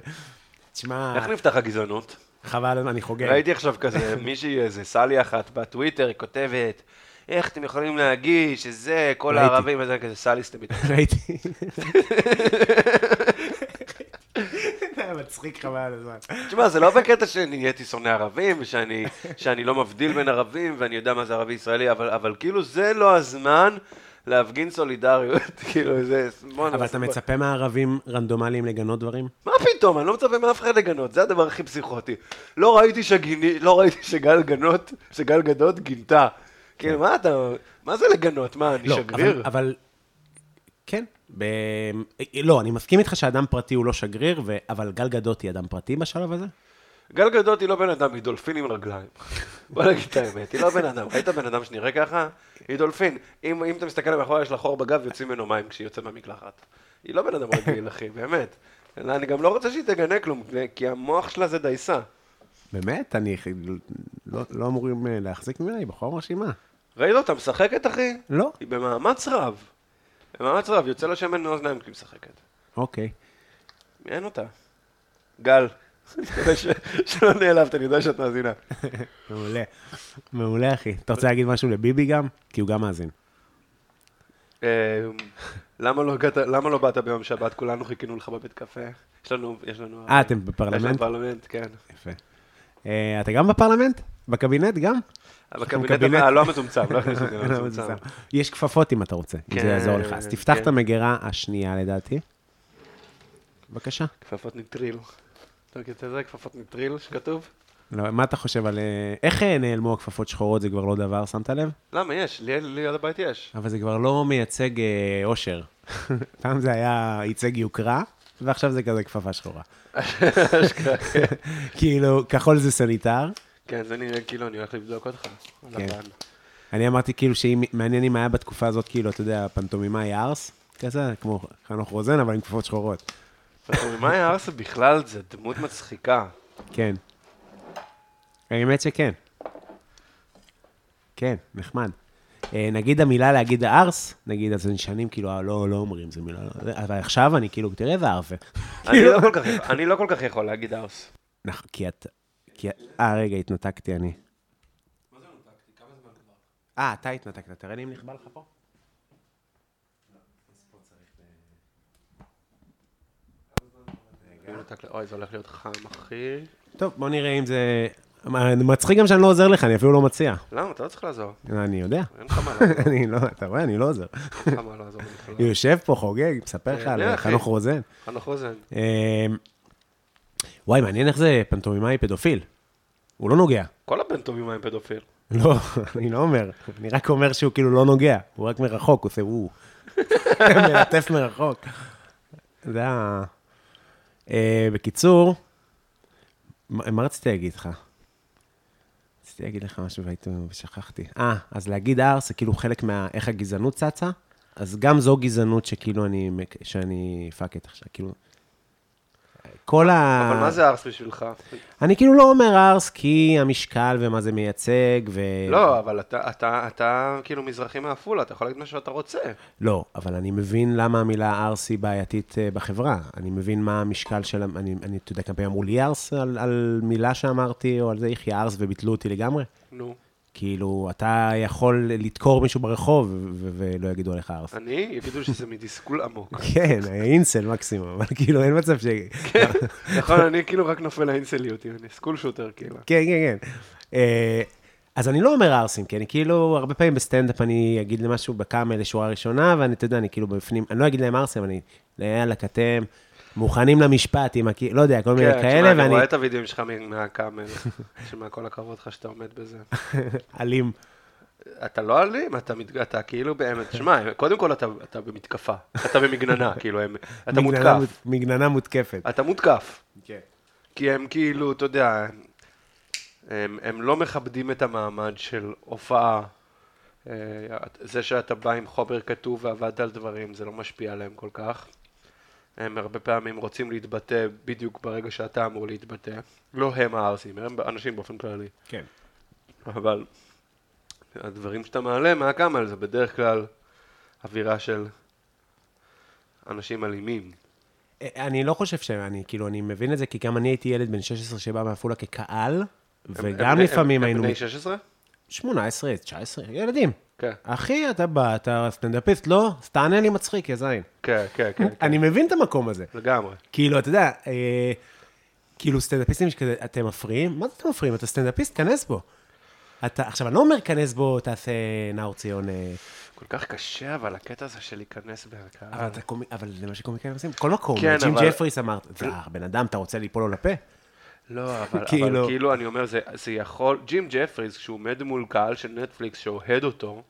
S3: תשמע,
S2: איך נפתח הגזענות?
S3: חבל, אני חוגג.
S2: ראיתי עכשיו כזה, מישהי, איזה סלי אחת בטוויטר, היא כותבת, איך אתם יכולים להגיש, שזה, כל
S3: ראיתי.
S2: הערבים, וזה כזה סלי סתמית.
S3: ראיתי. זה היה מצחיק חבל על הזמן.
S2: תשמע, זה לא בקטע שנהייתי שונא ערבים, ושאני שאני לא מבדיל בין ערבים, ואני יודע מה זה ערבי ישראלי, אבל, אבל כאילו זה לא הזמן להפגין סולידריות, כאילו זה... בוא,
S3: אבל
S2: נעשה-
S3: אתה מצפה מהערבים רנדומליים לגנות דברים?
S2: מה פתאום, אני לא מצפה מאף אחד לגנות, זה הדבר הכי פסיכוטי. לא ראיתי שגיני, לא ראיתי שגל גנות, שגל גדות גינתה. כאילו, מה אתה, מה זה לגנות? מה, אני שגריר?
S3: כן. לא, אבל, אבל כן. ב... לא, אני מסכים איתך שאדם פרטי הוא לא שגריר, ו... אבל גל גדות היא אדם פרטי בשלב הזה?
S2: גל גדות היא לא בן אדם, היא דולפין עם רגליים. בוא נגיד את האמת, היא לא בן אדם. ראית בן אדם שנראה ככה? היא דולפין. אם, אם אתה מסתכל מאחורה, יש לה חור בגב, יוצאים ממנו מים כשהיא יוצאת מהמקלחת. היא לא בן אדם רגיל, אחי, באמת. אלא אני גם לא רוצה שהיא תגנה כלום, כי המוח שלה זה דייסה.
S3: באמת? אני לא, לא אמורים אה, להחזיק ממנה, היא בחורה מרשימה.
S2: ראית אותה משחקת, אחי?
S3: לא.
S2: היא במאמץ רב. במאמץ רב, יוצא לה שמן מאוזניים כי היא משחקת.
S3: אוקיי.
S2: אין אותה. גל, אני מקווה ש- שלא נעלבת, אני יודע שאת מאזינה.
S3: מעולה. מעולה, אחי. אתה רוצה להגיד משהו לביבי גם? כי הוא גם מאזין.
S2: אה, למה לא הגעת- למה לא באת ביום שבת? כולנו חיכינו לך בבית קפה. יש לנו... יש לנו...
S3: אה, אתם
S2: יש לנו
S3: בפרלמנט?
S2: פרלמנט, כן.
S3: יפה. אה, אתה גם בפרלמנט? בקבינט גם?
S2: אבל
S3: אנחנו
S2: הקבינט
S3: קבינט.
S2: אה, לא המצומצם, לא הכניסו את זה למצומצם.
S3: יש כפפות אם אתה רוצה, אם זה
S2: כן,
S3: יעזור לך. אז תפתח
S2: כן.
S3: את המגירה השנייה לדעתי. בבקשה.
S2: כפפות ניטריל. אתה מכיר את זה? כפפות ניטריל שכתוב?
S3: לא, מה אתה חושב על... אה, איך אה, נעלמו הכפפות שחורות? זה כבר לא דבר, שמת לב?
S2: למה? יש, לי לי ליד הבית יש.
S3: אבל זה כבר לא מייצג אה, אושר. פעם זה היה ייצג יוקרה, ועכשיו זה כזה כפפה שחורה. כאילו, כחול זה סניטר.
S2: כן, זה נראה כאילו אני הולך לבדוק אותך.
S3: כן.
S2: לבן.
S3: אני אמרתי כאילו שאם מעניין אם היה בתקופה הזאת, כאילו, אתה יודע, פנטומימאי ארס, כזה, כמו חנוך רוזן, אבל עם כפפות שחורות.
S2: פטומימאי ארסה בכלל זה דמות מצחיקה.
S3: כן. האמת שכן. כן, נחמד. אה, נגיד המילה להגיד ארס, נגיד, אז אני שנים כאילו, "אה, לא, לא אומרים, זו מילה, לא- אבל עכשיו אני כאילו, תראה איזה ארפה.
S2: אני לא כל כך יכול- אני לא כל כך יכול להגיד ארס.
S3: נכון, כי את... כי... את- אה, רגע, התנתקתי אני. אה, אתה התנתקת, תראה לי אם נכבה לך פה.
S2: אוי, זה הולך להיות חם, אחי.
S3: טוב, בוא נראה אם זה... מה, מצחיק גם שאני לא עוזר לך, אני אפילו לא מציע.
S2: למה? אתה לא צריך לעזור.
S3: אני יודע.
S2: אין לך מה לעזור.
S3: אני לא, אתה רואה, אני לא עוזר.
S2: אין לך מה לעזור. אני בכלל לא-
S3: הוא יושב פה, חוגג, מספר לך
S2: אה,
S3: על
S2: אה,
S3: אה,
S2: אחי.
S3: חנוך רוזן.
S2: חנוך רוזן.
S3: אמ, וואי, מעניין איך זה פנטומימאי פדופיל. הוא לא נוגע.
S6: כל הבן טובים הם פדופיל.
S3: לא, אני לא אומר. אני רק אומר שהוא כאילו לא נוגע. הוא רק מרחוק, הוא עושה וואו. מלטף מרחוק. זה ה... אה, בקיצור, מה מה רציתי להגיד לך? רציתי להגיד לך משהו והייתי- ושכחתי. אה, אז להגיד R זה כאילו חלק מה... איך הגזענות צצה? אז גם זו גזענות שכאילו אני... מק- שאני פאק את עכשיו, כאילו... כל ה...
S2: אבל מה זה ארס בשבילך?
S3: אני כאילו לא אומר ארס כי המשקל ומה זה מייצג ו...
S2: לא, אבל אתה- אתה- אתה כאילו מזרחי מעפולה, אתה יכול להגיד מה שאתה רוצה.
S3: לא, אבל אני מבין למה המילה ארס היא בעייתית אה, בחברה. אני מבין מה המשקל של... אני, אני אתה יודע, כמה פעמים אמרו לי ארס על, על מילה שאמרתי, או על זה יחי ארס, וביטלו אותי לגמרי.
S2: נו,
S3: כאילו, אתה יכול לדקור מישהו ברחוב ו- ו- ולא יגידו עליך ארס.
S2: אני? יגידו שזה מתסכול עמוק.
S3: כן, אינסל מקסימום, אבל כאילו, אין מצב ש... כן,
S2: נכון, אני כאילו רק נופל לאינסליות, אני סקול שוטר כאילו.
S3: כן, כן. אה, אז אני לא אומר ערסים, כי אני כאילו, הרבה פעמים בסטנדאפ אני אגיד למשהו בכמה לשורה ראשונה, ואני, אתה יודע, אני כאילו בפנים, אני לא אגיד להם ערסים, אני, יאללה, אתם מוכנים למשפט, עם הכי, לא יודע, כל מיני
S2: כן,
S3: כאלה,
S2: תשמע, אני
S3: ואני
S2: רואה את הוידאוים שלך מ- מהקאמל, שמע כל הכבוד לך שאתה עומד בזה.
S3: אלים.
S2: אתה לא אלים, אתה, מת... אתה כאילו באמת, שמע, קודם כל אתה, אתה במתקפה, אתה במגננה, כאילו, הם, אתה
S3: מגננה
S2: מותקף,
S3: מות- מגננה מותקפת. כן,
S2: אתה מותקף, כי הם כאילו, אתה יודע, הם, הם לא מכבדים את המעמד של הופעה. אה, זה שאתה בא עם חומר כתוב ועבדת על דברים, זה לא משפיע עליהם כל כך. הם הרבה פעמים רוצים להתבטא בדיוק ברגע שאתה אמור להתבטא. לא הם הערסים, הם אנשים באופן כללי.
S3: כן.
S2: אבל הדברים שאתה מעלה מהקאמל זה בדרך כלל אווירה של אנשים אלימים.
S3: אה, אני לא חושב שאני, כאילו, אני מבין את זה, כי גם אני הייתי ילד בן 16 שבא מעפולה כקהל,
S2: הם
S3: וגם
S2: בני-
S3: לפעמים
S2: הם-
S3: היינו...
S2: הם בני 16?
S3: 18, 19, ילדים.
S2: כן.
S3: אחי, אתה בא, אתה סטנדאפיסט, לא? אז תענה לי מצחיק, יא זין.
S2: כן, כן, כן, כן,
S3: אני מבין את המקום הזה.
S2: לגמרי.
S3: כאילו, אתה יודע, אה, כאילו סטנדאפיסטים שכזה, אתם מפריעים? מה זה אתם מפריעים? אתה סטנדאפיסט, כנס בו. אתה, עכשיו, אני לא אומר כנס בו, תעשה נאור ציון, אה,
S2: כל כך קשה, אבל הקטע הזה של להיכנס בהקהל.
S3: אבל, אתה קומי, אבל זה מה שקומיקאים עושים, כל מקום,
S2: כן,
S3: ג'ים
S2: אבל-
S3: ג'פריס אמר, זה הבן אדם, אתה רוצה ליפול לו לפה?
S2: לא, אבל,
S3: כאילו-
S2: אבל כאילו, אני אומר, זה, זה יכול, ג'ים ג'פריס, כשהוא עומד מול קהל של נטפליקס שאוהד אותו,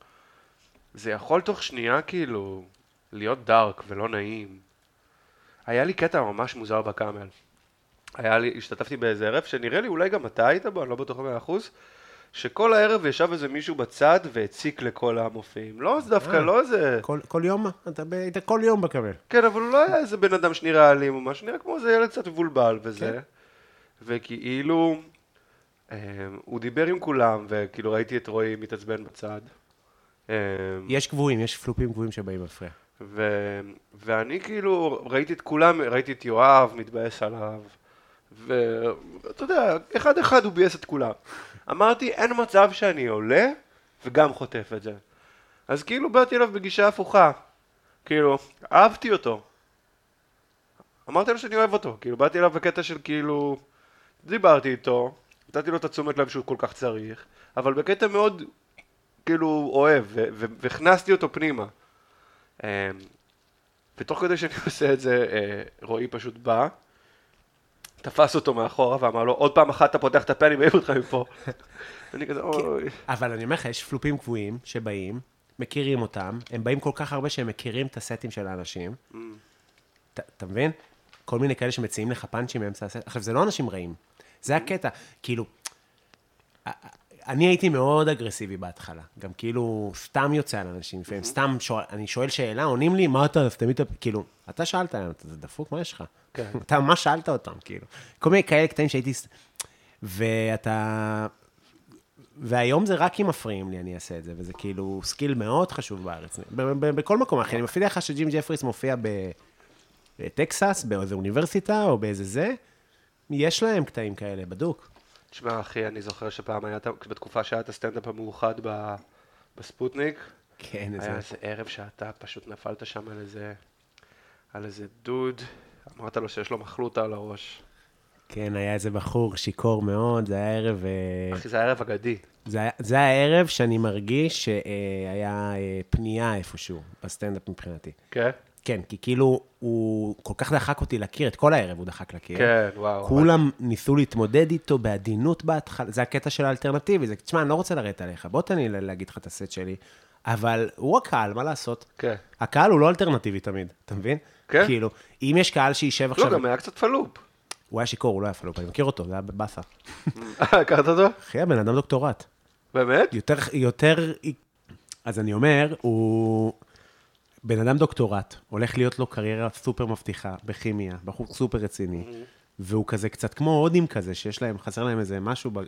S2: זה יכול תוך שנייה כאילו להיות דארק ולא נעים. היה לי קטע ממש מוזר בקאמל. היה לי, השתתפתי באיזה ערב, שנראה לי אולי גם אתה היית בו, אני לא בטוח במאה אחוז, שכל הערב ישב איזה מישהו בצד והציק לכל המופיעים. לא, זה דווקא לא איזה...
S3: אה, כל, כל יום, אתה ב- היית כל יום בקבל.
S2: כן, אבל הוא לא היה איזה בן אדם שנראה אלים או משהו, נראה כמו איזה ילד קצת מבולבל וזה. וכאילו, אמ, הוא דיבר עם כולם, וכאילו ראיתי את רועי מתעצבן בצד. אמ,
S3: יש קבועים, יש פלופים קבועים שבאים להפריע.
S2: ו, ואני כאילו ראיתי את כולם, ראיתי את יואב מתבאס עליו, ואתה יודע, אחד אחד הוא ביאס את כולם. אמרתי, אין מצב שאני עולה וגם חוטף את זה. אז כאילו באתי אליו בגישה הפוכה. כאילו, אהבתי אותו. אמרתי לו שאני אוהב אותו. כאילו, באתי אליו בקטע של כאילו, דיברתי איתו, נתתי לו את התשומת לב שהוא כל כך צריך, אבל בקטע מאוד, כאילו, אוהב, ו- ו- והכנסתי אותו פנימה. אמ, ותוך כדי שאני עושה את זה, אה, רועי פשוט בא, תפס אותו מאחורה ואמר לו, עוד פעם אחת אתה פותח את הפה, אני מעיף אותך מפה. אני כזה, אוי.
S3: אבל אני אומר לך, יש פלופים קבועים שבאים, מכירים אותם, הם באים כל כך הרבה שהם מכירים את הסטים של האנשים. ת- אתה מבין? כל מיני כאלה שמציעים לך פאנצ'ים באמצע הסט. עכשיו, זה לא אנשים רעים, זה הקטע. כאילו, א- א- אני הייתי מאוד אגרסיבי בהתחלה. גם כאילו, סתם יוצא על אנשים לפעמים, סתם שואל, אני שואל שאלה, עונים לי, מה אתה, אז תמיד, אתה-" כאילו, אתה שאלת, אתה זה דפוק, מה יש לך? אתה ממש שאלת אותם, כאילו. כל מיני כאלה קטעים שהייתי... ס- ואתה... והיום זה רק אם מפריעים לי, אני אעשה את זה, וזה כאילו סקיל מאוד חשוב בארץ. ב- ב- ב- בכל מקום, אחי, אני מפעיל לך שג'ים ג'פריס מופיע ב- בטקסס, באיזה אוניברסיטה, או באיזה זה, יש להם קטעים כאלה, בדוק.
S2: תשמע, אחי, אני זווכר שפעם היה, את ה- בתקופה שהיה את הסטנדאפ המאוחד ב- בספוטניק,
S3: כן,
S2: היה איזה ערב שאתה פשוט נפלת שם על איזה, על איזה דוד, אמרת לו שיש לו מחלוטה על הראש.
S3: כן, היה איזה בחור שיכור מאוד, זה היה ערב... אה,
S2: אחי, זה היה ערב אגדי.
S3: זה היה- זה הערב שאני מרגיש שהיה אה, פנייה איפשהו בסטנדאפ מבחינתי.
S2: כן?
S3: כן, כי כאילו, הוא כל כך דחק אותי לקיר, את כל הערב הוא דחק לקיר.
S2: כן, וואו.
S3: כולם ניסו להתמודד איתו בעדינות בהתחלה, זה הקטע של האלטרנטיבי, זה, תשמע, אני לא רוצה לרדת עליך, בוא תן לי ל- להגיד לך את הסט שלי, אבל הוא הקהל, מה לעשות?
S2: כן.
S3: הקהל הוא לא אלטרנטיבי תמיד, אתה מבין?
S2: כן.
S3: כאילו, אם יש קהל שישב
S2: לא,
S3: עכשיו,
S2: גם היה קצת פלופ.
S3: הוא היה שיכור, הוא לא היה פלופ, אני מכיר אותו, זה היה בבאסה.
S2: הכרת אותו?
S3: אחי, הבן אדם דוקטורט.
S2: באמת?
S3: יותר, יותר, אז אני אומר, הוא בן אדם דוקטורט, הולך להיות לו קריירה סופר מבטיחה בכימיה, בחור סופר רציני, והוא כזה קצת כמו הודים כזה, שיש להם, חסר להם איזה משהו, ב-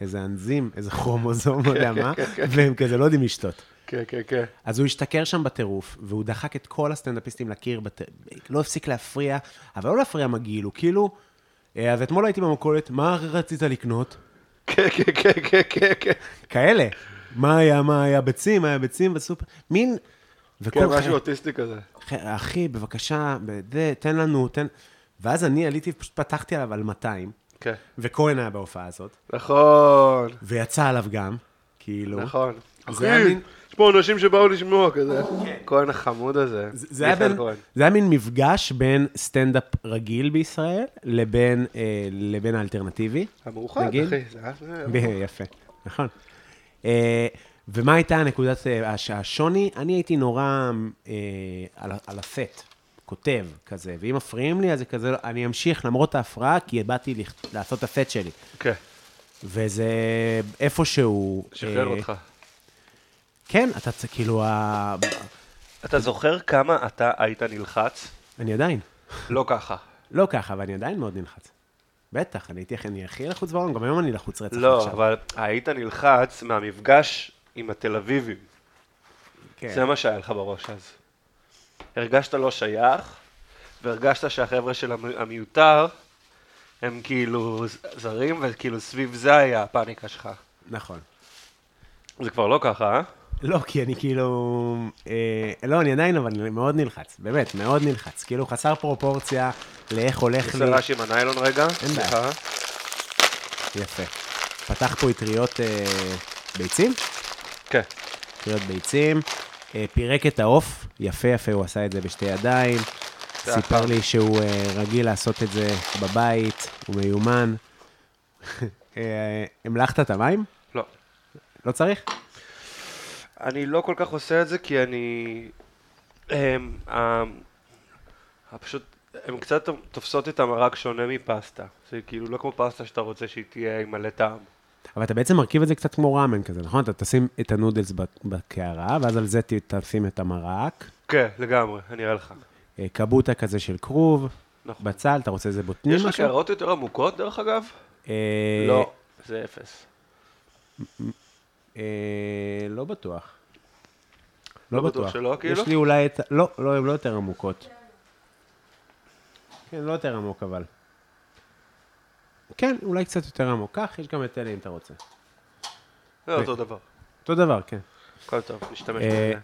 S3: איזה אנזים, איזה כרומוזום, לא יודע מה, והם כזה לא יודעים לשתות.
S2: כן, כן, כן.
S3: אז הוא השתכר שם בטירוף, והוא דחק את כל הסטנדאפיסטים לקיר, בת... לא הפסיק להפריע, אבל לא להפריע מגעיל, הוא כאילו... אה, אז אתמול הייתי במכולת, מה רצית לקנות?
S2: כן, כן, כן, כן, כן, כן.
S3: כאלה. מה היה, מה היה, ביצים, היה ביצים בסופר, מין...
S2: כן,
S3: וכל
S2: משהו
S3: חי...
S2: אוטיסטי כזה.
S3: ח... אחי, בבקשה, זה, תן לנו, תן... ואז אני עליתי, פשוט פתחתי עליו על 200,
S2: כן.
S3: וכהן היה בהופעה הזאת,
S2: נכון,
S3: ויצא עליו גם, כאילו.
S2: נכון.
S3: זה היה
S2: אחי,
S3: מין-
S2: יש פה אנשים שבאו לשמוע כזה. כהן החמוד הזה.
S3: זה- זה היה,
S2: מיכאל
S3: בין,
S2: כהן.
S3: זה היה מין מפגש בין סטנדאפ רגיל בישראל לבין, אה, לבין האלטרנטיבי.
S2: המאוחד,
S3: נגיד.
S2: אחי. זה היה-
S3: ב- יפה, נכון. אה, ומה הייתה הנקודת, אה, הש- השוני? אני הייתי נורא אה, על, ה- על הסט, כותב כזה, ואם מפריעים לי, אז זה כזה, לא- אני אמשיך למרות ההפרעה, כי באתי לכ- לעשות את הסט שלי.
S2: כן,
S3: וזה איפשהו...
S2: שחרר
S3: אה,
S2: אותך.
S3: כן, אתה צ- כאילו, ה-
S2: אתה זוכר כמה אתה היית נלחץ?
S3: אני עדיין.
S2: לא ככה.
S3: לא ככה, אבל אני עדיין מאוד נלחץ. בטח, אני הייתי הכי- אני הכי לחוץ בעולם, גם היום אני לחוץ רצח
S2: לא,
S3: עכשיו.
S2: אבל היית נלחץ מהמפגש עם התל אביבים.
S3: כן.
S2: זה מה שהיה לך בראש אז. הרגשת לא שייך, והרגשת שהחבר'ה של המ- המיותר, הם כאילו ז- זרים, וכאילו סביב זה היה הפאניקה שלך.
S3: נכון.
S2: זה כבר לא ככה, אה?
S3: לא, כי אני כאילו... אה, לא, אני עדיין, אבל אני מאוד נלחץ, באמת, מאוד נלחץ. כאילו, חסר פרופורציה לאיך הולך
S2: עושה
S3: לי.
S2: רעש עם הניילון רגע.
S3: אין בעיה.
S2: סליחה.
S3: יפה. פתח פה אטריות אה, ביצים,
S2: כן.
S3: אטריות ביצים, אה, פירק את העוף, יפה יפה, הוא עשה את זה בשתי ידיים. סיפר לי שהוא אה, רגיל לעשות את זה בבית, הוא מיומן. אה, המלכת את המים?
S2: לא.
S3: לא צריך?
S2: אני לא כל כך עושה את זה כי אני... הם, הם, פשוט, הם קצת תופסות את המרק שונה מפסטה. זה כאילו לא כמו פסטה שאתה רוצה שהיא תהיה עם מלא טעם.
S3: אבל אתה בעצם מרכיב את זה קצת כמו ראמן כזה, נכון? אתה תשים את הנודלס ב- בקערה, ואז על זה ת- תשים את המרק,
S2: כן, לגמרי, אני אראה לך.
S3: אה, קבוטה כזה של כרוב,
S2: נכון.
S3: בצל, אתה רוצה איזה בוטנים
S2: יש לך
S3: משהו?
S2: הערות יותר עמוקות דרך אגב?
S3: אה,
S2: לא. זה אפס.
S3: אה, לא בטוח.
S2: לא בטוח שלא, כאילו?
S3: יש לי אולי את... לא, לא, הן לא יותר עמוקות. כן, לא יותר עמוק, אבל. כן, אולי קצת יותר עמוק. קח, יש גם את אלה אם אתה רוצה.
S2: זה לא, אותו דבר.
S3: אותו דבר, כן.
S2: הכל טוב, נשתמש
S3: אה,
S2: בזה.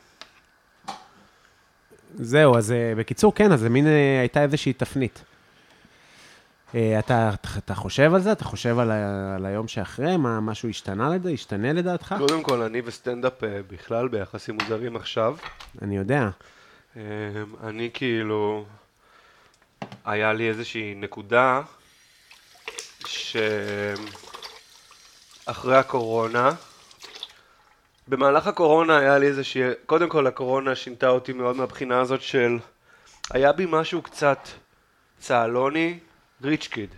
S3: זהו, אז אה, בקיצור, כן, אז זה מין אה, הייתה איזושהי תפנית. אה, אתה, אתה חושב על זה? אתה חושב על, ה, על היום שאחרי? מה, משהו השתנה לדע, השתנה לדעתך?
S2: קודם כל, אני וסטנדאפ אה, בכלל ביחסים מוזרים עכשיו.
S3: אני יודע.
S2: אמ, אני כאילו, היה לי איזושהי נקודה שאחרי הקורונה, במהלך הקורונה היה לי איזושהי, קודם כל הקורונה שינתה אותי מאוד מהבחינה הזאת של, היה בי משהו קצת צהלוני, ריץ' קיד,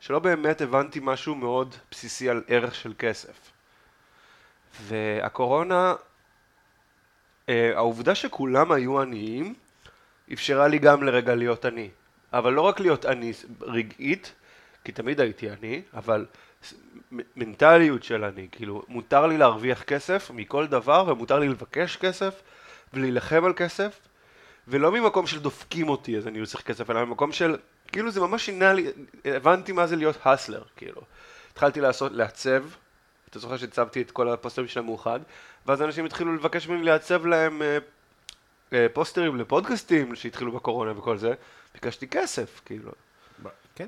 S2: שלא באמת הבנתי משהו מאוד בסיסי על ערך של כסף. והקורונה אה, העובדה שכולם היו עניים, אפשרה לי גם לרגע להיות עני. אבל לא רק להיות עני רגעית, כי תמיד הייתי עני, אבל ס- מ- מנטליות של עני, כאילו, מותר לי להרוויח כסף מכל דבר, ומותר לי לבקש כסף, ולהילחם על כסף, ולא ממקום של דופקים אותי אז אני צריך כסף, אלא ממקום של, כאילו זה ממש שינה לי, הבנתי מה זה להיות הסלר, כאילו. התחלתי לעשות, לעצב, אתה זוכר שהצבתי את כל הפוסטרים של המאוחד, ואז אנשים התחילו לבקש ממני לעצב להם אה, אה, פוסטרים לפודקאסטים שהתחילו בקורונה וכל זה, ביקשתי כסף, כאילו.
S3: כן.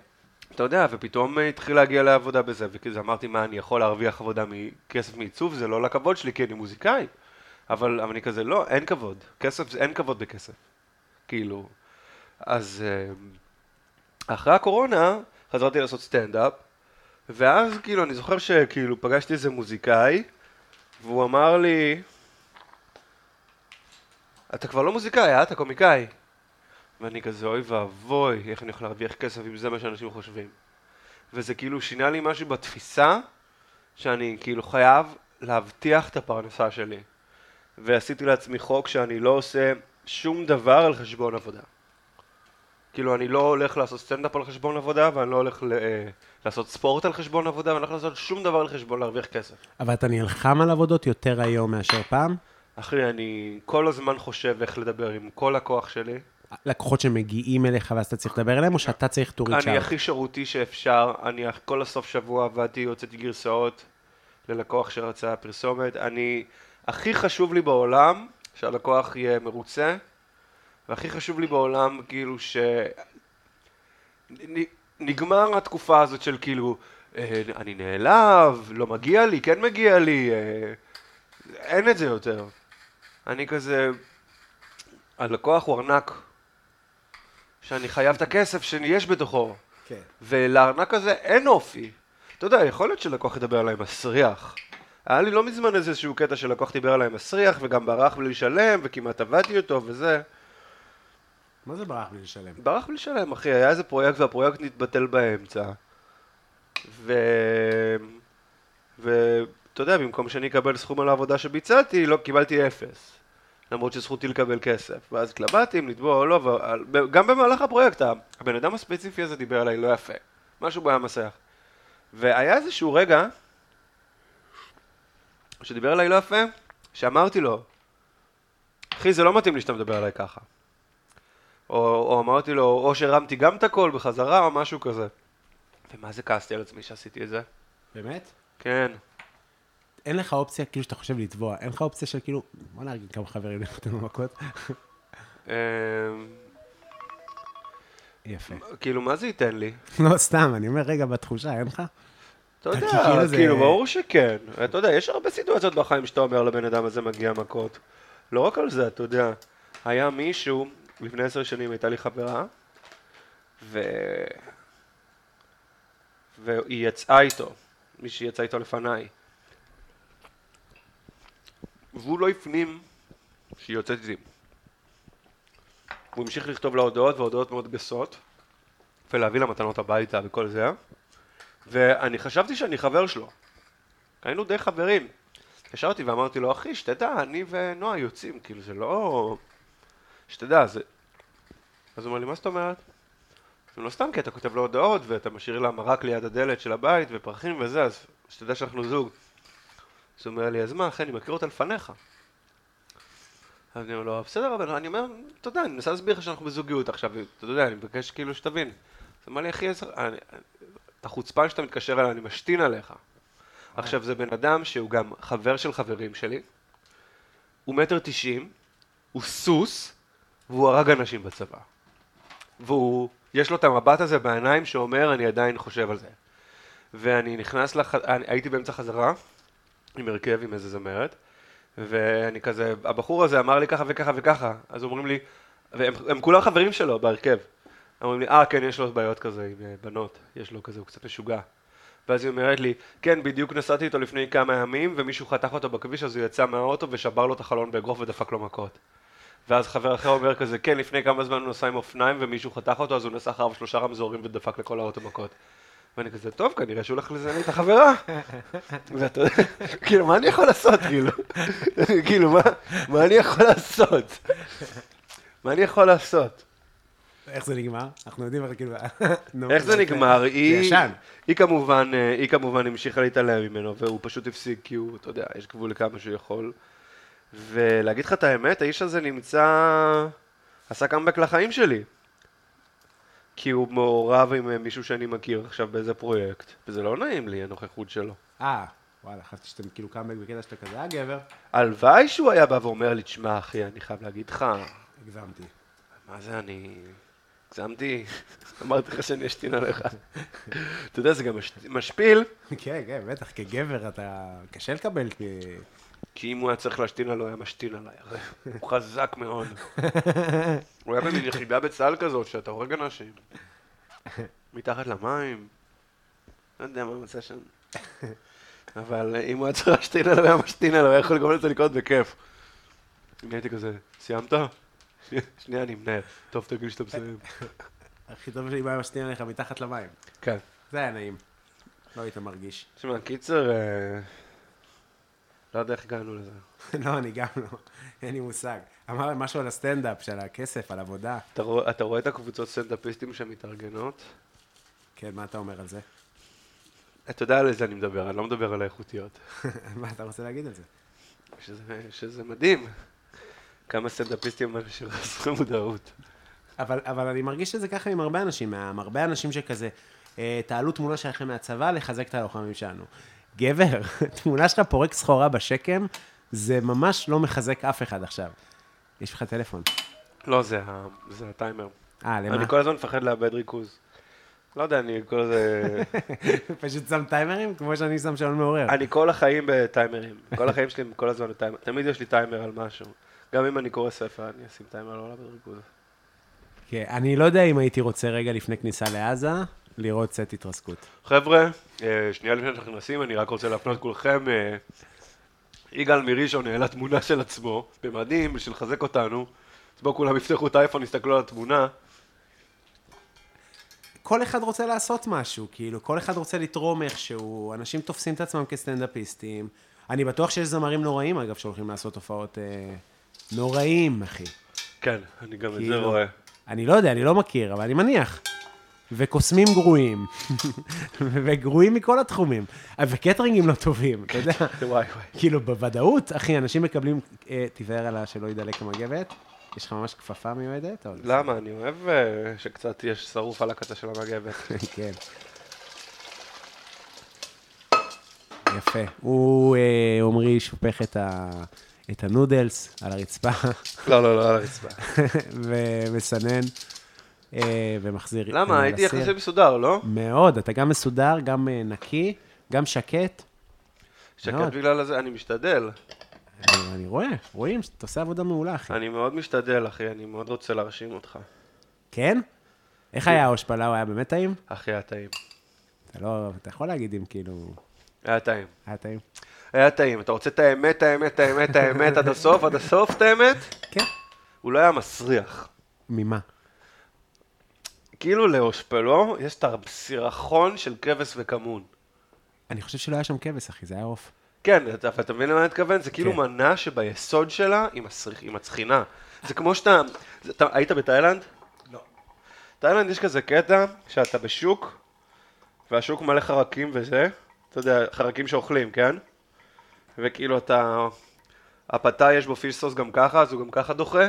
S2: אתה יודע, ופתאום אה, התחיל להגיע לעבודה בזה, וכזה אמרתי, מה, אני יכול להרוויח עבודה מכסף מעיצוב? זה לא לכבוד שלי, כי אני מוזיקאי. אבל, אבל אני כזה, לא, אין כבוד. כסף, זה- אין כבוד בכסף. כאילו. אז אה, אחרי הקורונה, חזרתי לעשות סטנדאפ, ואז כאילו, אני זוכר שכאילו פגשתי איזה מוזיקאי, והוא אמר לי, אתה כבר לא מוזיקאי, אה? אתה קומיקאי. ואני כזה, אוי ואבוי, איך אני יכול להרוויח כסף אם זה מה שאנשים חושבים. וזה כאילו שינה לי משהו בתפיסה, שאני כאילו חייב להבטיח את הפרנסה שלי. ועשיתי לעצמי חוק שאני לא עושה שום דבר על חשבון עבודה. כאילו, אני לא הולך לעשות סטנדאפ על חשבון עבודה, ואני לא הולך ל... אה, לעשות ספורט על חשבון עבודה, ואני לא הולך לעשות שום דבר על חשבון להרוויח כסף.
S3: אבל אתה נלחם על עבודות יותר היום מאשר פעם?
S2: אחי, אני כל הזמן חושב איך לדבר עם כל הכוח שלי.
S3: לקוחות שמגיעים אליך ואז אתה צריך לדבר אליהם, או שאתה צריך to reach
S2: אני
S3: out?
S2: הכי שירותי שאפשר, אני כל הסוף שבוע עבדתי, הוצאתי גרסאות ללקוח שרצה פרסומת, אני, הכי חשוב לי בעולם שהלקוח יהיה מרוצה, והכי חשוב לי בעולם כאילו ש... נ- נגמר התקופה הזאת של כאילו, אה, אני נעלב, לא מגיע לי, כן מגיע לי, אה, אין את זה יותר. אני כזה, הלקוח הוא ארנק, שאני חייב את הכסף שיש בתוכו.
S7: כן.
S2: ולארנק הזה אין אופי. אתה יודע, יכול להיות שלקוח ידבר עליי מסריח. היה לי לא מזמן איזשהו קטע שלקוח דיבר עליי מסריח, וגם ברח בלי לשלם, וכמעט עבדתי אותו, וזה.
S3: מה זה ברח בלי לשלם?
S2: ברח בלי לשלם, אחי, היה איזה פרויקט, והפרויקט נתבטל באמצע. ו... ואתה יודע, במקום שאני אקבל סכום על העבודה שביצעתי, לא, קיבלתי אפס. למרות שזכותי לקבל כסף. ואז התלבטתי אם לתבוע או לא, אבל גם במהלך הפרויקט, הבן אדם הספציפי הזה דיבר עליי לא יפה. משהו בו היה מסך. והיה איזשהו רגע, שדיבר עליי לא יפה, שאמרתי לו, אחי, זה לא מתאים לי שאתה מדבר עליי ככה. או, או אמרתי לו, או שהרמתי גם את הקול בחזרה, או משהו כזה. ומה זה כעסתי על עצמי שעשיתי את זה?
S3: באמת?
S2: כן.
S3: אין לך אופציה, כאילו, שאתה חושב לתבוע, אין לך אופציה של כאילו, בוא נארגן כמה חברים נותן לו מכות.
S2: אמ,
S3: יפה.
S2: כאילו, מה זה ייתן לי?
S3: לא, סתם, אני אומר, רגע, בתחושה, אין לך?
S2: אתה
S3: כי כאילו
S2: יודע,
S3: זה-
S2: כאילו, ברור שכן. אתה יודע, יש הרבה סיטואציות בחיים שאתה אומר לבן אדם הזה מגיע מכות. לא רק על זה, אתה יודע. היה מישהו, לפני עשר שנים הייתה לי חברה, ו... והיא יצאה איתו, מי שיצא איתו לפניי. והוא לא הפנים שהיא יוצאת איתי. הוא המשיך לכתוב לה הודעות, והודעות מאוד גסות, ולהביא לה מתנות הביתה וכל זה. ואני חשבתי שאני חבר שלו. היינו די חברים. התקשרתי ואמרתי לו, אחי, שתדע, אני ונועה יוצאים, כאילו זה לא... שתדע, זה... אז הוא אומר לי, מה זאת אומרת? זה לא סתם, כי אתה כותב לו הודעות, ואתה משאיר לה מרק ליד הדלת של הבית, ופרחים וזה, אז שתדע שאנחנו זוג. אז הוא אומר לי, אז מה, אחי, אני מכיר אותה לפניך. אז אני אומר לו, בסדר, אבל אני אומר, אתה יודע, אני מנסה להסביר לך שאנחנו בזוגיות עכשיו, אתה יודע, אני מבקש כאילו שתבין. אז הוא אמר לי, אחי, אז- אני- את החוצפן שאתה מתקשר אליי, אני משתין עליך. עכשיו, זה בן אדם שהוא גם חבר של חברים שלי, הוא מטר תשעים, הוא סוס, והוא הרג אנשים בצבא. והוא, יש לו את המבט הזה בעיניים שאומר, אני עדיין חושב על זה. ואני נכנס לח... אני, הייתי באמצע חזרה, עם הרכב, עם איזה זמרת, ואני כזה, הבחור הזה אמר לי ככה וככה וככה, אז אומרים לי, והם הם כולם חברים שלו בהרכב. אומרים לי, אה, כן, יש לו בעיות כזה עם אה, בנות, יש לו כזה, הוא קצת משוגע. ואז היא אומרת לי, כן, בדיוק נסעתי איתו לפני כמה ימים, ומישהו חתך אותו בכביש, אז הוא יצא מהאוטו ושבר לו את החלון באגרוף ודפק לו מכות. ואז חבר אחר אומר כזה, כן, לפני כמה זמן הוא נסע עם אופניים ומישהו חתך אותו, אז הוא נסע אחריו שלושה רמזורים ודפק לכל האוטו מכות. ואני כזה, טוב, כנראה שהוא הולך לזיין לי את החברה. ואתה יודע, כאילו, מה אני יכול לעשות, כאילו? כאילו, מה- מה אני יכול לעשות? מה אני יכול לעשות?
S3: איך זה נגמר? אנחנו יודעים, אבל כאילו... נו,
S2: איך זה נגמר?
S3: זה
S2: היא,
S3: ישן.
S2: היא כמובן, אה, היא כמובן המשיכה להתעלם ממנו, והוא פשוט הפסיק, כי הוא, אתה יודע, יש גבול לכמה שהוא יכול. ולהגיד לך את האמת, האיש הזה נמצא, עשה קאמבק לחיים שלי. כי הוא מעורב עם אה, מישהו שאני מכיר עכשיו באיזה פרויקט, וזה לא נעים לי, הנוכחות שלו.
S3: אה, וואלה, חשבתי שאתם כאילו קאמבק בקטע שאתה כזה, אה, גבר?
S2: הלוואי שהוא היה בא ואומר לי, תשמע, אחי, אני חייב להגיד לך,
S3: הגזמתי.
S2: מה זה אני... הגזמתי, אמרתי לך שאני אשתין עליך. אתה יודע, זה גם מש- משפיל,
S3: כן, כן, בטח, כגבר אתה... קשה לקבל כ-
S2: כי אם הוא היה צריך להשתין עליו, הוא היה משתין עליי. הרי הוא חזק מאוד. הוא היה במין יחידה בצה"ל כזאת, שאתה הורג אנשים. מתחת למים. לא יודע מה המצא שם. אבל אה, אם הוא היה צריך להשתין עליו, הוא היה משתין עליו, הוא היה יכול לגרום לזה לקרות בכיף. אני הייתי כזה, סיימת? שנייה- שנייה, אני מנהל. טוב, תגיד שאתה מסיים.
S3: הכי טוב שלי בעיה משתינים עליך מתחת למים.
S2: כן.
S3: זה היה נעים. לא היית מרגיש.
S2: תשמע, קיצר, אה, לא יודע איך הגענו לזה.
S3: לא, אני גם לא. אין לי מושג. אמר משהו על הסטנדאפ, של הכסף, על עבודה.
S2: אתה רוא- אתה רואה את הקבוצות סטנדאפיסטים שמתארגנות?
S3: כן, מה אתה אומר על זה?
S2: אתה יודע על איזה אני מדבר, אני לא מדבר על האיכותיות.
S3: מה אתה רוצה להגיד על זה?
S2: שזה, שזה מדהים. כמה סטנדאפיסטים הם אנשים חסרי מודעות.
S3: אבל, אבל אני מרגיש שזה ככה עם הרבה אנשים, עם הרבה אנשים שכזה, אה, תעלו תמונה שלכם מהצבא לחזק את הלוחמים שלנו. גבר, תמונה שלך פורק סחורה בשקם, זה ממש לא מחזק אף אחד עכשיו. יש לך טלפון.
S2: לא, זה, ה, זה הטיימר.
S3: אה, למה?
S2: אני כל הזמן מפחד לאבד ריכוז. לא יודע, אני כל זה...
S3: פשוט שם טיימרים, כמו שאני שם שעון מעורר.
S2: אני כל החיים בטיימרים. כל החיים שלי הם כל הזמן בטיימר. תמיד יש לי טיימר על משהו. גם אם אני קורא ספר, אני אשים טיימר לא לאבד ריכוז.
S3: כן, אני לא יודע אם הייתי רוצה רגע לפני כניסה לעזה, לראות סט התרסקות.
S2: חבר'ה, אה, שנייה לפני שאנחנו נכנסים, אני רק רוצה להפנות כולכם, אה, יגאל מראשון העלה תמונה של עצמו, במדים, בשביל לחזק אותנו. אז בואו כולם יפתחו את האייפון, יסתכלו על התמונה.
S3: כל אחד רוצה לעשות משהו, כאילו, כל אחד רוצה לתרום איכשהו, אנשים תופסים את עצמם כסטנדאפיסטים. אני בטוח שיש זמרים נוראים, אגב, שהולכים לעשות הופעות אה, נוראים, אחי.
S2: כן, אני גם את זה
S3: כאילו,
S2: רואה.
S3: אני לא יודע, אני לא מכיר, אבל אני מניח. וקוסמים גרועים, וגרועים מכל התחומים, וקטרינגים לא טובים, אתה יודע.
S2: וואי וואי.
S3: כאילו, בוודאות, אחי, אנשים מקבלים, אה, תיזהר עליה שלא ידלק המגבת, יש לך ממש כפפה מיועדת? אבל-
S2: למה? אני אוהב אה, שקצת יש שרוף על הקצה של המגבת.
S3: כן. יפה. הוא, אה, עמרי, שופך את, ה... את הנודלס על הרצפה,
S2: לא, לא, לא, על הרצפה.
S3: ומסנן, אה, ומחזיר...
S2: למה?
S3: אה,
S2: הייתי
S3: לסיר.
S2: יחסי מסודר, לא?
S3: מאוד, אתה גם מסודר, גם אה, נקי, גם שקט.
S2: שקט
S3: מאוד.
S2: בגלל זה, אני משתדל.
S3: אני, אני רואה, רואים שאתה עושה עבודה מעולה, אחי.
S2: אני מאוד משתדל, אחי, אני מאוד רוצה להרשים אותך.
S3: כן? איך היה ההשפלה? הוא היה באמת טעים?
S2: אחי, היה טעים.
S3: אתה לא, אתה יכול להגיד אם כאילו...
S2: היה טעים.
S3: היה טעים?
S2: היה טעים. אתה רוצה את האמת, האמת, האמת, האמת, עד הסוף, עד הסוף את האמת?
S3: כן.
S2: הוא לא היה מסריח.
S3: ממה?
S2: כאילו לאושפלו יש את הסירחון של כבש וכמון.
S3: אני חושב שלא היה שם כבש, אחי, זה היה עוף.
S2: כן, אתה, אבל אתה מבין למה אני מתכוון? זה כאילו
S3: כן.
S2: מנה שביסוד שלה היא, מסריח, היא מצחינה. זה כמו שאתה... זה, אתה היית בתאילנד? לא. תאילנד יש כזה קטע שאתה בשוק, והשוק מלא חרקים וזה, אתה יודע, חרקים שאוכלים, כן? וכאילו אתה... הפתה יש בו פיש סוס גם ככה, אז הוא גם ככה דוחה.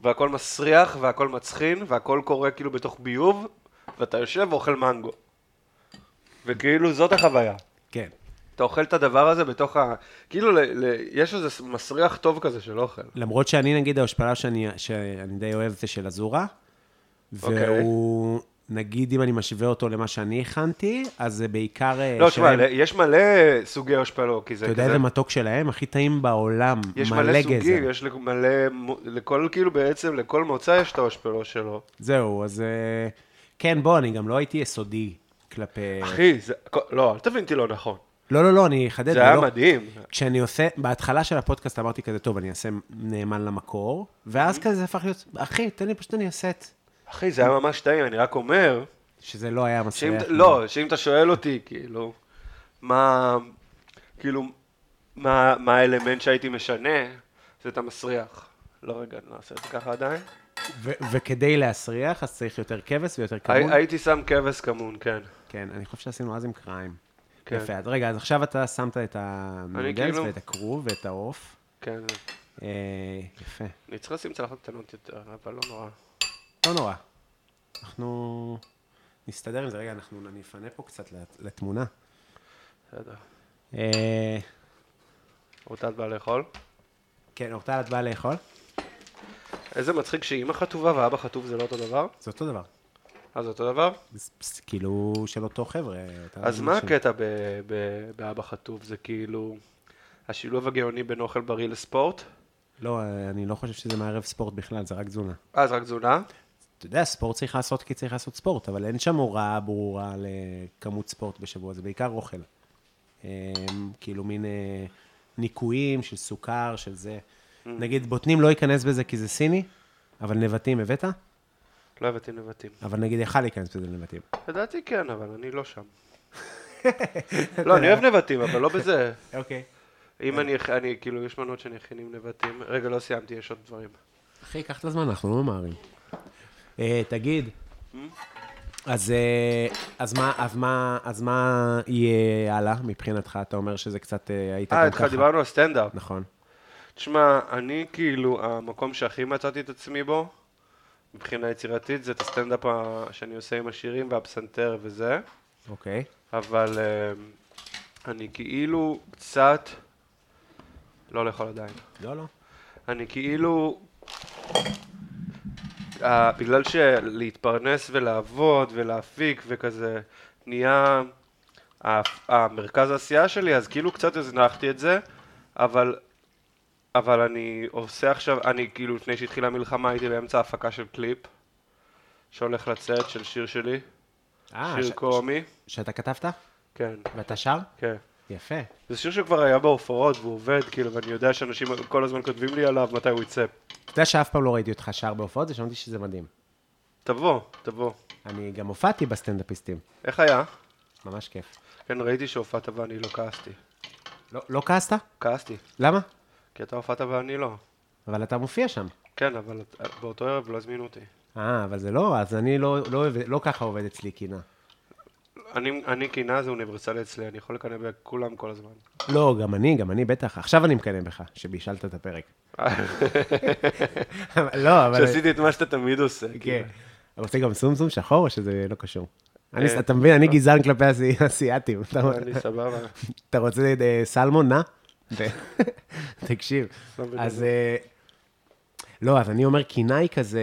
S2: והכל מסריח, והכל מצחין, והכל קורה כאילו בתוך ביוב, ואתה יושב ואוכל מנגו. וכאילו זאת החוויה.
S3: כן.
S2: אתה אוכל את הדבר הזה בתוך ה... כאילו, ל... ל... יש איזה ס- מסריח טוב כזה של אוכל.
S3: למרות שאני, נגיד, ההשפלה שאני, שאני די אוהב זה של אזורה,
S2: אוקיי.
S3: והוא, נגיד, אם אני משווה אותו למה שאני הכנתי, אז זה בעיקר... אה,
S2: לא, תשמע,
S3: שלהם.
S2: ל- יש מלא סוגי אושפלו, כי זה
S3: אתה
S2: כזה...
S3: יודע איזה מתוק שלהם? הכי טעים בעולם,
S2: יש
S3: מלא
S2: מלא
S3: גזר.
S2: סוגים, יש לכ- מלא... מו- לכל, כאילו, בעצם, לכל מוצא יש את האושפלו שלו.
S3: זהו, אז... אה, כן, בוא, אני גם לא הייתי יסודי כלפי...
S2: אחי, זה... הכ- לא, אל תבין אותי לא נכון.
S3: לא, לא, לא, אני אחדד.
S2: זה היה
S3: לא-
S2: מדהים.
S3: כשאני עושה, בהתחלה של הפודקאסט אמרתי כזה, טוב, אני אעשה נאמן למקור, ואז כזה זה הפך להיות, אחי, תן לי, פשוט אני אעשה את...
S2: אחי, זה היה ממש טעים, אני רק אומר,
S3: שזה לא היה
S2: שאם...
S3: מסריח.
S2: אתה- לא, שאם אתה שואל אותי, כאילו, מה... כאילו, מה מה האלמנט שהייתי משנה, זה את המסריח. לא, רגע, נעשה את זה ככה עדיין.
S3: ו- וכדי להסריח, אז צריך יותר כבש ויותר כמות.
S2: הי- הייתי שם כבש כמון, כן.
S3: כן, אני חושב שעשינו אז עם קריים.
S2: כן.
S3: יפה, אז רגע, אז עכשיו אתה שמת את הנודלס
S2: כאילו-
S3: ואת הכרוב ואת העוף.
S2: כן,
S3: אה, יפה.
S2: אני צריך לשים צלחות קטנות יותר, אבל לא נורא.
S3: לא נורא. אנחנו נסתדר עם זה. רגע, אנחנו אני אפנה פה קצת לת- לתמונה.
S2: בסדר.
S3: אה,
S2: אותה את באה לאכול?
S3: כן, אורטל, את באה לאכול?
S2: איזה מצחיק שאימא חטובה ואבא חטוב זה לא אותו דבר?
S3: זה אותו דבר.
S2: אז אותו דבר?
S3: זה פס- כאילו, של אותו חבר'ה. אתה
S2: אז
S3: מבין
S2: מה
S3: ש-
S2: הקטע ב- ב- באבא חטוב? זה כאילו השילוב הגאוני בין אוכל בריא לספורט?
S3: לא, אני לא חושב שזה מערב ספורט בכלל, זה רק תזונה.
S2: אה, זה רק תזונה?
S3: אתה יודע, ספורט צריך לעשות כי צריך לעשות ספורט, אבל אין שם הוראה ברורה לכמות ספורט בשבוע, זה בעיקר אוכל. אמ, כאילו מין אה, ניקויים של סוכר, של זה. נגיד, בוטנים לא ייכנס בזה כי זה סיני, אבל נבטים הבאת?
S2: לא הבאתי נבטים.
S3: אבל נגיד יכל להיכנס בזה לנבטים.
S2: לדעתי כן, אבל אני לא שם. לא, אני אוהב נבטים, אבל לא בזה.
S3: אוקיי.
S2: אם אני, אכ- אני, כאילו, יש מנות שאני אכין עם נבטים. רגע, לא סיימתי, יש עוד דברים.
S3: אחי, קח את הזמן, אנחנו לא ממהרים. אה, תגיד, אז, אה, אז, מה, אז, מה, אז מה יהיה הלאה מבחינתך? אתה אומר שזה קצת אה, היית
S2: אה,
S3: גם
S2: איתך
S3: ככה.
S2: דיברנו על סטנדאפ.
S3: נכון.
S2: תשמע, אני כאילו, המקום שהכי מצאתי את עצמי בו, מבחינה יצירתית, זה את הסטנדאפ ה- שאני עושה עם השירים והפסנתר וזה,
S3: אוקיי.
S2: אבל אה, אני כאילו קצת... לא הולך על עדיין.
S3: לא, לא.
S2: אני כאילו... אה, בגלל שלהתפרנס ולעבוד ולהפיק וכזה נהיה ה- המרכז העשייה שלי, אז כאילו קצת הזנחתי את זה, אבל, אבל אני עושה עכשיו, אני כאילו לפני שהתחילה המלחמה הייתי באמצע ההפקה של קליפ שהולך לצאת של שיר שלי,
S3: אה,
S2: שיר
S3: ש-
S2: קומי,
S3: שאתה כתבת?
S2: כן,
S3: ואתה שר?
S2: כן.
S3: יפה.
S2: זה שיר שכבר היה בהופעות והוא עובד, כאילו, ואני יודע שאנשים כל הזמן כותבים לי עליו מתי הוא יצא.
S3: אתה יודע שאף פעם לא ראיתי אותך שר בהופעות, ושמעתי שזה מדהים.
S2: תבוא, תבוא.
S3: אני גם הופעתי בסטנדאפיסטים,
S2: איך היה?
S3: ממש כיף.
S2: כן, ראיתי שהופעת ואני לא כעסתי.
S3: לא, לא כעסת?
S2: כעסתי,
S3: למה?
S2: כי אתה הופעת ואני לא.
S3: אבל אתה מופיע שם.
S2: כן, אבל באותו ערב לא הזמינו אותי.
S3: אה, אבל זה לא, אז אני לא, לא, עובד- לא ככה עובד אצלי קינה.
S2: אני, אני קינה זה אוניברסלי אצלי, אני יכול לקנא בכולם כל הזמן.
S3: לא, גם אני, גם אני בטח. עכשיו אני מקנא בך, שבישלת את הפרק. אבל- לא, אבל...
S2: שעשיתי את מה שאתה תמיד עושה. כאילו.
S3: כן. אבל עושה גם סומסום שחור, או שזה לא קשור?
S2: אה,
S3: אני, אתה מבין,
S2: לא.
S3: אני גזען כלפי הסי- האסייתים. אתה-
S2: כאילו. אני סבבה.
S3: אתה רוצה אה, סלמון, נא? ת- תקשיב.
S2: לא בדיוק.
S3: אז... אה, לא, אז אני אומר, קיני כזה,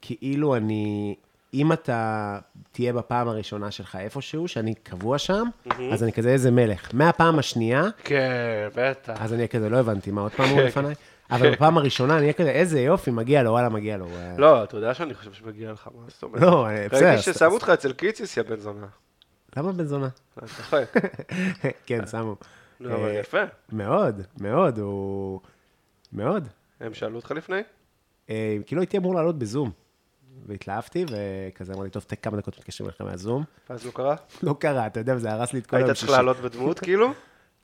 S3: כאילו אני... אם אתה תהיה בפעם הראשונה שלך איפשהו, שאני קבוע שם, אז אני כזה איזה מלך. מהפעם השנייה,
S2: כן, בטח.
S3: אז אני אהיה כזה, לא הבנתי, מה עוד פעם הוא
S2: כן.
S3: לפניי? אבל בפעם הראשונה אני אהיה כזה, איזה יופי, מגיע לו, וואלה, מגיע לו. אה,
S2: לא, אתה יודע שאני חושב שמגיע לך, מה זאת אומרת?
S3: לא, אה, בסדר,
S2: ראיתי
S3: אז-
S2: ששמו אותך אצל קיציס, יא בן זונה.
S3: למה בן זונה?
S2: אני צוחק.
S3: כן, שמו.
S2: נו, אבל
S3: אה,
S2: יפה.
S3: מאוד, מאוד, הוא... מאוד.
S2: הם שאלו אותך לפני?
S3: אה, כאילו הייתי אמור לעלות בזום. והתלהבתי, וכזה אמר לי, טוב, תן כמה דקות מתקשרים אליך מהזום.
S2: ואז לא קרה?
S3: לא קרה, אתה יודע, זה הרס לי את כל
S2: היית
S3: היום
S2: צריך לעלות בדמות, כאילו?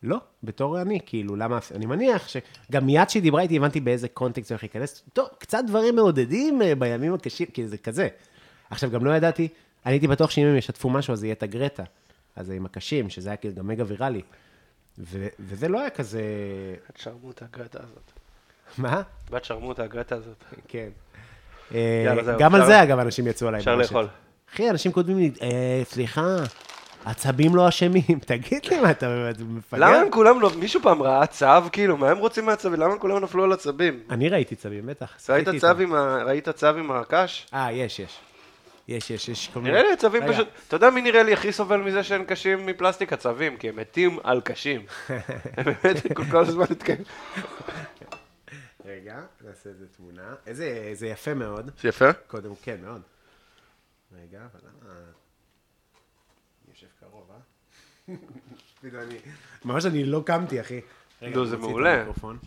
S3: לא, בתור אני, כאילו, למה... אני מניח שגם מיד שהיא דיברה איתי, הבנתי באיזה קונטקסט הולך להיכנס. טוב, קצת דברים מעודדים אה, בימים הקשים, כי זה כזה. עכשיו, גם לא ידעתי, אני הייתי בטוח שאם הם ישתפו משהו, אז זה יהיה את הגרטה. אז זה עם הקשים, שזה היה כאילו גם מגה ויראלי. ו- וזה לא היה כזה...
S2: את שרמוטה הגרטה הזאת.
S3: מה?
S2: בת שרמוטה הגרטה הזאת.
S3: כן. אה,
S2: יאללה, זהו,
S3: גם על
S2: אפשר-
S3: זה, אגב, אנשים יצאו עליי.
S2: אפשר
S3: ברשת.
S2: לאכול.
S3: אחי, אנשים כותבים לי, "אה, סליחה, עצבים לא אשמים. תגיד לי, מה, אתה אתה מפגר?
S2: למה הם כולם לא... מישהו פעם ראה צב, כאילו, מה הם רוצים מהצבים? למה הם כולם נפלו על עצבים?
S3: אני ראיתי צבים, בטח.
S2: ראית
S3: שחיתי
S2: צב
S3: איתם.
S2: עם ה- ראית צב עם הקש?
S3: אה, יש, יש. יש, יש, יש כל מיני...
S2: נראה לי הצבים
S3: רגע,
S2: פשוט... אתה יודע מי נראה לי הכי סובל מזה שהם קשים מפלסטיק? הצבים, כי הם מתים על קשים. הם באמת כל- כל הזמן מתקיים.
S3: רגע, נעשה איזה תמונה. איזה, זה יפה מאוד.
S2: זה יפה?
S3: קודם, כן, מאוד. רגע, אבל למה... אני יושב קרוב, אה? פתאום אני... ממש אני לא קמתי, אחי. רגע,
S2: לא,
S3: אני
S2: זה
S3: מוציא את
S2: מעולה.
S3: המיקרופון.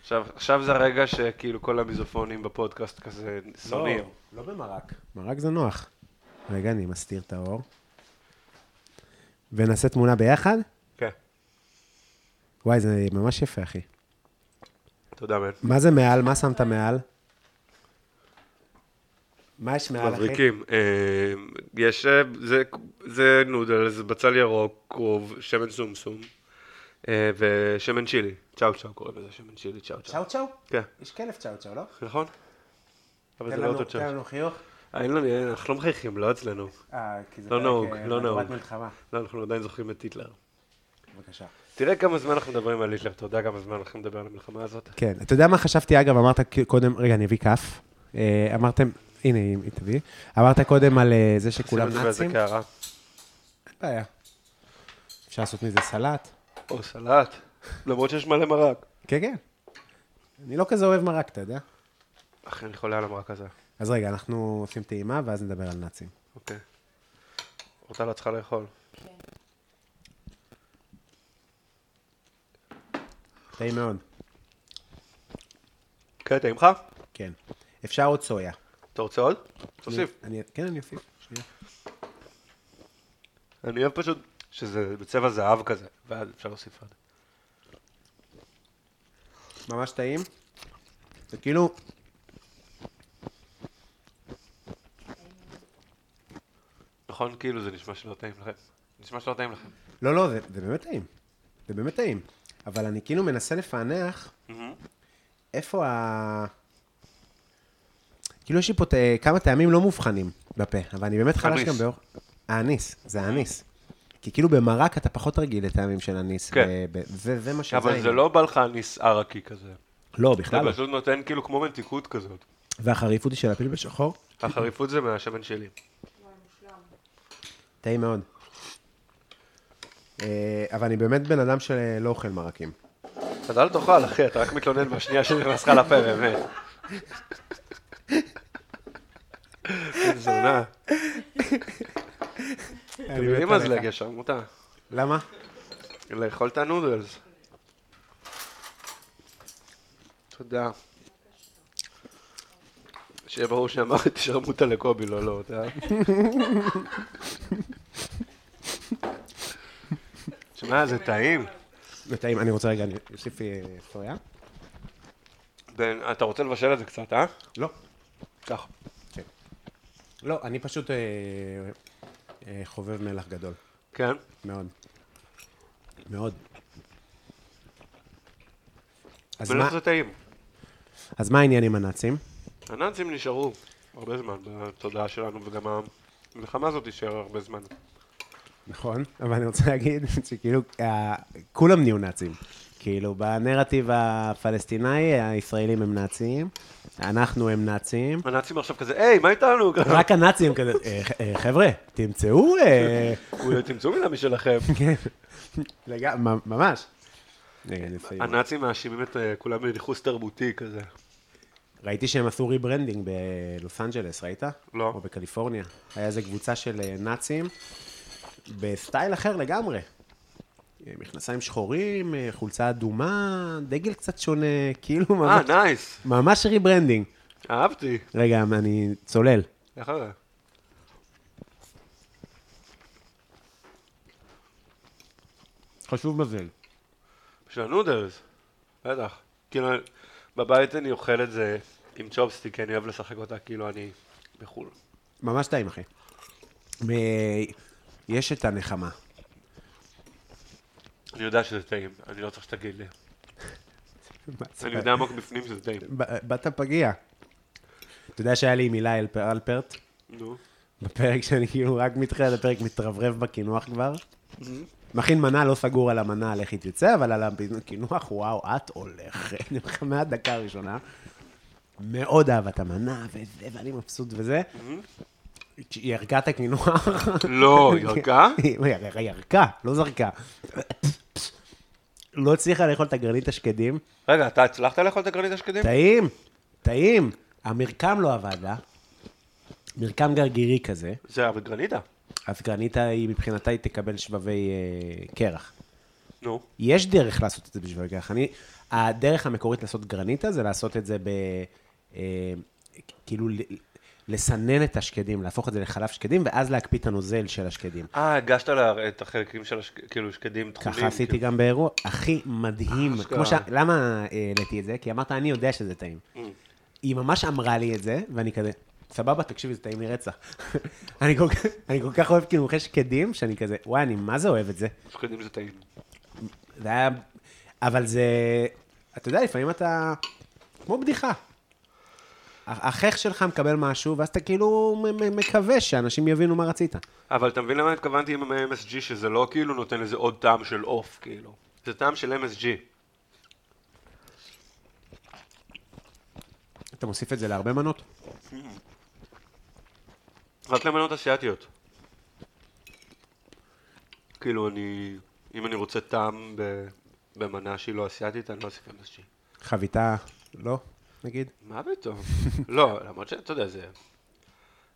S2: עכשיו- עכשיו זה הרגע שכאילו כל המיזופונים בפודקאסט כזה שונאים.
S3: לא במרק. מרק זה נוח. רגע, אני מסתיר את האור. ונעשה תמונה ביחד?
S2: כן.
S3: וואי, זה ממש יפה, אחי.
S2: תודה, מן.
S3: מה זה מעל? מה שמת מעל? מה יש מעל, אחי?
S2: מבריקים. אה, יש, אה, זה- זה נודלס, בצל ירוק, כרוב, שמן סומסום, אה, ושמן צ'ילי. צ'או צ'או קוראים לזה, שמן צ'ילי, צ'או צ'או.
S3: צ'או צ'או?
S2: כן,
S3: יש כלב צ'או צ'או, לא?
S2: נכון? אבל
S3: תן
S2: זה לא
S3: לנו-
S2: אותו
S3: תן
S2: צ'או.
S3: לנו חיוך.
S2: אה, אין לנו, אין, אנחנו לא מחייכים, לא אצלנו.
S3: אה, כי זה
S2: לא
S3: פרק,
S2: נהוג,
S3: אה,
S2: לא
S3: מהדורת
S2: נהוג.
S3: מלחמה.
S2: לא, אנחנו עדיין זוכרים את היטלר.
S3: בבקשה.
S2: תראה כמה זמן אנחנו מדברים על היטלר, אתה יודע כמה זמן אנחנו מדברים על המלחמה הזאת?
S3: כן, אתה יודע מה חשבתי, אגב, אמרת כ- קודם, רגע, אני אביא כף. אה, אמרתם, הנה, היא היא תביא. אמרת קודם על אה, זה שכולם
S2: שים את זה באיזה
S3: נאצים.
S2: קערה.
S3: אין בעיה. אפשר לעשות מזה סלט.
S2: או סלט, למרות שיש מלא מרק.
S3: כן, כן. אני לא כזה אוהב מרק, אתה יודע?
S2: אחי, אני חולה על המרק הזה.
S3: אז רגע, אנחנו עושים טעימה, ואז נדבר על נאצים.
S2: אוקיי. אותה לא צריכה לאכול.
S3: טעים מאוד.
S2: כן, טעים לך?
S3: כן. אפשר עוד סויה.
S2: אתה רוצה עוד? תוסיף.
S3: אני- כן, אני אוסיף. שנייה.
S2: אני אוהב פשוט שזה בצבע זהב כזה, ואז אפשר להוסיף עוד.
S3: ממש טעים. זה כאילו...
S2: נכון? כאילו זה נשמע שלא טעים לכם. נשמע שלא טעים לכם.
S3: לא, לא, זה, זה באמת טעים. זה באמת טעים. אבל אני כאילו מנסה לפענח
S2: Mm-hmm.
S3: איפה ה... כאילו יש לי פה ת... כמה טעמים לא מאובחנים בפה, אבל אני באמת חלש
S2: אניס.
S3: גם באור... האניס,
S2: Mm-hmm.
S3: זה האניס. כי כאילו במרק אתה פחות רגיל לטעמים של אניס.
S2: כן.
S3: ב- ב- זה, זה מה שזה.
S2: אבל זה
S3: העניין.
S2: לא בא לך ניס ערקי כזה.
S3: לא, בכלל
S2: אתה
S3: לא.
S2: פשוט נותן כאילו כמו מתיקות כזאת.
S3: והחריפות היא של הפלפל שחור.
S2: החריפות זה מהשמן שלי.
S3: טעים מאוד. אה, אבל אני באמת בן אדם שלא אוכל מרקים.
S2: אז אל תאכל, אחי, אתה רק מתלונן בשנייה שנכנס לך לפה, באמת. איזה זונה. אתם יודעים מה זה להגיע שם, מותר.
S3: למה?
S2: לאכול את הנודלס. תודה. שיהיה ברור שאמרתי שרמוטה לקובי, לא, לא, אתה... שמע, זה טעים.
S3: זה טעים, אני רוצה רגע, אני אוסיף אה, סויה.
S2: בן, אתה רוצה לבשל את זה קצת, אה?
S3: לא.
S2: קח.
S3: לא, אני פשוט אה, אה, חובב מלח גדול.
S2: כן?
S3: מאוד. מאוד. אז מה,
S2: מלך זה טעים.
S3: אז מה העניין עם הנאצים?
S2: הנאצים נשארו הרבה זמן בתודעה שלנו, וגם המלחמה הזאת תישאר הרבה זמן.
S3: נכון, אבל אני רוצה להגיד שכאילו, אה, כולם נהיו נאצים. כאילו, בנרטיב הפלסטיני, הישראלים הם נאצים, אנחנו הם נאצים.
S2: הנאצים עכשיו כזה, היי, מה איתנו?
S3: רק הנאצים כזה, "אה, ח- אה, חבר'ה, תמצאו... אה,
S2: אולי תמצאו מילה משלכם.
S3: כן, לג- מ- ממש. רגע, אני אסיים.
S2: הנאצים מאשימים את אה, כולם בניכוס תרבותי כזה.
S3: ראיתי שהם עשו ריברנדינג בלוס אנג'לס, ראית?
S2: לא.
S3: או בקליפורניה. היה איזה קבוצה של אה, נאצים, בסטייל אחר לגמרי. אה, מכנסיים שחורים, אה, חולצה אדומה, דגל קצת שונה, כאילו
S2: אה,
S3: ממש,
S2: נייס,
S3: ממש ריברנדינג.
S2: אהבתי.
S3: רגע, אני צולל.
S2: איך זה?
S3: חשוב מזל.
S2: של הנודלס, בטח. כאילו, בבית אני אוכל את זה עם צ'ופסטיק, כי אני אוהב לשחק אותה כאילו אני בחו"ל.
S3: ממש טעים, אחי. מ- יש את הנחמה.
S2: אני יודע שזה טעים, אני לא צריך שתגיד לי. אני יודע עמוק בפנים שזה טעים.
S3: ב- בת הפגיע. אתה יודע שהיה לי עם הילה אלפ- אלפרט?
S2: נו.
S3: בפרק שאני כאילו רק מתחילת הפרק מתרברב בקינוח כבר.
S2: Mm-hmm.
S3: מכין מנה, לא סגור על המנה על איך היא תצא, אבל על הקינוח, וואו, את הולכת. אני אומר לך, מהדקה הראשונה. מאוד אהבה את המנה, וזה, ואני מבסוט וזה. היא ירקה את הקינוח.
S2: Mm-hmm. לא, ירקה?
S3: היא יר- ירקה, לא זרקה. לא הצליחה לאכול את הגרנית השקדים.
S2: רגע, אתה הצלחת לאכול את הגרנית השקדים?
S3: טעים, טעים. המרקם לא עבד לה. מרקם גרגירי כזה.
S2: זה אבל גרנידה.
S3: אז גרניטה היא מבחינתה היא תקבל שבבי אה, קרח.
S2: נו.
S3: יש דרך לעשות את זה בשבבי קרח. אני, הדרך המקורית לעשות גרניטה זה לעשות את זה ב... אה, כאילו ל- לסנן את השקדים, להפוך את זה לחלב שקדים, ואז להקפיא את הנוזל של השקדים.
S2: אה, הגשת לה את החלקים של השק- כאילו שקדים תכונים. כאילו.
S3: ככה עשיתי גם באירוע, הכי מדהים.
S2: אשכרה.
S3: כמו ש... למה אה, העליתי את זה? כי אמרת, אני יודע שזה טעים. היא ממש אמרה לי את זה, ואני כזה, סבבה, תקשיבי, זה טעים לי רצח. אני כל כך- אני כל כך אוהב קינוחי שקדים, שאני כזה, וואי, אני מה זה אוהב את זה.
S2: כאילו. שקדים זה טעים.
S3: זה היה... אבל זה... אתה יודע, לפעמים אתה... כמו בדיחה. ה- החייך שלך מקבל משהו, ואז אתה כאילו מ- מ- מקווה שאנשים יבינו מה רצית.
S2: אבל אתה מבין למה התכוונתי עם ה-MSG, שזה לא כאילו נותן לזה עוד טעם של עוף, כאילו. זה טעם של MSG.
S3: אתה מוסיף את זה להרבה מנות?
S2: רק למנות אסיאתיות. כאילו אני, אם אני רוצה טעם ב- במנה שהיא לא אסיאתית, אני לא אוסיף MSG.
S3: חביתה, לא? נגיד?
S2: מה פתאום? לא, למרות שאתה יודע, זה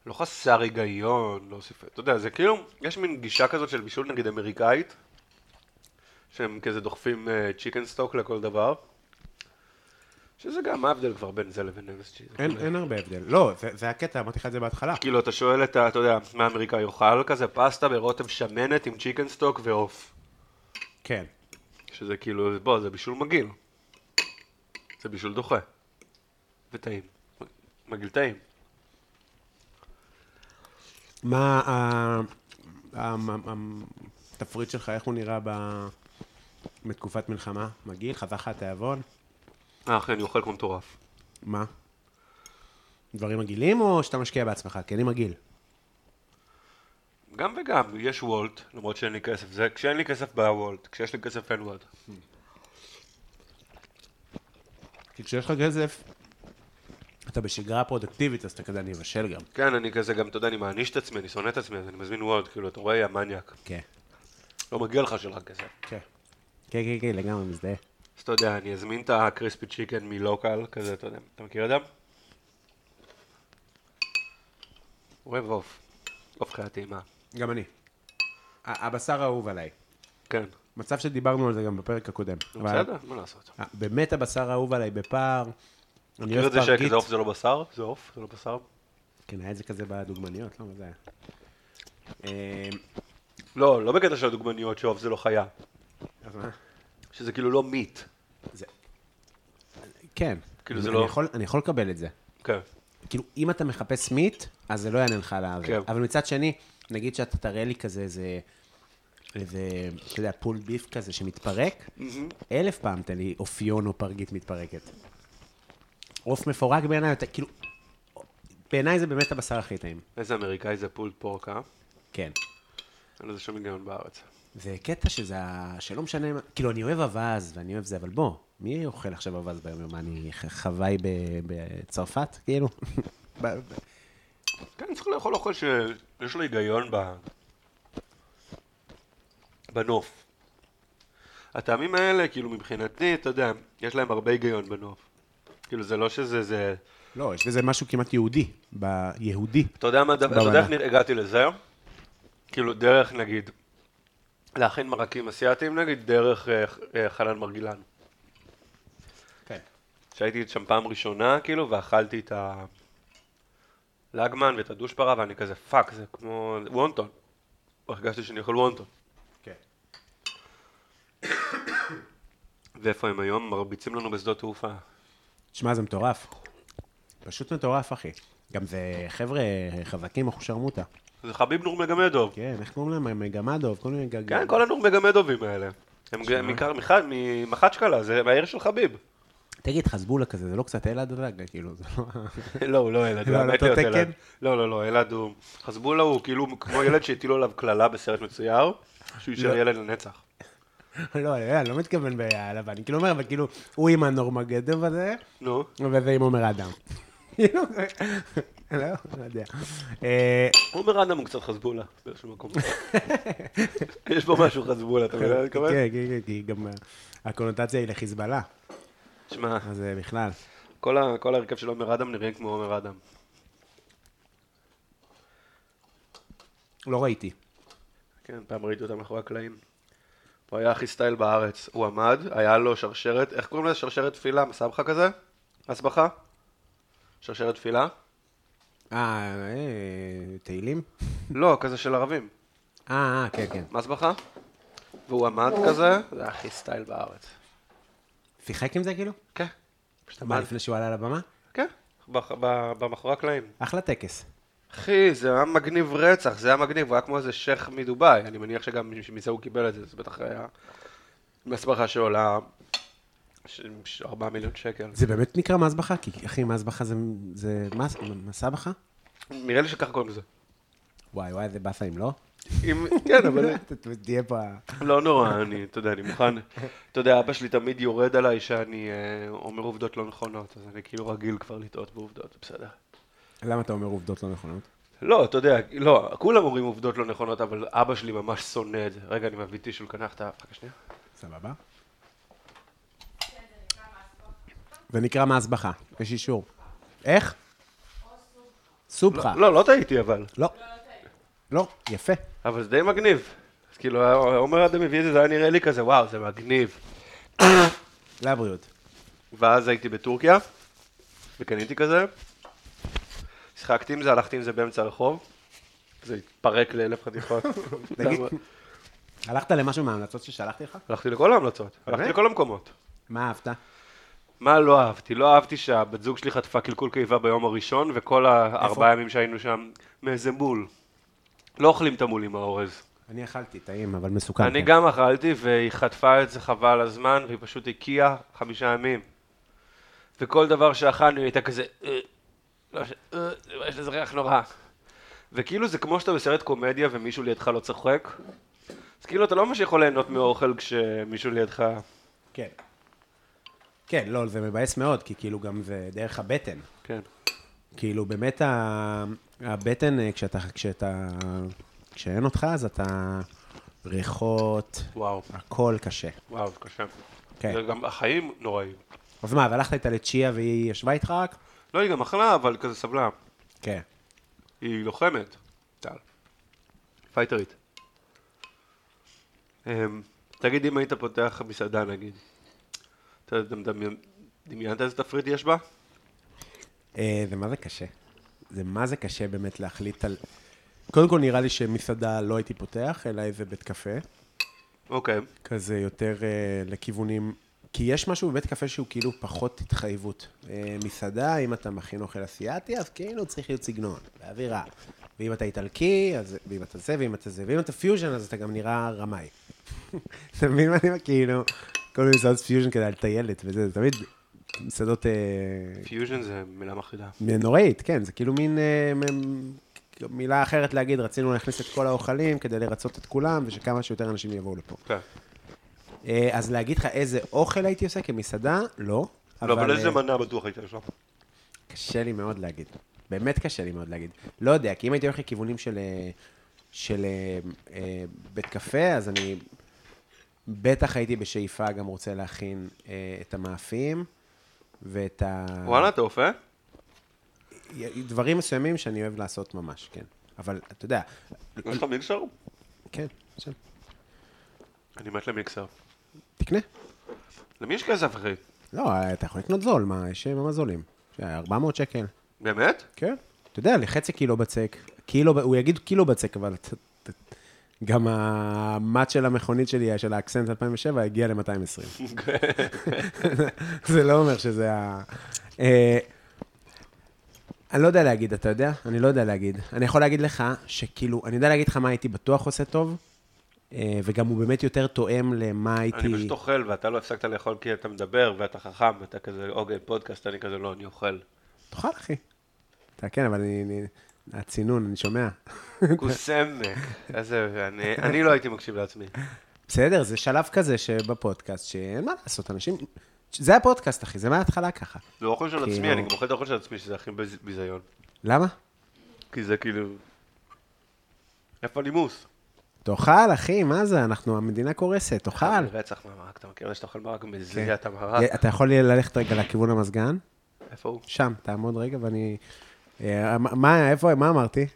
S2: לא חסר היגיון, לא אוסיף, אתה יודע, זה כאילו, יש מין גישה כזאת של בישול נגיד אמריקאית, שהם כזה דוחפים צ'יקן סטוק לכל דבר, שזה גם ההבדל כבר בין זה לבין MSG. זה
S3: אין,
S2: כאילו-
S3: אין הרבה הבדל. לא, זה, זה הקטע, אמרתי לך את זה בהתחלה.
S2: כאילו, אתה שואל את ה... אתה יודע, מה האמריקאי אוכל כזה? פסטה ברוטב שמנת עם צ'יקן סטוק ועוף.
S3: כן.
S2: שזה כאילו, בוא, זה בישול מגעיל. זה בישול דוחה. וטעים. מגעיל טעים.
S3: מה ה- ה- ה- ה- התפריט שלך, איך הוא נראה ב... בתקופת מלחמה? מגעיל, חזך התיאבון?
S2: אה, אחי, אני אוכל כמו מטורף.
S3: מה? דברים מגעילים או שאתה משקיע בעצמך? כי אני מגעיל.
S2: גם וגם, יש וולט, למרות שאין לי כסף. זה, כשאין לי כסף בא וולט, כשיש לי כסף אין וולט.
S3: כי כשיש לך כסף, אתה בשגרה פרודקטיבית, אז אתה כזה, אני אבשל גם.
S2: כן, אני כזה גם, אתה יודע, אני מעניש את עצמי, אני שונא את עצמי, אז אני מזמין וולט, כאילו, אתה רואה, יא מניאק.
S3: כן.
S2: לא מגיע לך שלך כסף.
S3: כן, כן, כן, לגמרי מזדהה.
S2: אז אתה יודע, אני אזמין את הקריספי צ'יקן מלוקל, כזה, אתה יודע, אתה מכיר אדם? הוא אוהב עוף, עוף חיית טעימה,
S3: גם אני. ה- הבשר האהוב עליי.
S2: כן,
S3: מצב שדיברנו על זה גם בפרק הקודם.
S2: נו,
S3: אבל-
S2: בסדר, מה לעשות.
S3: אה, באמת הבשר האהוב עליי בפער. אני
S2: מכיר את
S3: אוהב
S2: זה
S3: פרגית.
S2: שכזה עוף זה לא בשר? זה עוף, זה לא בשר?
S3: כן, היה את זה כזה בדוגמניות, לא? מה זה היה? אה,
S2: לא, לא בקטע של הדוגמניות שעוף זה לא חיה,
S3: אז מה?
S2: שזה כאילו לא מיט,
S3: זה- כן.
S2: כאילו זה
S3: אני
S2: לא-
S3: יכול- אני יכול לקבל את זה.
S2: כן,
S3: כאילו, אם אתה מחפש מיט, אז זה לא יענה לך על האוויר.
S2: כן.
S3: אבל מצד שני, נגיד שאתה תראה לי כזה איזה, איזה, אתה יודע, פול ביף כזה שמתפרק, אלף פעם תן לי אופיון או פרגית מתפרקת. עוף מפורק בעיניי, אתה- כאילו, בעיניי זה באמת הבשר הכי טעים.
S2: איזה אמריקאי זה פולד פורק, אה?
S3: כן.
S2: אין לזה שום היגיון בארץ.
S3: זה קטע שזה, ה- שלא משנה, מה- כאילו, אני אוהב אווז ואני אוהב זה, אבל בוא, מי אוכל עכשיו אווז ביום יום? מה, אני ח- חוואי ב- בצרפת, כאילו? ב- ב-
S2: כן, צריך לאכול אוכל שיש לו היגיון ב... בנוף. הטעמים האלה, כאילו מבחינתי, אתה יודע, יש להם הרבה היגיון בנוף. כאילו זה לא שזה, זה...
S3: לא, יש בזה משהו כמעט יהודי, ביהודי.
S2: אתה יודע מה, אתה יודע איך נראה- הגעתי לזה? כאילו דרך, נגיד, להכין מרקים אסיאתיים, נגיד, דרך אה, אה, חנן מרגילן.
S3: כן.
S2: שהייתי שם פעם ראשונה, כאילו, ואכלתי את הלגמן ואת הדושפרה, ואני כזה, פאק, זה כמו וונטון. הרגשתי שאני אוכל וונטון.
S3: כן.
S2: ואיפה הם היום? מרביצים לנו בשדות תעופה.
S3: שמע, זה מטורף. פשוט מטורף, אחי. גם זה חבר'ה חזקים, אחושרמוטה.
S2: זה חביב נור מגמדוב.
S3: כן, איך קוראים להם? מגמדוב, כל מיני גג...
S2: כן, כל הנור מגמדובים האלה. הם גם מכר- מכ- ממחצ'קלה, זה מהעיר של חביב.
S3: תגיד, חזבולה כזה, זה לא קצת אלעד הדג, כאילו, זה לא...
S2: לא, הוא לא אלעד, הוא
S3: לא,
S2: היה מת
S3: לא
S2: להיות
S3: אותו
S2: אלעד.
S3: תקן?
S2: לא, לא, לא, אלעד הוא... חזבולה הוא כאילו כמו ילד שהטילו עליו קללה בסרט מצויר, שהוא יישאר ילד לנצח.
S3: לא, אני לא מתכוון באלעד, אני כאילו אומר, אבל כאילו, הוא עם הנורמגדוב הזה,
S2: נו.
S3: וזה עם עומר אדם. כאילו, זה- לא, לא יודע. אה,
S2: עומר אדם הוא קצת חזבולה באיזשהו מקום. יש בו משהו חזבולה, אתה מבין מה אני מתכוון?
S3: כן, כן, כן, כי גם הקונוטציה היא לחיזבאללה,
S2: שמע,
S3: אז אה, בכלל.
S2: כל ה- כל ההרכב של עומר אדם נראה כמו עומר אדם.
S3: לא ראיתי.
S2: כן, פעם ראיתי אותה מאחורי הקלעים. הוא היה הכי סטייל בארץ. הוא עמד, היה לו שרשרת, איך קוראים לזה? שרשרת תפילה, מסבכה כזה? הסבכה? שרשרת תפילה?
S3: אה, אה, תהילים?
S2: לא, כזה של ערבים.
S3: אה, אה, כן, כן.
S2: מסבכה? והוא עמד כזה, זה הכי סטייל בארץ.
S3: שיחק עם זה כאילו?
S2: כן. פשוט
S3: מה,
S2: עמד.
S3: לפני שהוא עלה על הבמה?
S2: כן, בח- ב- במאחורי הקלעים.
S3: אחלה טקס.
S2: אחי, זה היה מגניב רצח, זה היה מגניב, הוא היה כמו איזה שייח מדובאי, אני מניח שגם מזה הוא קיבל את זה, זה בטח היה מסבכה שעולה ש- ש- 4 מיליון שקל.
S3: זה באמת נקרא מזבחה? כי אחי, מזבחה זה... זה... מס- מסבחה?
S2: נראה לי שככה קוראים לזה.
S3: וואי, וואי, איזה באסה אם לא.
S2: אם, כן, אבל
S3: אתה תהיה פה... ה-
S2: לא נורא, אני, אתה יודע, אני מוכן. אתה יודע, אבא שלי תמיד יורד עליי שאני אה, אומר עובדות לא נכונות, אז אני כאילו רגיל כבר לטעות בעובדות, בסדר.
S3: למה אתה אומר עובדות לא נכונות?
S2: לא, אתה יודע, לא, כולם אומרים עובדות לא נכונות, אבל אבא שלי ממש שונא את זה. רגע, אני מביא טישול קנח, אתה... רק שנייה.
S3: סבבה? זה נקרא מהסבכה, יש אישור. איך? סובחה.
S2: לא, לא טעיתי אבל.
S3: לא. לא, יפה.
S2: אבל זה די מגניב. אז כאילו, עומר אדם הביא את זה, זה היה נראה לי כזה, וואו, זה מגניב.
S3: לבריאות.
S2: ואז הייתי בטורקיה, וקניתי כזה, שיחקתי עם זה, הלכתי עם זה באמצע הרחוב, זה התפרק לאלף חתיכות.
S3: תגיד. הלכת למשהו מההמלצות ששלחתי לך?
S2: הלכתי לכל ההמלצות, הלכתי לכל המקומות.
S3: מה אהבת?
S2: מה לא אהבתי? לא אהבתי שהבת זוג שלי חטפה קלקול קיבה ביום הראשון, וכל הארבעה ימים שהיינו שם, מאיזה מול. לא אוכלים את המול עם האורז.
S3: אני אכלתי, טעים, אבל מסוכן.
S2: אני
S3: כן.
S2: גם אכלתי, והיא חטפה את זה חבל הזמן, והיא פשוט הקיאה חמישה ימים. וכל דבר שאכלנו היא הייתה כזה, "אה, לא ש... אה, יש לזה ריח נורא. וכאילו זה כמו שאתה בסרט קומדיה ומישהו לידך לא צוחק. אז כאילו אתה לא ממש יכול ליהנות מאוכל כשמישהו לידך...
S3: כן. כן, לא, זה מבאס מאוד, כי כאילו גם זה דרך הבטן.
S2: כן.
S3: כאילו, באמת ה- הבטן, אה, כשאתה, כשאתה, כשאין אותך, אז אתה ריחות,
S2: וואו,
S3: הכל קשה.
S2: וואו, זה קשה.
S3: כן.
S2: זה גם החיים נוראים.
S3: אז מה, והלכת איתה לצ'יה והיא ישבה איתך רק?
S2: לא, היא גם אכלה, אבל כזה סבלה.
S3: כן.
S2: היא לוחמת. טל. פייטרית. אמ, תגיד, אם היית פותח מסעדה, נגיד, אתה יודע, דמי- דמיינת איזה תפריט יש בה?
S3: אה, זה מה זה קשה. זה מה זה קשה באמת להחליט על... קודם כל, נראה לי שמסעדה לא הייתי פותח, אלא איזה בית קפה.
S2: אוקיי.
S3: כזה יותר אה, לכיוונים... כי יש משהו בבית קפה שהוא כאילו פחות התחייבות. אה, מסעדה, אם אתה מכין אוכל אסיאתי, אז כאילו צריך להיות סגנון, באווירה. ואם אתה איטלקי, אז... ואם אתה זה, ואם אתה זה, ואם אתה פיוז'ן, אז אתה גם נראה רמאי. אתה מבין מה אני אומר? כאילו, כל מיני מסעדות פיוז'ן כדי לטיילת וזה, זה תמיד מסעדות... אה,
S2: פיוז'ן זה מילה מחרידה.
S3: נוראית, כן, זה כאילו מין אה, מ- מילה אחרת להגיד, רצינו להכניס את כל האוכלים כדי לרצות את כולם, ושכמה שיותר אנשים יבואו לפה.
S2: כן.
S3: אה, אז להגיד לך איזה אוכל הייתי עושה כמסעדה, לא.
S2: לא, אבל איזה
S3: אה,
S2: מנה בטוח הייתה שם.
S3: קשה לי מאוד להגיד. באמת קשה לי מאוד להגיד. לא יודע, כי אם הייתי הולך לכיוונים של, אה, של אה, אה, בית קפה, אז אני בטח הייתי בשאיפה גם רוצה להכין אה, את המאפים ואת ה...
S2: וואלה, אתה אופה?
S3: דברים מסוימים שאני אוהב לעשות ממש, כן. אבל אתה יודע,
S2: יש לך מיקסר?
S3: כן, בסדר.
S2: אני מת למיקסר.
S3: תקנה.
S2: למי יש כסף, אחי?
S3: לא, אתה יכול לקנות זול, מה, יש אה, ממש זולים. ש- 400 שקל.
S2: באמת?
S3: כן. אתה יודע, לחצי קילו בצק, קילו, הוא יגיד קילו בצק, אבל ת- ת- גם המט של המכונית שלי, של האקסנט 2007, הגיע ל-220. זה לא אומר שזה ה... אה, אני לא יודע להגיד, אתה יודע? אני לא יודע להגיד. אני יכול להגיד לך שכאילו, אני יודע להגיד לך מה הייתי בטוח עושה טוב, אה, וגם הוא באמת יותר תואם למה הייתי...
S2: אני פשוט אוכל, ואתה לא הפסקת לאכול כי אתה מדבר, ואתה חכם, ואתה כזה, אוקיי, פודקאסט, אני כזה, לא, אני אוכל.
S3: תאכל, אחי. אתה כן, אבל אני... אני- הצינון, אני שומע.
S2: קוסמק. עזוב, אני- אני לא הייתי מקשיב לעצמי.
S3: בסדר, זה שלב כזה שבפודקאסט, שאין מה לעשות, אנשים... זה הפודקאסט, אחי, זה מההתחלה ככה.
S2: זה אוכל של עצמי,
S3: כאילו-
S2: אני גם אוכל את האוכל של עצמי, שזה הכי בז- ביזיון.
S3: למה?
S2: כי זה כאילו... איפה הנימוס?
S3: תאכל, אחי, מה זה? אנחנו, המדינה קורסת, תאכל.
S2: רצח מהמרק, אתה מכיר? שאתה אוכל
S3: כן.
S2: מרק מזיע את המרק?
S3: אתה יכול ללכת רגע לכיוון המזגן?
S2: איפה הוא?
S3: שם, תעמוד רגע ואני... אה, מה- מה, איפה, מה אמרתי?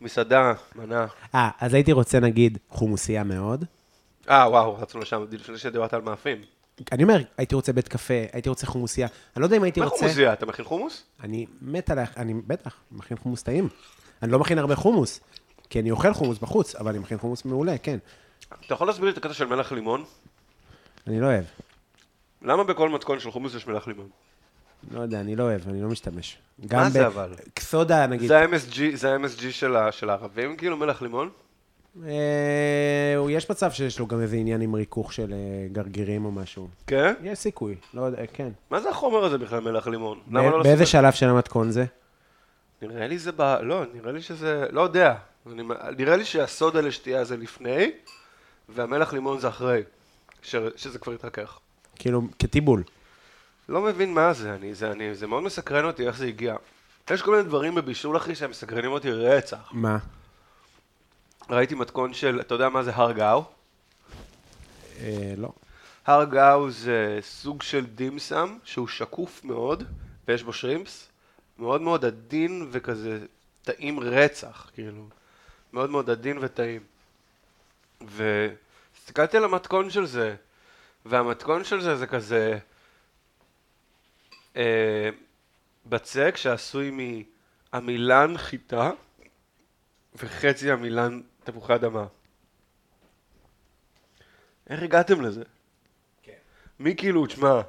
S2: מסעדה, מנה.
S3: אה, אז הייתי רוצה, נגיד, חומוסייה מאוד.
S2: אה, וואו, רצנו לשם, לפני שדיברת על מאפים.
S3: אני אומר, הייתי רוצה בית קפה, הייתי רוצה חומוסייה. אני לא יודע אם הייתי
S2: מה
S3: רוצה...
S2: חומוסייה? אתה מכין חומוס?
S3: אני מת על ה... אני בטח, מכין חומוס טעים. אני לא מכין הרבה חומוס, כי אני אוכל חומוס בחוץ, אבל אני מכין חומוס מעולה, כן.
S2: אתה יכול להסביר לי את הקטע של מלח לימון?
S3: אני לא אוהב.
S2: למה בכל מתכון של חומוס יש מלח לימון?
S3: לא יודע, אני לא אוהב, אני לא משתמש.
S2: מה
S3: גם
S2: זה
S3: ב-
S2: אבל?
S3: סודה, נגיד.
S2: זה ה-MSG, זה ה-MSG של ה- של הערבים, כאילו מלח לימון?
S3: אה, הוא- יש מצב שיש לו גם איזה עניין עם ריכוך של אה, גרגירים או משהו.
S2: כן?
S3: יש סיכוי, לא יודע, כן.
S2: מה זה החומר הזה בכלל, מלח לימון?
S3: בא-
S2: למה לא לשים
S3: באיזה
S2: את-
S3: שלב של המתכון זה?
S2: נראה לי זה ב... לא, נראה לי שזה... לא יודע. אני, נראה לי שהסודה לשתייה זה לפני, והמלח לימון זה אחרי, ש, שזה כבר התרכך.
S3: כאילו, כטיבול.
S2: לא מבין מה זה, אני, זה, אני, זה מאוד מסקרן אותי איך זה הגיע. יש כל מיני דברים בבישול אחי שהם מסקרנים אותי רצח.
S3: מה?
S2: ראיתי מתכון של, אתה יודע מה זה הר גאו?
S3: אה, לא.
S2: הר גאו זה סוג של דימסם שהוא שקוף מאוד, ויש בו שרימפס, מאוד מאוד עדין וכזה טעים רצח, כאילו. מאוד מאוד עדין וטעים. והסתכלתי על המתכון של זה, והמתכון של זה זה כזה אה, בצק שעשוי מעמילן חיטה וחצי עמילן תפוחי אדמה. איך הגעתם לזה? מי כאילו, תשמע,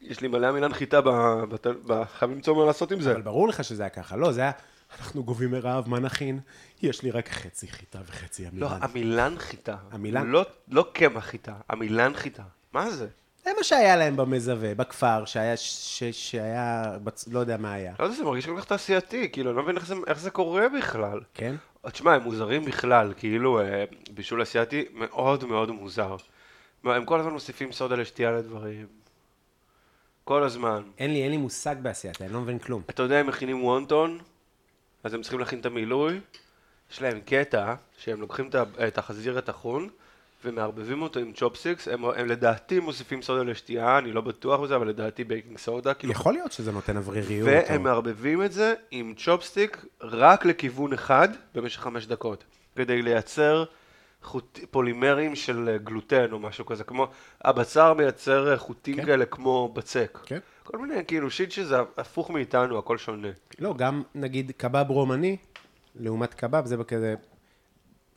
S2: יש לי מלא עמילן חיטה, ב... בת... ב... חייב למצוא מה לעשות עם זה.
S3: אבל ברור לך שזה היה ככה. לא, זה היה, אנחנו גובים מרעב, מה נכין? יש לי רק חצי חיטה וחצי
S2: לא,
S3: עמילן.
S2: עמילן חיטה.
S3: עמילן?
S2: לא, לא קמח חיטה, עמילן חיטה. מה זה?
S3: זה מה שהיה להם במזווה, בכפר, שהיה, ש- שהיה, בצ- לא יודע מה היה.
S2: לא יודע, זה מרגיש כל כך תעשייתי, כאילו, אני לא מבין איך זה, איך זה קורה בכלל.
S3: כן?
S2: תשמע, הם מוזרים בכלל, כאילו, אה, בישול אסייתי מאוד מאוד מוזר. מה, הם כל הזמן מוסיפים סודה לשתייה לדברים. כל הזמן.
S8: אין לי, אין לי מושג בעשייתה, אני לא מבין כלום.
S2: אתה יודע, הם מכינים וונטון, אז הם צריכים להכין את המילוי. יש להם קטע שהם לוקחים את ה- את החזיר הטחון ומערבבים אותו עם צ'ופסיקס. הם, הם לדעתי מוסיפים סודה לשתייה, אני לא בטוח בזה, אבל לדעתי בייקינג סודה. כאילו,
S3: יכול להיות שזה נותן אווריריות.
S2: והם
S3: או-
S2: מערבבים את זה עם צ'ופסטיק רק לכיוון אחד במשך חמש דקות, כדי לייצר חוט... פולימרים של אה, גלוטן או משהו כזה, כמו הבצר מייצר אה, חוטים כן. כאלה כמו בצק.
S3: כן.
S2: כל מיני, כאילו, שיט שזה הפוך מאיתנו, הכל שונה.
S3: לא, גם נגיד קבב רומני, לעומת קבב, זה כזה...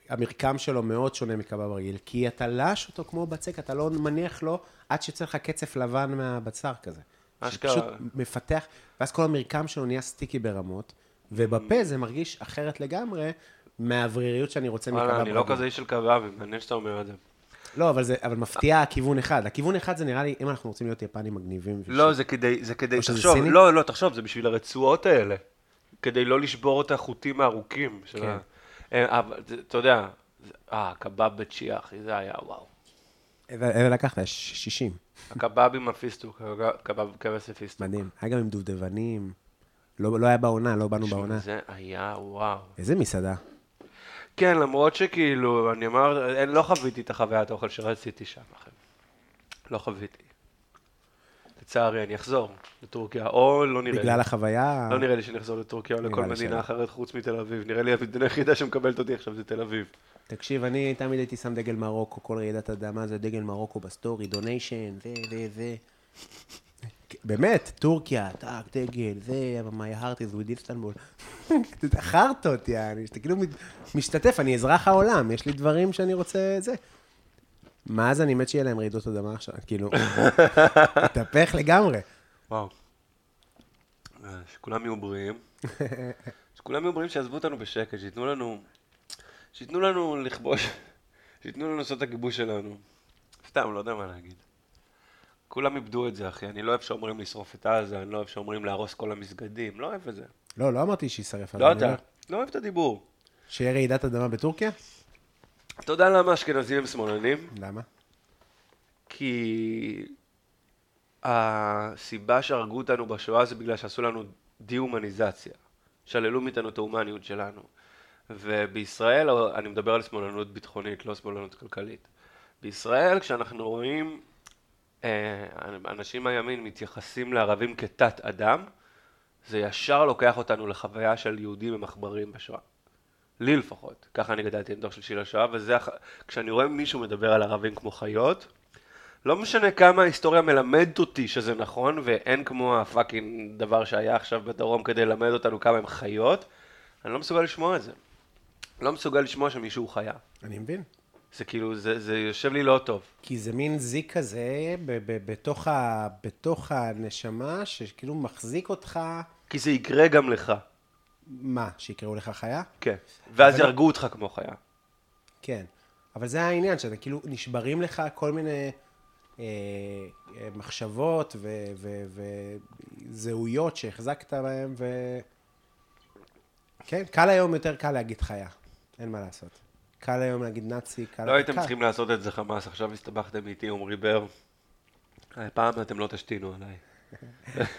S3: המרקם שלו מאוד שונה מקבב רגיל, כי אתה לש אותו כמו בצק, אתה לא מניח לו עד שיוצא לך קצף לבן מהבצר כזה.
S2: אשכרה.
S3: שפשוט מפתח, ואז כל המרקם שלו נהיה סטיקי ברמות, ובפה זה מרגיש אחרת לגמרי מהאווריריות שאני רוצה מקבב
S2: וואלה,
S3: רגיל.
S2: אני לא כזה איש של קבבים, מעניין שאתה אומר את זה.
S3: לא, אבל זה, אבל מפתיע הכיוון אחד. הכיוון אחד זה נראה לי, אם אנחנו רוצים להיות יפנים מגניבים.
S2: לא, זה כדי, זה כדי,
S3: או שזה
S2: תחשוב,
S3: סיני?
S2: לא, לא, תחשוב, זה בשביל הרצועות האלה. כדי לא לשבור את החוטים הארוכים של ה...
S3: כן.
S2: אה, אבל זה- אתה יודע, זה- אה, הקבב בצ'יה, אחי, זה היה וואו.
S3: אלה לקחת, יש 60.
S2: הקבב עם הפיסטוק, הקבב כבש ופיסטוק.
S3: מדהים. היה גם עם דובדבנים. לא לא היה בעונה, לא באנו בעונה.
S2: זה היה וואו.
S3: איזה מסעדה.
S2: כן, למרות שכאילו, אני אומר, אין- לא חוויתי את החוויית האוכל שרציתי שם, אחי. לא חוויתי. לצערי, אני אחזור לטורקיה, או לא נראה לי.
S3: בגלל החוויה...
S2: לא נראה לי שנחזור לטורקיה או לכל
S3: לי שלא.
S2: מדינה אחרת חוץ מתל אביב. נראה לי המדינה היחידה שמקבלת אותי עכשיו זה תל אביב.
S3: תקשיב, אני תמיד הייתי שם דגל מרוקו, כל רעידת אדמה זה דגל מרוקו בסטורי, דוניישן, ו... ו... ו... באמת, טורקיה, טאק, דגל, זה, אבל my heart is with איסטנבול. אתה חרטות, יעני, שאתה כאילו מת- משתתף, אני אזרח העולם, יש לי דברים שאני רוצה, זה. מה אז אני מת שיהיה להם רעידות אדמה עכשיו, כאילו, התהפך לגמרי.
S2: וואו. אה, שכולם יהיו בריאים. שכולם יהיו בריאים שיעזבו אותנו בשקט, שייתנו לנו... שייתנו לנו לכבוש... שייתנו לנו לעשות את הכיבוש שלנו. סתם, לא יודע מה להגיד. כולם איבדו את זה, אחי. אני לא אוהב שאומרים לשרוף את עזה, אני לא אוהב שאומרים להרוס כל המסגדים, לא אוהב את זה.
S3: לא, לא אמרתי שישרף.
S2: לא
S3: אני
S2: אתה.
S3: אומר,
S2: לא אוהב את הדיבור.
S3: שיהיה רעידת אדמה בטורקיה?
S2: אתה יודע למה אשכנזים הם שמאלנים?
S3: למה?
S2: כי הסיבה שהרגו אותנו בשואה זה בגלל שעשו לנו דה-הומניזציה. שללו מאיתנו את ההומניות שלנו. ובישראל, אני מדבר על שמאלנות ביטחונית, לא שמאלנות כלכלית. בישראל, כשאנחנו רואים אה, אנשים מהימין מתייחסים לערבים כתת אדם, זה ישר לוקח אותנו לחוויה של יהודים עם עכברים בשואה. לי לפחות. ככה אני גדלתי עם דוח של שיל השואה, וזה, הח- כשאני רואה מישהו מדבר על ערבים כמו חיות, לא משנה כמה ההיסטוריה מלמדת אותי שזה נכון, ואין כמו הפאקינג דבר שהיה עכשיו בדרום כדי ללמד אותנו כמה הם חיות, אני לא מסוגל לשמוע את זה. לא מסוגל לשמוע שמישהו הוא חיה.
S3: אני מבין.
S2: זה כאילו, זה, זה יושב לי לא טוב.
S3: כי זה מין זיק כזה ב- ב- בתוך, ה- בתוך הנשמה, שכאילו מחזיק אותך,
S2: כי זה יקרה גם לך.
S3: מה, שיקראו לך חיה?
S2: כן. ואז יהרגו אותך כמו חיה. לא
S3: כן. אבל זה העניין, שאתה כאילו, נשברים לך כל מיני אה, אה, מחשבות ו- ו- וזהויות שהחזקת בהן, ו... כן, קל היום, יותר קל להגיד חיה. אין מה לעשות. קל היום להגיד נאצי, קל...
S2: לא הייתם
S3: קל.
S2: צריכים לעשות את זה חמאס, עכשיו הסתבכתם איתי, עמרי בר. הפעם אתם לא תשתינו עליי.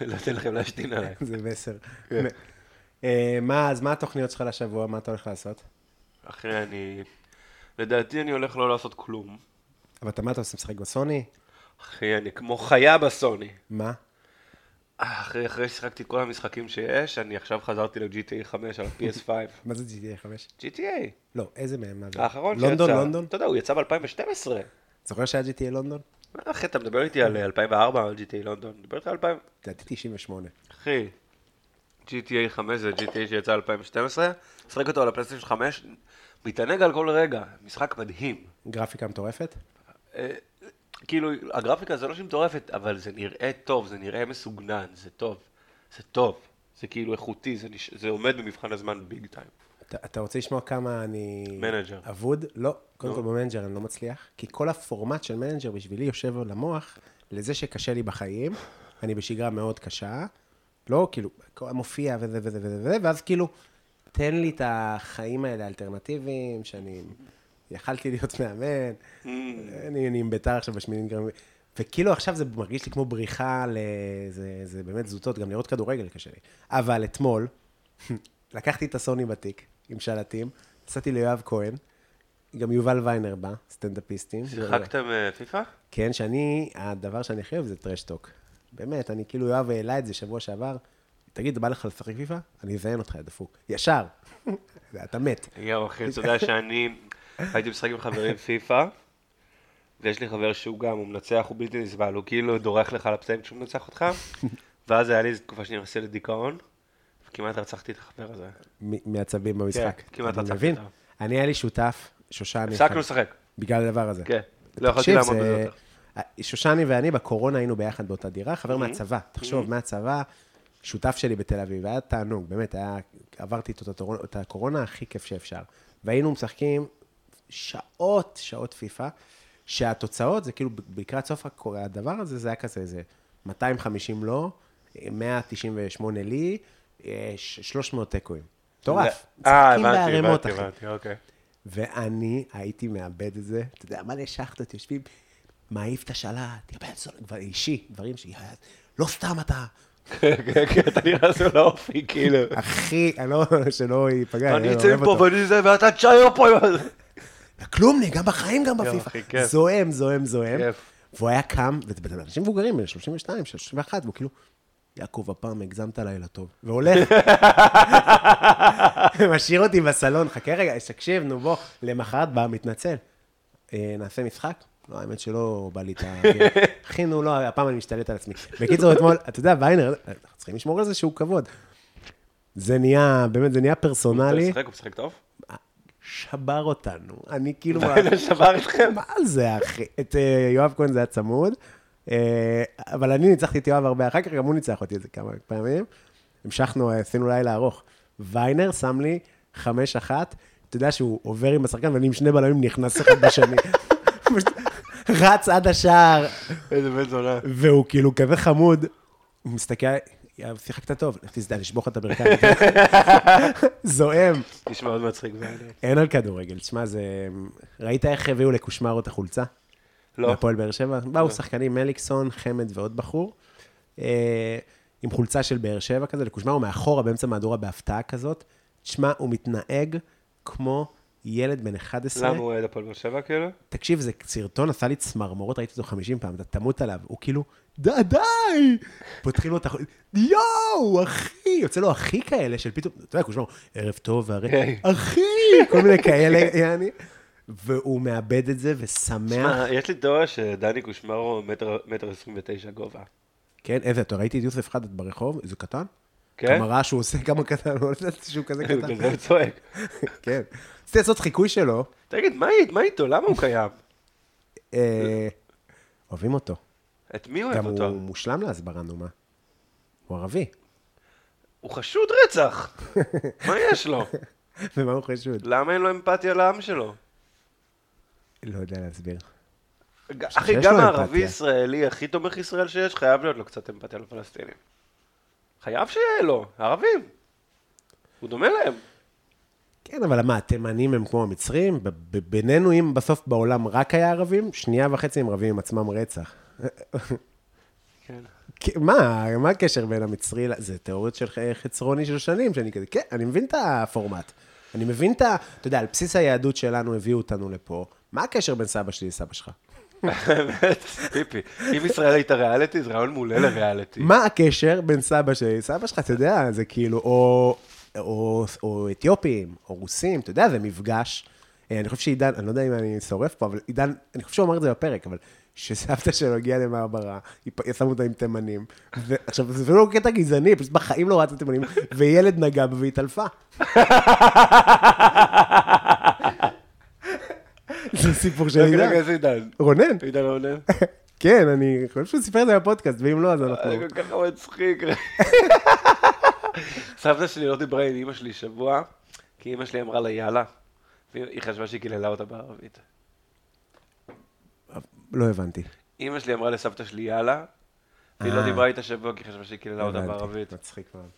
S2: לא אתן לכם להשתין עליי. כן.
S3: זה מסר. אה, מה, אז מה התוכניות שלך לשבוע? מה אתה הולך לעשות?
S2: אחי, אני... לדעתי אני הולך לא לעשות כלום.
S3: אבל אתה מה אתה עושה משחק בסוני?
S2: אחי, אני כמו חיה בסוני.
S3: מה?
S2: אה, אחי, אחרי ששיחקתי את כל המשחקים שיש, אני עכשיו חזרתי ל-GTA 5 על ה-PS5.
S3: מה זה GTA 5?
S2: GTA,
S3: לא, איזה מהם? מה זה?
S2: האחרון שיצא.
S3: לונדון, לונדון?
S2: אתה יודע, הוא יצא ב-2012.
S3: זוכר שהיה GTA לונדון?
S2: אה, אחי, אתה מדבר איתי על 2004, על GTA לונדון. אני מדבר איתך על 2000...
S3: לדעתי 98.
S2: אחי, GTA 5 זה GTA שיצא 2012, שחק אותו על הפלייסטיישן 5, מתענג על כל רגע, משחק מדהים.
S3: גרפיקה מטורפת?
S2: כאילו, הגרפיקה זה לא שהיא מטורפת, אבל זה נראה טוב, זה נראה מסוגנן, זה טוב, זה טוב, זה כאילו איכותי, זה, נש... זה עומד במבחן הזמן ביג טיים.
S3: אתה, אתה רוצה לשמוע כמה אני...
S2: מנג'ר.
S3: אבוד? לא, קודם כל במנג'ר אני לא מצליח, כי כל הפורמט של מנג'ר בשבילי יושב על המוח לזה שקשה לי בחיים, אני בשגרה מאוד קשה, לא, כאילו, כל- מופיע וזה וזה וזה וזה, ואז כאילו, תן לי את החיים האלה האלטרנטיביים, שאני... יכלתי להיות מאמן, אני אני עם ביתר עכשיו בשמינית גרם, וכאילו עכשיו זה מרגיש לי כמו בריחה, ל... זה, זה באמת זוטות, גם לראות כדורגל קשה לי. אבל אתמול, לקחתי את הסוני בתיק, עם שלטים, נסעתי ליואב כהן, גם יובל ויינר בא, סטנדאפיסטים.
S2: שיחקתם אה, פיפא?
S3: כן, שאני, הדבר שאני הכי אוהב זה טרשטוק. באמת, אני כאילו, יואב העלה את זה שבוע שעבר, תגיד, בא לך לשחק פיפא? אני אזיין אותך, יא דפוק. ישר. אתה מת.
S2: יואו, אחי, אתה יודע שאני הייתי משחק עם חברים פיפא, ויש לי חבר שהוא גם, הוא מנצח, הוא בלתי נסבל, הוא כאילו דורך לך על הפצעים כשהוא מנצח אותך, ואז היה לי איזו תקופה שאני נכנסתי לדיכאון, וכמעט רצחתי את החבר הזה.
S3: מ- מעצבים במשחק.
S2: כן, כמעט
S3: אני
S2: רצחתי
S3: מבין.
S2: אותם.
S3: אני, היה לי שותף, שושני.
S2: הפסקנו לשחק.
S3: בגלל הדבר הזה.
S2: כן. לא יכולתי
S3: תקשיב,
S2: לעמוד
S3: זה-
S2: בזה יותר. Mhm.
S3: שושני ואני בקורונה היינו ביחד באותה דירה, חבר מהצבא, תחשוב, מהצבא, שותף שלי בתל אביב, היה תענוג, באמת, היה, עברתי איתו את התורונה- את הקורונה הכי כיף שאפשר. והיינו משחקים שעות, שעות פיפא, שהתוצאות זה כאילו, ב- לקראת סוף הקו- הדבר הזה, זה היה כזה, איזה 250 לא, 198 לי, אה, ש- 300 תיקואים. מטורף.
S2: אה,
S3: משחקים
S2: הבנתי,
S3: בערימות,
S2: הבנתי,
S3: אחי.
S2: הבנתי, אוקיי.
S3: ואני הייתי מאבד את זה. אתה יודע, מלא שחטות יושבים, מעיף את השלט, יבל סולג, דבר אישי, דברים ש... לא סתם אתה.
S2: כן, כן, אתה נכנס לו לאופי, כאילו.
S3: אחי, אני לא, שלא ייפגע,
S2: אני
S3: לא
S2: אצא
S3: אה, אוהב
S2: מפה
S3: אותו.
S2: ואני זה, ואתה תשאר פה.
S3: כלומניק, גם בחיים, גם
S2: אחי,
S3: בפיפ"א.
S2: כיף.
S3: זועם, זועם, זועם.
S2: כיף.
S3: והוא היה קם, וזה אנשים מבוגרים, בן 32, 31, והוא כאילו, יעקב, הפעם הגזמת לילה טוב. והולך. משאיר אותי בסלון, חכה רגע, תקשיב, נו בוא, למחרת בא, מתנצל. "אה, נעשה משחק? לא, האמת שלא בא לי את ה... אחי, נו, לא, הפעם אני משתלט על עצמי. בקיצור, אתמול, אתה יודע, ויינר, אנחנו צריכים לשמור על זה שהוא כבוד. זה נהיה, באמת, זה נהיה
S2: הוא
S3: פרסונלי.
S2: משחק, הוא משחק טוב?
S3: שבר אותנו. אני כאילו...
S2: הנה, שבר אתכם.
S3: מה זה, אחי? את אה, יואב כהן זה היה צמוד, אה, אבל אני ניצחתי את יואב הרבה אחר כך, גם הוא ניצח אותי איזה כמה פעמים. המשכנו, אה, עשינו לילה ארוך. ויינר שם לי חמש אחת, אתה יודע שהוא עובר עם השחקן ואני עם שני בלמים נכנס אחד בשני. פשוט רץ עד השער,
S2: איזה בן זונה.
S3: והוא כאילו כזה חמוד, הוא מסתכל, "יא, שיחקת טוב, לך תזדהה, לשבור לך את הברכיים. זועם.
S2: נשמע מאוד מצחיק. ואני-
S3: אין על כדורגל, תשמע, זה... ראית איך הביאו לקושמרו את החולצה?
S2: לא.
S3: מהפועל באר שבע? באו שחקנים, מליקסון, חמד ועוד בחור, אה, עם חולצה של באר שבע כזה, לקושמרו מאחורה, באמצע מהדורה בהפתעה כזאת. תשמע, הוא מתנהג כמו ילד בן 11.
S2: למה הוא אוהד הפועל באר שבע, כאילו?
S3: תקשיב, זה סרטון עשה לי צמרמורות, ראיתי אותו 50 פעם, אתה תמות עליו. הוא כאילו, די, די! פותחים לו את החול... יואו, אחי! יוצא לו אחי כאלה של פתאום, אתה יודע, כמו ערב טוב, והרי...
S2: כן.
S3: אחי! כל מיני כאלה, יעני. והוא מאבד את זה ושמח.
S2: שמע, יש לי תיאוריה שדני קושמרו מטר- מטר עשרים ותשע גובה.
S3: כן, איזה, אתה ראיתי את יוסף חדד ברחוב, איזה קטן?
S2: כן?
S3: כמה רעש שהוא עושה, כמה קטן, לא ידעתי שהוא כזה
S2: הוא
S3: קטן.
S2: כזה צועק.
S3: כן. רציתי לעשות חיקוי שלו,
S2: תגיד, מה אית- מה איתו? למה הוא קיים?
S3: אה, אוהבים אותו.
S2: את מי אוהב
S3: גם
S2: אותו?
S3: הוא מושלם להסברה, נו מה. הוא ערבי.
S2: הוא חשוד רצח. מה יש לו?
S3: ומה הוא חשוד?
S2: למה אין לו אמפתיה לעם שלו?
S3: לא יודע להסביר.
S2: אחי,
S3: שיש
S2: גם
S3: לו
S2: הערבי
S3: אמפתיה.
S2: ישראלי הכי תומך ישראל שיש, חייב להיות לו קצת אמפתיה לפלסטינים. חייב שיהיה לו, הערבים. הוא דומה להם.
S3: כן, אבל מה, התימנים הם כמו המצרים? ב- ב- בינינו, אם בסוף בעולם רק היה ערבים, שנייה וחצי הם רבים עם עצמם רצח.
S2: כן.
S3: כי- מה, מה הקשר בין המצרי ל... זה תיאוריות של ח- חצרוני של שנים, שאני כזה, כן, אני מבין את הפורמט. אני מבין את ה... אתה יודע, על בסיס היהדות שלנו הביאו אותנו לפה. מה הקשר בין סבא שלי לסבא שלך?
S2: באמת, טיפי. אם ישראל הייתה ריאליטי, זה רעיון מעולה לריאליטי.
S3: מה הקשר בין סבא שלי? סבא שלך, אתה יודע, זה כאילו, או, או, או אתיופים, או רוסים, אתה יודע, זה מפגש. אה, אני חושב שעידן, אני לא יודע אם אני שורף פה, אבל עידן, אני חושב שהוא אמר את זה בפרק, אבל כשסבתא שלו הגיעה למעברה, היא פ- שמו אותה עם תימנים. ו- עכשיו, זה לא קטע גזעני, פשוט בחיים לא ראתה תימנים, וילד נגע בה והתעלפה. זה סיפור של
S2: רגע,
S3: עידן.
S2: רגע, איזה עידן?
S3: רונן,
S2: עידן עונה?
S3: כן, אני חושב שהוא סיפר את זה בפודקאסט, ואם לא, אז אנחנו...
S2: זה כל כך מצחיק. סבתא שלי לא דיברה עם אמא שלי שבוע, כי אמא שלי אמרה לה יאללה, והיא חשבה שהיא קיללה אותה בערבית.
S3: לא הבנתי.
S2: אמא שלי אמרה לסבתא שלי יאללה, והיא לא
S3: אה.
S2: דיברה איתה שבוע כי היא חשבה שהיא קיללה אותה
S3: לא הבנתי.
S2: בערבית.
S3: מצחיק מאוד.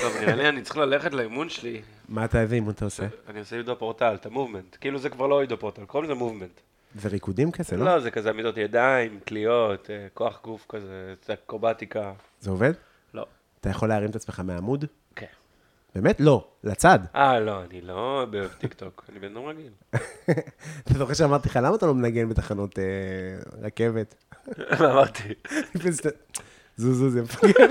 S2: טוב, נראה לי אני צריך ללכת לאימון שלי.
S3: מה אתה, איזה אימון אתה עושה?
S2: אני עושה עידו פורטל, את המובמנט. כאילו זה כבר לא עידו פורטל, קוראים לזה מובמנט.
S3: זה ריקודים כזה, לא?
S2: לא, זה כזה עמידות ידיים, תליות, אה, כוח גוף כזה, זה אקרובטיקה.
S3: זה עובד?
S2: לא.
S3: אתה יכול להרים את עצמך מהעמוד?
S2: כן.
S3: באמת? לא, לצד.
S2: אה, לא, אני לא בטיק טוק, אני בן אדם רגיל.
S3: אתה זוכר שאמרתי לך, למה אתה לא מנגן בתחנות אה, רכבת?
S2: מה אמרתי?
S3: זוז, זוז, זה מפגר.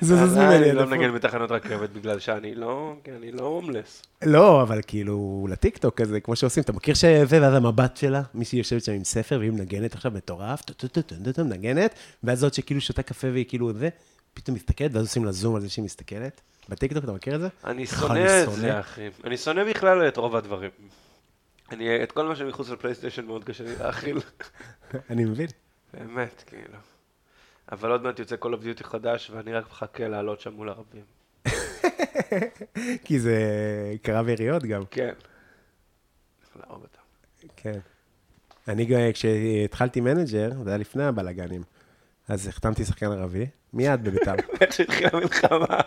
S3: זוז, זוז
S2: אה,
S3: ממני.
S2: אני לא
S3: אתה פה.
S2: מנגן בתחנות רכבת בגלל שאני לא, כי אני לא הומלס.
S3: לא, אבל כאילו, לטיקטוק כזה, כמו שעושים, אתה מכיר שזה, ואז המבט שלה, מישהי יושבת שם עם ספר, והיא מנגנת עכשיו מטורף, טו-טו-טו-טו-טו, מנגנת, ואז זאת שכאילו שותה קפה והיא כאילו זה, פתאום מסתכלת, ואז עושים לה זום על זה שהיא מסתכלת. בטיקטוק, אתה מכיר את זה?
S2: אני
S3: איך
S2: שונא
S3: אני
S2: את
S3: שונא?
S2: זה, אחי. אני שונא בכלל את רוב הדברים. אני, את כל מה שמחוץ לפלייסטיישן מאוד קשה לי להכיל.
S3: אני מבין.
S2: באמת, כאילו. אבל עוד מעט יוצא Call of Duty חדש, ואני רק מחכה לעלות שם מול ערבים.
S3: כי זה קרב יריות גם.
S2: כן. צריך להרוג אותם.
S3: כן. אני, גם- כשהתחלתי מנג'ר, זה היה לפני הבלאגנים, אז החתמתי שחקן ערבי, מיד בביתר.
S2: איך שהתחילה המלחמה.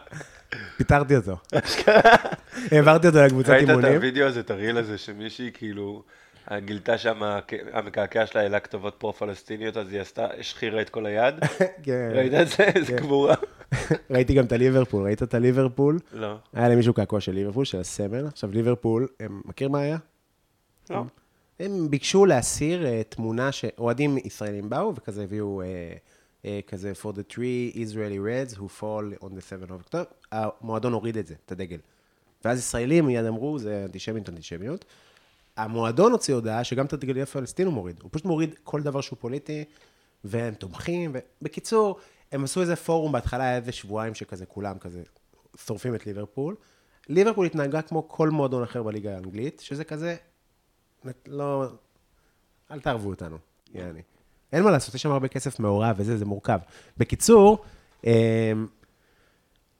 S3: פיטרתי אותו. העברתי אותו לקבוצת
S2: ראית את
S3: אימונים.
S2: הוידאו הזה, את הריל הזה, שמישהי כאילו... גילתה שם, המקעקע שלה העלה כתובות פרו-פלסטיניות, אז היא עשתה, השחירה את כל היד.
S3: כן.
S2: ראית את זה? איזה גבורה.
S3: ראיתי גם את הליברפול, ראית את הליברפול?
S2: לא.
S3: היה למישהו קעקוע של ליברפול, של הסמל. עכשיו, ליברפול, הם, מכיר מה היה? כן.
S2: לא.
S3: הם ביקשו להסיר אה, תמונה שאוהדים ישראלים באו, וכזה הביאו אה, אה, כזה for the three Israeli Reds who fall on the 7 of October. המועדון הוריד את זה, את הדגל. ואז ישראלים מיד אמרו, זה אנטישמיות, אנטישמיות. המועדון הוציא הודעה שגם את הדגל הפלסטין הוא מוריד. הוא פשוט מוריד כל דבר שהוא פוליטי, והם תומכים, ובקיצור, הם עשו איזה פורום, בהתחלה היה איזה שבועיים שכזה, כולם כזה שורפים את ליברפול. ליברפול התנהגה כמו כל מועדון אחר בליגה האנגלית, שזה כזה, נת- לא, אל תערבו אותנו, יעני. אין מה לעשות, יש שם הרבה כסף מעורב וזה, זה מורכב. בקיצור, אמ,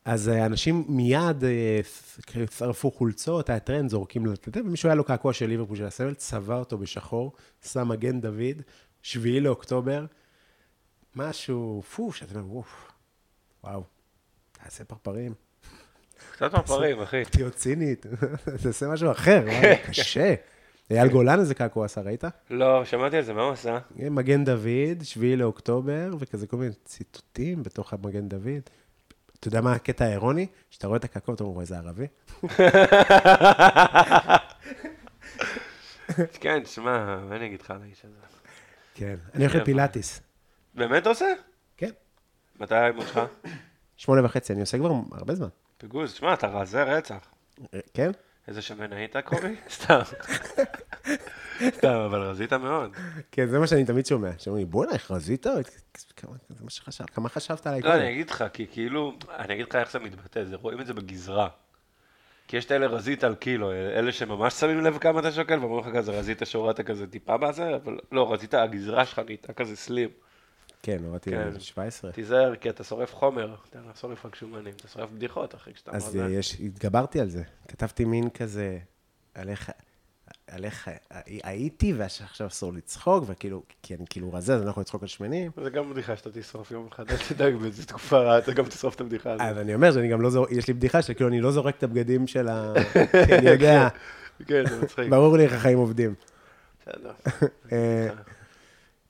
S3: אז אה, אנשים מיד אה, ש- שרפו חולצות, היה טרנד, זורקים לו, אתה יודע, ומישהו היה לו קעקוע של ליברפול של הסמל, צבע אותו בשחור, שם מגן דוד, שביעי לאוקטובר, משהו, פו, שאתה אומר, וואו, וואו, תעשה פרפרים.
S2: קצת מפרים, אחי.
S3: תהיות צינית, תעשה משהו אחר, וואי, קשה. אייל גולן איזה קעקוע עשה, ראית?
S2: לא, שמעתי על זה, מה הוא עשה?
S3: מגן דוד, שביעי לאוקטובר, וכזה כל מיני ציטוטים בתוך המגן דוד. אתה יודע מה הקטע האירוני? כשאתה רואה את הקעקוע, אתה אומר, "וואי, זה ערבי?
S2: כן, תשמע, מה אני אגיד לך על האיש הזה?
S3: כן. אני הולך לפילאטיס.
S2: באמת אתה עושה?
S3: כן.
S2: מתי האימון שלך?
S3: שמונה וחצי, אני עושה כבר הרבה זמן.
S2: פיגוז, תשמע, אתה רזה רצח.
S3: כן?
S2: איזה שמן היית, קובי? סתם. סתם, אבל רזית מאוד.
S3: כן, זה מה שאני תמיד שומע. שאומרים לי, בואנה, איך רזית? כמה- זה מה שחשבת, כמה חשבת עליי?
S2: לא,
S3: קודם?"
S2: אני אגיד לך, כי כאילו, אני אגיד לך איך זה מתבטא, זה רואים את זה בגזרה. כי יש את אלה רזית על קילו, אלה שממש שמים לב כמה אתה שוקל, ואומרים לך כזה, רזית שהורדת כזה טיפה בזה, אבל לא, רזית, הגזרה שלך נהייתה כזה סלים.
S3: כן, הורדתי
S2: כן.
S3: 17.
S2: תיזהר, כי אתה שורף חומר, אתה לא שורף רק שומנים, אתה שורף
S3: לא,
S2: בדיחות, אחי, כשאתה
S3: אז
S2: מרזה.
S3: אה, יש, התגברתי על זה. כתבתי מין כזה, עליך, על איך הי- הייתי, ועכשיו אסור לצחוק, וכאילו, כי אני כאילו רזה, אז אני לא יכול לצחוק על שמנים.
S2: זה גם בדיחה שאתה תשרוף יום אחד, אל תדאג, באיזו תקופה רעה, אתה גם תשרוף את הבדיחה הזאת.
S3: אז אני אומר שאני גם לא זורק, יש לי בדיחה שכאילו אני לא זורק את הבגדים של ה... כי אה, אני יודע,
S2: כן, זה מצחיק.
S3: ברור לי איך החיים עובדים.
S2: בסדר.
S3: אה,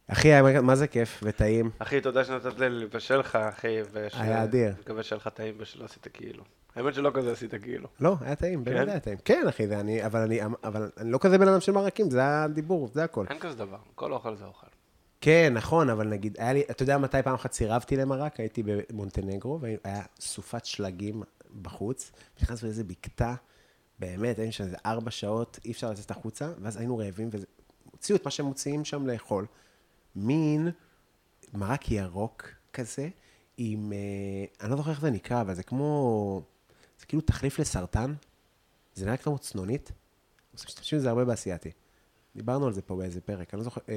S3: אחי, היה- מה זה כיף וטעים.
S2: אחי, תודה שנתת לי לבשל לך, אחי, וש...
S3: היה אדיר.
S2: מקווה שהיה לך טעים ושלא עשית כאילו. האמת שלא כזה עשית כאילו.
S3: לא, היה טעים, באמת היה טעים. כן, אחי, זה אני, אבל אני, אבל אני לא כזה בן אדם של מרקים, זה הדיבור, זה הכל.
S2: אין כזה דבר, כל אוכל זה אוכל.
S3: כן, נכון, אבל נגיד, היה לי, אתה יודע מתי פעם אחת סירבתי למרק? הייתי במונטנגרו, והיה סופת שלגים בחוץ, נכנסנו לאיזה בקתה, באמת, היינו שם איזה ארבע שעות, אי אפשר לצאת החוצה, ואז היינו רעבים, והוציאו את מה שהם מוציאים שם לאכול. מין מרק ירוק כזה, עם, אה, אני לא זוכר איך זה נקרא, אבל זה כמו, זה כאילו תחליף לסרטן, זה נראה כמו צנונית, משתמשים בזה הרבה באסייתי. דיברנו על זה פה באיזה פרק, אני לא זוכר. אה,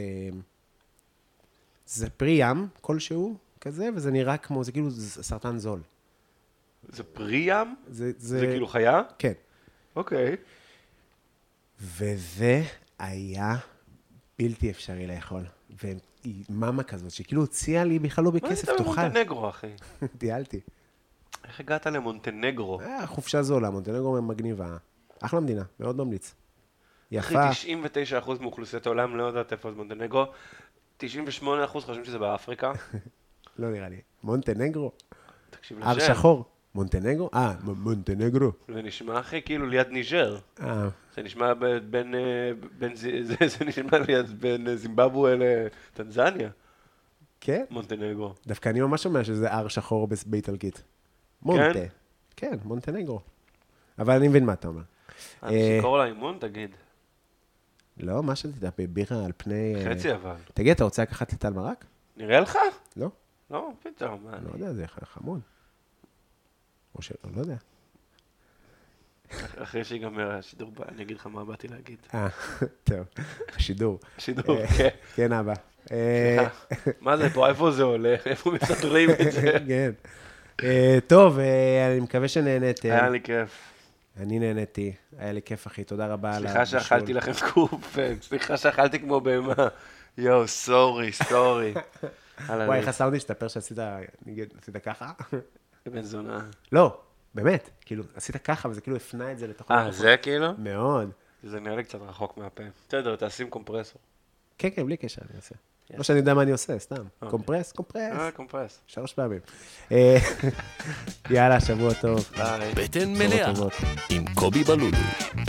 S3: זה פרי ים כלשהו, כזה, וזה נראה כמו, זה כאילו ז- סרטן זול.
S2: זה פרי ים?
S3: זה, זה...
S2: זה כאילו חיה?
S3: כן.
S2: אוקיי.
S3: וזה היה בלתי אפשרי לאכול. והיא מאמה כזאת, שכאילו הוציאה לי בכלל לא
S2: מה
S3: בכסף,
S2: עשית
S3: תאכל.
S2: במונטנגרו, אה, אחי?
S3: דיאלתי.
S2: איך הגעת למונטנגרו?
S3: אה, חופשה זולה, מונטנגרו מגניבה. אחלה מדינה, מאוד ממליץ.
S2: אחי,
S3: יפה.
S2: 99% מאוכלוסיית העולם לא יודעת איפה זה מונטנגרו. 98% חושבים שזה באפריקה.
S3: לא נראה לי. מונטנגרו?
S2: תקשיב
S3: הר
S2: לשם.
S3: שחור. מונטנגרו? אה, מ- מונטנגרו.
S2: זה נשמע, אחי, כאילו ליד ניג'ר.
S3: אה,
S2: זה נשמע ב- בין... אה, בין ז- זה זה נשמע ליד בין אה, זימבבואה לטנזניה.
S3: כן?
S2: מונטנגרו.
S3: דווקא אני ממש שומע שזה הר שחור בס- באיטלקית. מונטה.
S2: כן?
S3: כן, מונטנגרו. אבל אני מבין מה אתה אומר.
S2: אני
S3: אה,
S2: שיכור לאימון, תגיד.
S3: לא, מה שתדע, בבירה על פני... אה,
S2: חצי אבל.
S3: תגיד, אתה רוצה לקחת לטל מרק?
S2: נראה לך?
S3: לא?
S2: לא, פתאום. מה,
S3: אני
S2: אני-
S3: לא יודע, זה ח- חמוד. או שלא, לא יודע.
S2: אחרי שיגמר השידור, בא, אני אגיד לך מה באתי להגיד.
S3: אה, טוב, השידור.
S2: השידור,
S3: אה,
S2: כן.
S3: כן, אבא. אה,
S2: מה זה פה, איפה זה עולה? איפה מסתדרים את זה?
S3: כן. אה, טוב, אה, אני מקווה שנהניתם.
S2: היה לי כיף.
S3: אני נהניתי, היה לי כיף, אחי, תודה רבה על
S2: סליחה שאכלתי לכם קורפן, סליחה שאכלתי כמו בהמה. יואו, סורי, סורי. אהלן,
S3: וואי, איך הסאונד השתפר שעשית, נגיד, עשית ככה?
S2: בן זונה.
S3: לא, באמת, כאילו, עשית ככה, וזה כאילו הפנה את זה לתוך...
S2: אה,
S3: המיקרופון.
S2: זה כאילו?
S3: מאוד.
S2: זה נראה לי קצת רחוק מהפה. בסדר, תשים קומפרסור.
S3: כן, כן, בלי קשר אני עושה. לא שאני יודע מה אני עושה, סתם.
S2: אוקיי.
S3: קומפרס, קומפרס.
S2: אה, קומפרס.
S3: שלוש פעמים. אה, יאללה, שבוע טוב.
S2: ביי.
S1: בטן מלאה
S3: טובות.
S1: עם קובי בלולו.